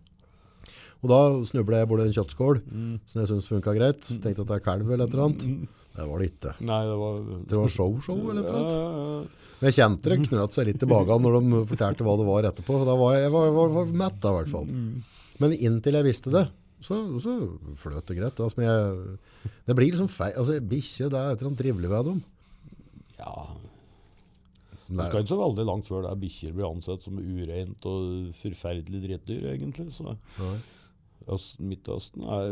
Og da snublet jeg borti en kjøttskål, Mm. som jeg syntes funka greit. Tenkte at det er kalv eller et eller annet. Det var det ikke. Nei, det var Det var show-show eller et eller annet. Ja, Men jeg kjente det knøt seg litt i bagene når de fortalte hva det var etterpå. Da var jeg, jeg var, var, var mett, da, i hvert fall. Mm. Men inntil jeg visste det, så, så fløt det greit. Altså, men jeg, det blir liksom feil. Altså, Bikkje, det er et eller annet trivelig ved dem. Eh, ja. Men Det det er- skal ikke så veldig langt før det er bikkjer blir ansett som ureint og forferdelig drittdyr, egentlig. Så Øst, Midtøsten er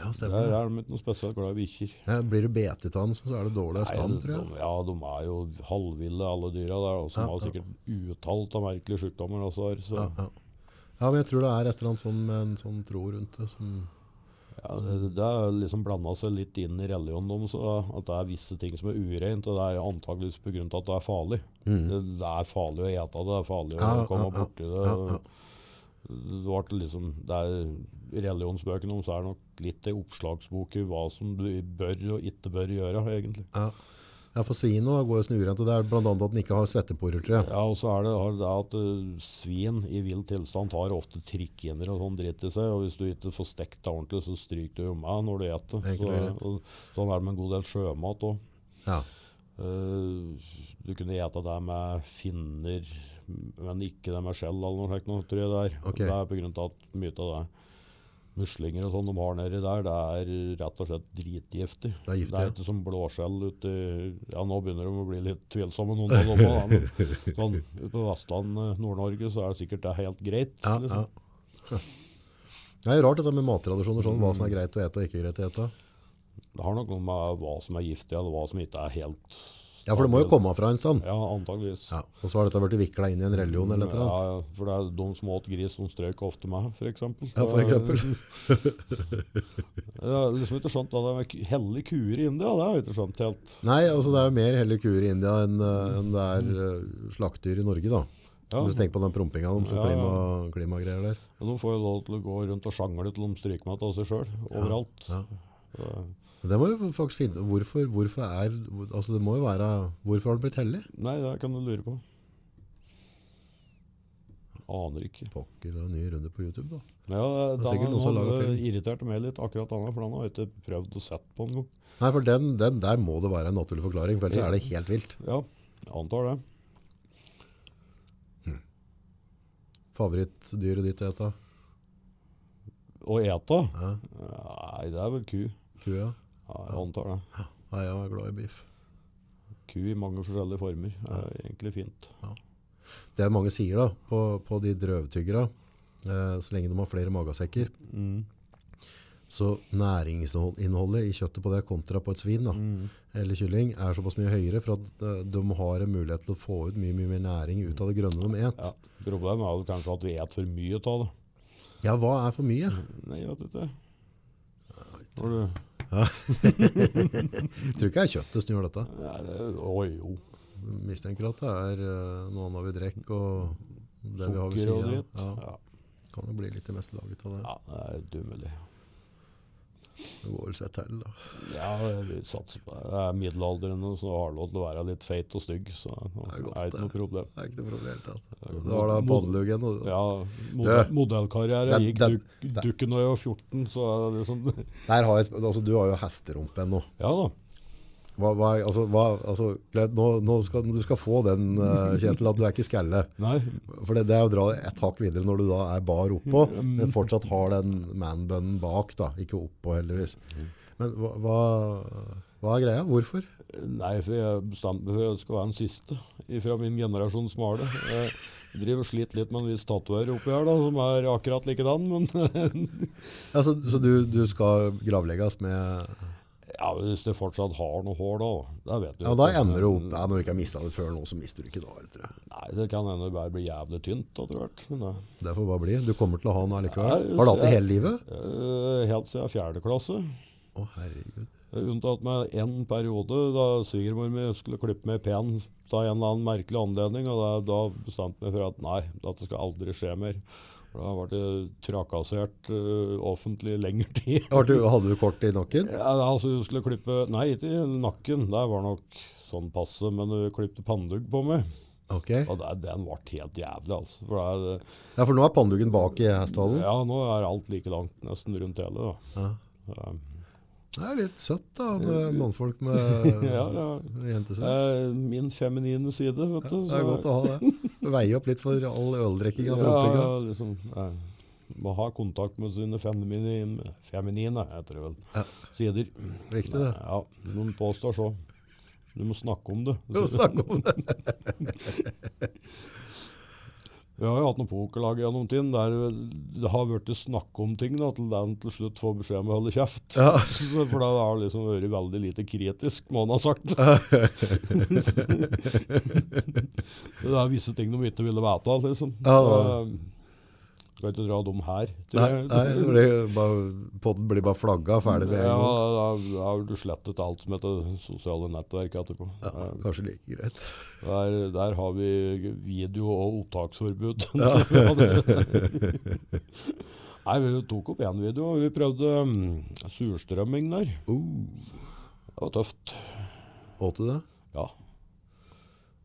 Ja, stemmer. Der er de ikke noe spesielt glad i bikkjer. Nei, blir du betet av den, så er det dårlig Nei, skam, de- tror jeg. de- Ja, de er jo halvville, alle dyra der, og som Ja, har ja. sikkert uttalt av merkelige sykdommer. Altså, så Ja, ja. ja, men jeg tror det er et eller annet sånn med en sånn tro rundt det. Som, Ja, det, det er liksom blanda seg litt inn i religionen deres. da, At det er visse ting som er ureint, og det er antakeligvis pga. at det er farlig. Det, det er farlig å ete det, det er farlig å Mm. Ja, komme ja, ja, borti det. Det ble liksom, det er I religionsbøkene deres er det nok litt ei oppslagsbok i hva som du bør og ikke bør gjøre, egentlig. ja. ja, for svin nå går jo snurent, og det er blant annet at den ikke har svetteporer, tror jeg. Ja, og så er det, har det at eh, svin i vill tilstand har ofte trikkhinner og sånn dritt i seg, og hvis du ikke får stekt det ordentlig, så stryker du jo med når du eter. Enkelt Så, og greit. og, sånn er det med en god del sjømat òg. Ja. Eh, du kunne ete det med finner, men ikke det med skjell eller noe slikt, noe, tror jeg det er. Ok. Det er på grunn av at mye av det muslinger og sånn de har nedi der, det er rett og slett dritgiftig. er giftig, ja. ikke som blåskjell ute i Ja, nå begynner de å bli litt tvilsomme, noen av dem. da, men Sånn, ute på Vestlandet, Nord-Norge, så er det sikkert det helt greit. Ja, liksom. ja. Det er jo rart dette med mattradisjoner, sånn, hva som er greit å ete og ikke greit å ete. Det har nok noe med hva som er giftig, eller hva som ikke er helt Ja, for det må jo komme fra en stand. Ja, antageligvis. Ja. Og så har dette vært vikla inn i en religion eller et eller annet. Ja, ja, for det er de som åt gris, som strøk ofte meg, f.eks. Ja, for eksempel. Jeg har liksom ikke skjønt hva det er med ku- hellige kuer i India. Det har jeg ikke skjønt helt. Nei, altså det er jo mer hellige kuer i India enn, eh, enn det er eh, slaktdyr i Norge, da. Ja. Hvis du tenker på den prompinga om Ja, ja. klima, klimagreier der. Men De får jo lov til å gå rundt og sjangle til de stryker meg av seg sjøl, overalt. Ja. Så- Det må jo faktisk finne Hvorfor, hvorfor er Altså det må jo være Hvorfor har den blitt hellig? Nei, det kan du lure på. Aner ikke. Pokker og ny runde på YouTube, da. Ja, Det er sikkert noen som har laget film. irriterte meg litt, akkurat denne, for den har jeg ikke prøvd å sette på engang. Nei, for den, den der må det være en naturlig forklaring, for ellers er det helt vilt. Ja, jeg antar det. Favorittdyret ditt å ete? Å ete? Ja, Nei, det er vel ku. kua? Ja, Jeg antar det. Nei, jeg er glad i biff. Ku i mange forskjellige former er egentlig fint. Det mange sier da, på, på de drøvtyggere, eh, så lenge de har flere magasekker, Mm. så næringsinnholdet i kjøttet på det kontra på et svin da, eller kylling er såpass mye høyere for at eh, de har en mulighet til å få ut mye, mye mer næring ut av det grønne de et. Ja. Problemet er vel kanskje at vi et for mye av det. Ja. hva er for mye? Nei, jeg vet ikke. Har du... Jeg tror ikke det er kjøttet som gjør dette. Nei, det... Å jo. Jeg Mistenker at det er eh, noe annet vi drekker og det vi har ved Sukker og siden. dritt. Ja, Ja. kan jo bli litt i meste laget av det. ja, det er dummelig. Det går vel seg til da. Ja, vi satser på det. Det er middelaldrende, så har lov til å være litt feit og stygg, så det er godt, er ikke noe det. problem. Det er ikke noe problem i det hele tatt. er jo Da har da mod- panneluggen. og- Ja, modell, Du, modellkarriere den- gikk den- duk, dukken da jeg var 14, så er det liksom Der har jeg, et sp- altså, du har jo hesterumpen nå. Ja da. Hva, hva, altså, hva, altså, greit, nå, nå skal, du skal få den, eh, Kjetil, at du er ikke skalle. Nei, For det, det er å dra et hakk videre når du da er bar oppå, men fortsatt har den man-bønnen bak, da. Ikke oppå, heldigvis. Mm. Men hva, hva, hva er greia? Hvorfor? nei, for jeg bestemte meg for at jeg skal være den siste fra min generasjon som har det. Jeg driver og sliter litt med en viss tatoverer oppi her, da, som er akkurat likedan, men Altså, så du, du skal gravlegges med ja, hvis det fortsatt har noe hår, da. Det vet du Ja, jo da ikke, ender du men- opp Nei, Når du ikke har mista det før nå, så mister du ikke det. Tror jeg. Nei, det kan hende det bare blir jævlig tynt etter hvert. Men det, Det får bare bli. Du kommer til å ha den allikevel. Nei, Har du hatt det jeg- hele livet? Eh, helt siden fjerde klasse. Å, herregud. Unntatt meg én periode da svigermor mi skulle klippe meg pen av en eller annen merkelig anledning. Og da, da bestemte jeg meg for at nei, dette skal aldri skje mer. For Da ble jeg trakassert eh, offentlig i lengre tid. Har du- Hadde du kort i nakken? Ja, altså Hun skulle klippe Nei, ikke i nakken. Det var nok sånn passe. Men hun klippte pannedugg på meg. Ok. Og det, den ble helt jævlig, altså. For det, Ja, for nå er pannduken bak i hestehalen. ja, nå er alt like langt nesten rundt hele. da. Ja. Det er litt søtt da, med mannfolk med Ja, ja. jentesveis. Eh, min feminine side, vet du. Det er godt å ha det. Veie opp litt for all øldrikkinga. ja, på ja, opplegget. liksom, eh, Må ha kontakt med sine feminine, feminine heter det vel, sider. Viktig, det. Ja, noen påstår så. Du må snakke om det. Jo, snakk om det. Vi har jo hatt noen pokerlag gjennom tiden der det har vært snakk om ting da, til den til slutt får beskjed om å holde kjeft. Ja. Så, for det har liksom vært veldig lite kritisk, må han ha sagt. det er visse ting de ikke ville vite, liksom. Ja, Så, Skal ikke dra dem her. tror Nei, jeg. nei det blir bare- podden blir bare flagga ferdig med en Ja, gang. da da har du slettet alt som heter sosiale nettverk etterpå. Eh, Kanskje like greit. Der, der har vi video- og opptaksforbud. Ja, det- Nei, vi tok opp én video, og vi prøvde mm, surstrømming der. Uh, Det var tøft. åt du det? Ja,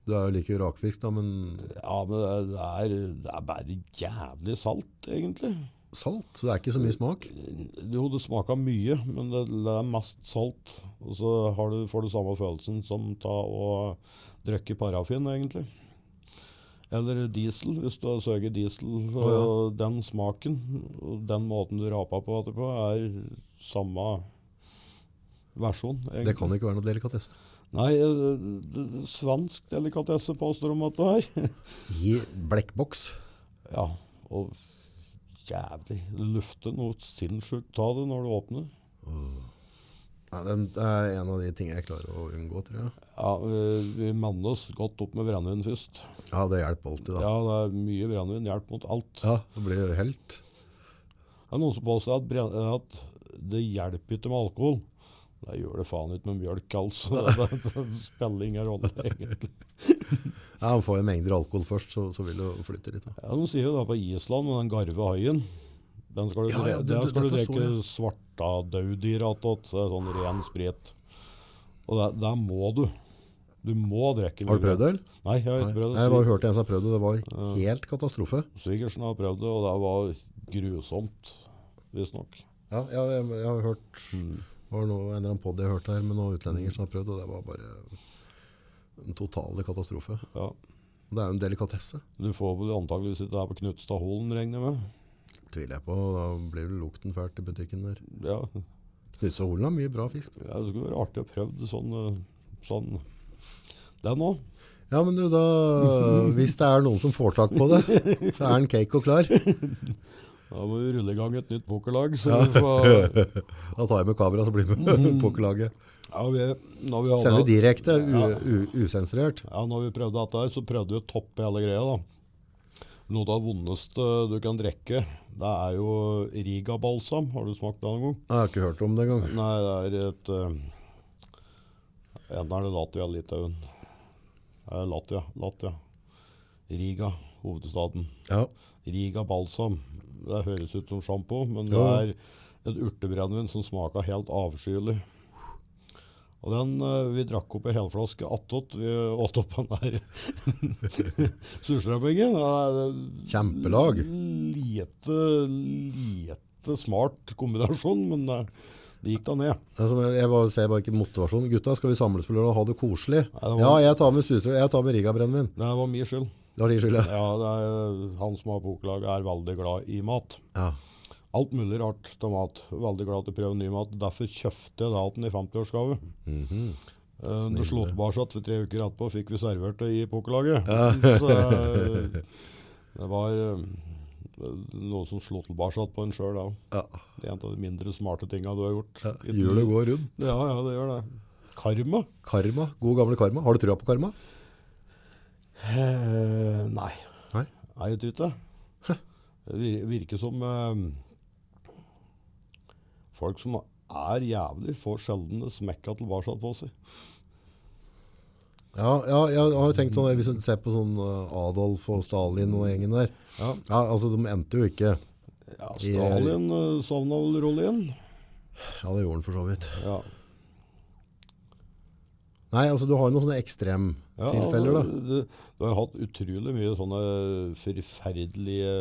Du er jo like rakfisk, da, men ja men det er, det er bare jævlig salt, egentlig. salt? Så det er ikke så mye smak? Jo, det smaker mye, men det, det er mest salt. Og så har du, får du samme følelsen som ta og drikke parafin, egentlig. Eller diesel, hvis du har søker diesel. Og den smaken og den måten du rapa på etterpå, er samme versjon. egentlig. Det kan ikke være noe delikatesse. Nei, eh, det- det- det- svensk delikatesse påstår om at det er. I blekkboks. Ja, og jævlig. Det lufter noe sinnssykt av det når du åpner. Nei, den er en av de tingene jeg klarer å unngå, tror jeg. Ja, vi, vi manner oss godt opp med brennevin først. Ja, det hjelper alltid, da. Ja, det er mye brennevin. Hjelp mot alt. Ja, det blir jo helt. Det er noen som påstår at, bren- at det hjelper ikke med alkohol. Det gjør det faen ikke med mjølk, altså. Det, det spiller ingen rolle, egentlig. Ja, han får jo mengder alkohol først, så, så vil det flytte litt. Da. Ja, de sier jo da på Island, med den garve haien Den skal du, Ja, ja, det- den det- skal du dette så drikke svarta daudyr attåt. så det er Sånn ren sprit. Og der, der må du. Du må drikke. Har du prøvd øl? Nei, jeg har ikke prøvd Nei, det. Jeg bare hørte en som har prøvd det, det var helt katastrofe. Svigersen har prøvd det, og det var grusomt, visstnok. Ja, jeg, jeg, jeg har hørt Det var noe, en eller annen podd jeg hørte her med noen utlendinger som har prøvd, og det var bare en total katastrofe. Ja. Det er jo en delikatesse, Du får vel antakeligvis ikke det her på Knutstadholen, regner jeg med. tviler jeg på. og Da blir det lukten fælt i butikken der. Ja. Knutse og Holen har mye bra fisk. Ja, det skulle være artig å prøve sånn, eh, sånn den òg. Ja, men du, da Hvis det er noen som får tak på det, så er den cake og klar. Da må vi rulle i gang et nytt pokerlag. Så vi får, Da tar jeg med kamera, så blir vi med på laget. ja, vi, når vi hadde- Sender direkte, u- u- usensurert. Ja, når vi prøvde dette her, så prøvde vi å toppe hele greia, da. Noe av det vondeste du kan drikke, det er jo Riga-balsam. Har du smakt det noen gang? Jeg har ikke hørt om det engang. Nei, det er et eh, Enten er det Latvia, Litauen. Det er Latvia, Latvia. Riga, hovedstaden. Ja. Riga balsam. Det høres ut som sjampo, men det Ja. er et urtebrennevin som smaker helt avskyelig. Og den, eh, Vi drakk opp en helflaske attåt. Vi åt opp den der surstrømmingen. Det er Kjempelag. Lite, lite smart kombinasjon, men det, det gikk da ned. Altså, men jeg bare ser bare ikke motivasjon. Gutta, skal vi samles på lørdag og ha det koselig? det var- Ja, jeg tar med suser, jeg tar med Riga-brennevin. Det var min skyld. Det var din skyld, ja. Ja, det er, Han som har pokerlaget, er veldig glad i mat. ja. Alt mulig rart til mat. Veldig glad til å prøve ny mat. Derfor kjøpte jeg da den i 50-årsgave. Eh, Det slo tilbake at tre uker etterpå fikk vi servert det i pokerlaget. Så eh, det var eh, noe som slo tilbake på en sjøl, da. ja. Det er en av de mindre smarte tinga du har gjort. i ditt Hjulet liv. går rundt. Ja, ja, det gjør det. Karma? Karma. God gamle karma. Har du trua på karma? Eh, nei. Nei. Nei, jeg tror ikke det. Det vir- virker som eh, folk som er jævlig, får sjelden det smekka tilbake på seg. Ja, ja jeg har jo tenkt sånn der, hvis du ser på sånn eh, Adolf og Stalin og gjengen der. Ja. Ja, altså, de endte jo ikke. Ja, Stalin eh, sovna vel rolig inn. Ja, det gjorde han for så vidt. Ja. Nei, altså, du har jo noen sånne ekstremtilfeller, da. Du, du har jo hatt utrolig mye sånne forferdelige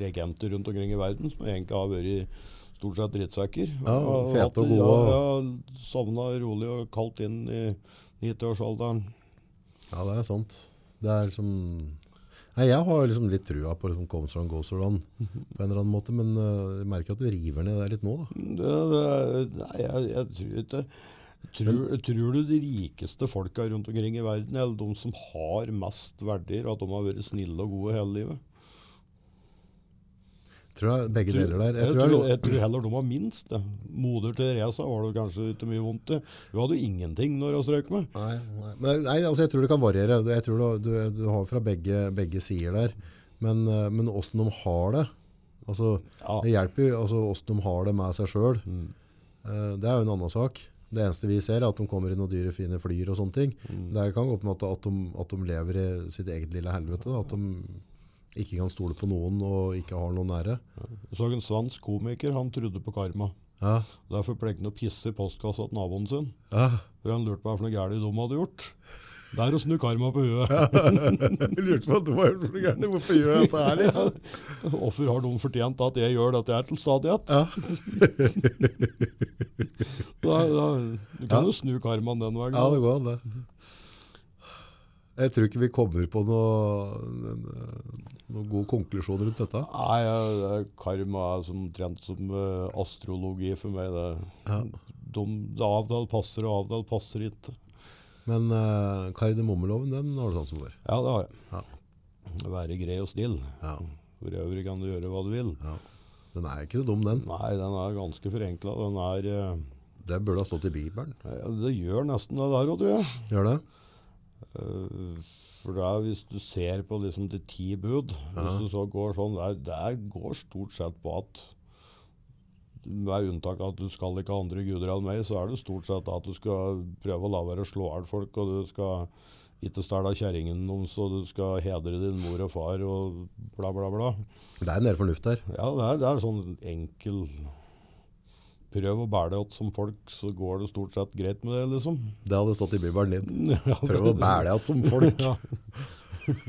regenter rundt omkring i verden som egentlig har vært stort sett drittsekker. Ja, fete og Ja, gode. ja, Sovna rolig og kaldt inn i 90-årsalderen. Ja, det er sant. Det er som Nei, jeg har jo liksom litt trua på liksom comes around, goes around på en eller annen måte, men eh, jeg merker at du river ned det litt nå, da. Det, det, nei, jeg, jeg tror ikke tror, tror du de rikeste folka rundt omkring i verden, eller de som har mest verdier, at de har vært snille og gode hele livet? Tror jeg begge Tror- deler der. Jeg, Jeg tror tror, jeg, jeg tror heller de har minst. det. Moder Teresa var det kanskje ikke mye vondt til. Hun hadde jo ingenting når hun strøk med. Nei, nei. Men, nei altså jeg tror det kan variere. Du- Jeg tror du, du, du har fra begge, begge sider der. Men, eh, men åssen de har det altså, Ja. Det hjelper jo altså, åssen de har det med seg sjøl. Det er jo en annen sak. Det eneste vi ser, er at de kommer i noen dyre, fine flyer og sånne ting. Det kan godt med at, at, de, at de lever i sitt eget lille helvete. Da. At de ikke kan stole på noen og ikke har noen nære. Jeg så en svensk komiker, han trodde på karma. Ja. Derfor pleier han å pisse i postkassa til naboen sin. Ja. For han lurte på hva for noe gærent de hadde gjort. Det er å snu karma på huet. Lurte på at du var så gæren. Hvorfor gjør jeg dette her, liksom? Hvorfor har de fortjent at jeg gjør dette her til stadighet? Ja. Da, da, du kan jo snu karmaen den veien. Ja, da. det går an, det. Jeg tror ikke vi kommer på noen noe god konklusjon rundt dette. Nei, jeg- det- karma er som omtrent som eh, astrologi for meg. Det, de, det avdal passer, og avdal passer ikke. Men uh, kardemommeloven, den har du sånn som vår. Ja, det har jeg. Ja. Være grei og snill. Ja. For øvrig kan du gjøre hva du vil. ja. Den er ikke så dum, den. Nei, den er ganske forenkla. Den er eh, Det burde ha stått i Bibelen. ja, Det gjør nesten det der òg, tror jeg. Gjør det? Eh, For da, hvis du ser på liksom de ti bud, hvis du så går sånn der, der går stort sett på at med unntak av at du skal ikke ha andre guder enn meg, så er det stort sett at du skal prøve å la være å slå av folk, og du skal ikke stjele kjerringen deres, og du skal hedre din mor og far, og bla, bla, bla. Det er en del fornuft der. Ja, det er, det er sånn enkel Prøv å bære det opp som folk, så går det stort sett greit med det, liksom. Det hadde stått i Bibelen din. Ja, Prøv å bære deg igjen som folk. Ja.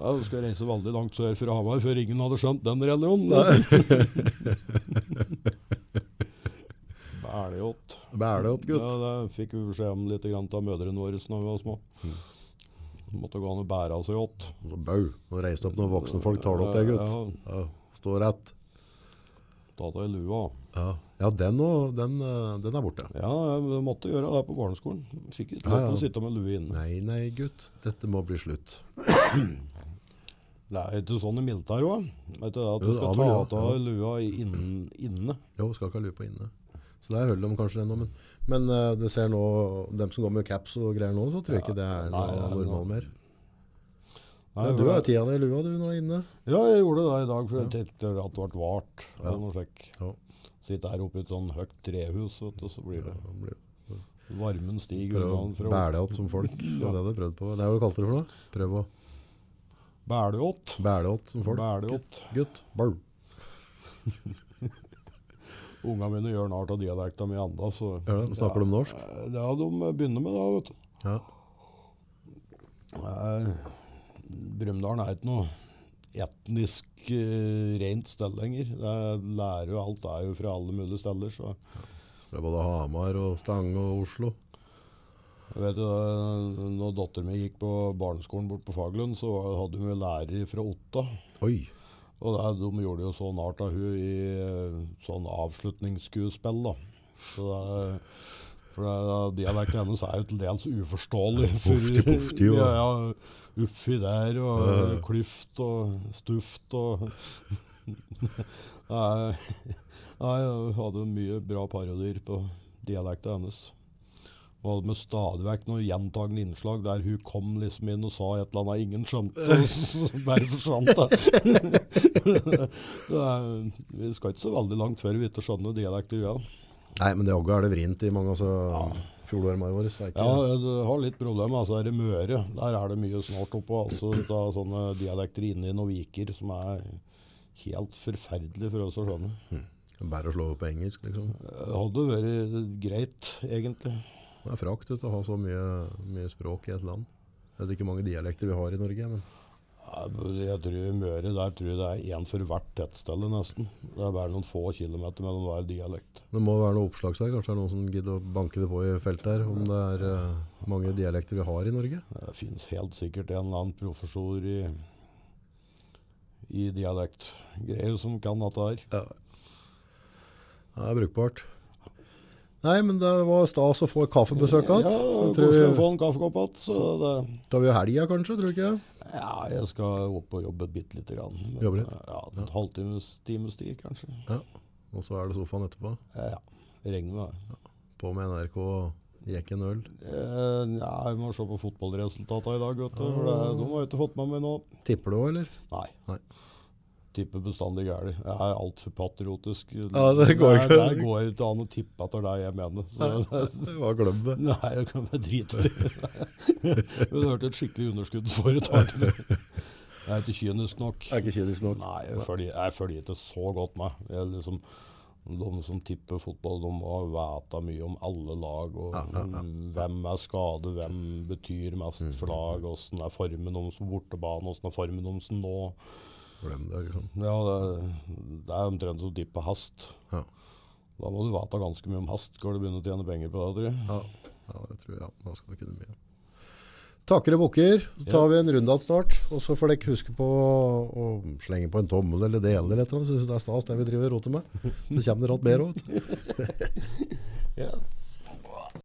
ja, du skal reise veldig langt sør for Hamar før ingen hadde skjønt den religionen. Altså. Bæljått. Bære deg Ja, igjen, gutt. det fikk vi beskjed om litt grann av mødrene våre da vi var små. Måtte gå an å bære av seg åt. Så bau. Nå reiste opp noen voksne folk, tar det opp det, gutt. Ja, Ja. står rett. Ta deg lua. Ja, ja den, og, den, eh, den er borte. Ja, jeg måtte gjøre det på barneskolen. Sikkert Ja, lett ja. å sitte med lue inne. Nei, nei, gutt. Dette må bli slutt. Det er ikke sånn i militæret òg. At du Jo, det er skal vel ta det, av deg lua innen, inne. Jo, skal ikke ha lue på inne. Så det er hull om kanskje ennå, men, men eh, du ser nå, dem som går med caps og greier nå, så tror jeg ikke det er nei, noe nei, normal mer. Nei, Ja, du har tida di i lua du når du er inne. Ja, jeg gjorde det i dag, for jeg tenkte at det ble vart. eller noe slik. Ja, Sitte her oppe i et sånn høyt trehus, vet du, så blir det da blir det Varmen stiger Prøv å unna fra bæle åt som folk. Det er det du har prøvd på. Det er hva du kalte det for noe? Prøv å Bæleått. bæle åt som folk. Bæleått. Gutt. Bau. Ungene mine gjør narr av dialekta mi ennå, så Gjør det? Snakker de norsk? Ja, de begynner med det, vet du. Ja. Nei, Brumunddal er ikke noe etnisk eh, rent sted lenger. Det er- Lærer og alt er jo fra alle mulige steder. Så Det er både Hamar og Stange og Oslo. jeg vet jo, eh, når datteren min gikk på barneskolen bort på Faglund, så var- hadde hun en lærer fra Otta. Oi. Og det, de gjorde jo så narr av hun i eh, sånn avslutningsskuespill, da. Så det, er- for det, er- dialekten hennes er jo til dels uforståelig. for- Pofti, pofti, og- ja, ja, Uffi der, og klyft og stuft og Nei, nei, hun hadde jo mye bra parodier på dialekten hennes. Hun hadde med stadig vekk noen gjentagende innslag der hun kom liksom inn og sa et eller annet ingen skjønte, og så bare forsvant det. Det er- Vi skal ikke så veldig langt før vi ikke skjønner dialekter, ja. Nei, men det jaggu er det vrient i mange altså, fjordarmene våre. så er ikke- Ja, du har litt problem, altså er det Møre. Der er det mye snart oppå, altså da sånne dialekter inne i noen viker som er helt forferdelig for oss å skjønne. Bare å slå opp på engelsk, liksom. Det hadde vært greit, egentlig. Det er frakt vet du, å ha så mye, mye språk i et land. Jeg vet ikke hvor mange dialekter vi har i Norge, men Nei, men Jeg tror Møre, der tror jeg det er én for hvert tettstelle, nesten. Det er bare noen få kilometer mellom hver dialekt. det må være noe oppslagsverk. Kanskje det er noen som gidder å banke det på i feltet her, om det er eh, mange dialekter vi har i Norge. Det fins helt sikkert en eller annen professor i, i dialektgreier som kan dette her. Det er brukbart. Nei, men det var stas å få kaffebesøk igjen. Ja, så tror koselig å vi få en kaffekopp igjen. Så det, tar vi helga, kanskje, tror du ikke? det? ja, jeg skal opp og jobbe bitte lite grann. Men, Jobbe litt? Ja, en halvtimes times tid, kanskje. Eh, Ja. Og så er det sofaen etterpå. Ja, jeg regner med det. På med NRK og jekk en øl. Eh, Ja, vi må se på fotballresultatene i dag, vet du. For det, de har jeg ikke fått med meg nå. Tipper du òg, eller? Nei. Nei. Tipper bestandig gærent. Jeg er altfor patriotisk. Ja, det går ikke. Nei, det går ikke an å tippe etter det jeg mener. Så det, Det var glem det. Nei, jeg kan bare drite i det. Men det hørte et skikkelig underskuddsforetak. Jeg er ikke kynisk nok. Er ikke kynisk nok. Nei, jeg følger, jeg følger ikke så godt med. Jeg liksom, de som tipper fotball, de må vite mye om alle lag. og Hvem er skade, hvem betyr mest for lag, åssen er formen deres på bortebane, åssen er formen deres nå. Glem det, liksom. Ja, det, det er omtrent som å tippe hest. Ja. Da må du vite ganske mye om hest, skal du begynne å tjene penger på det, tror jeg. Ja, ja det tror jeg. Ja, da skal vi kunne mye. Takker og bukker. Så tar vi en runde igjen snart. Og så får dere huske på å slenge på en tommel eller dele eller et eller annet. Syns det er stas, det vi driver og roter med. Så kommer det rått mer òg.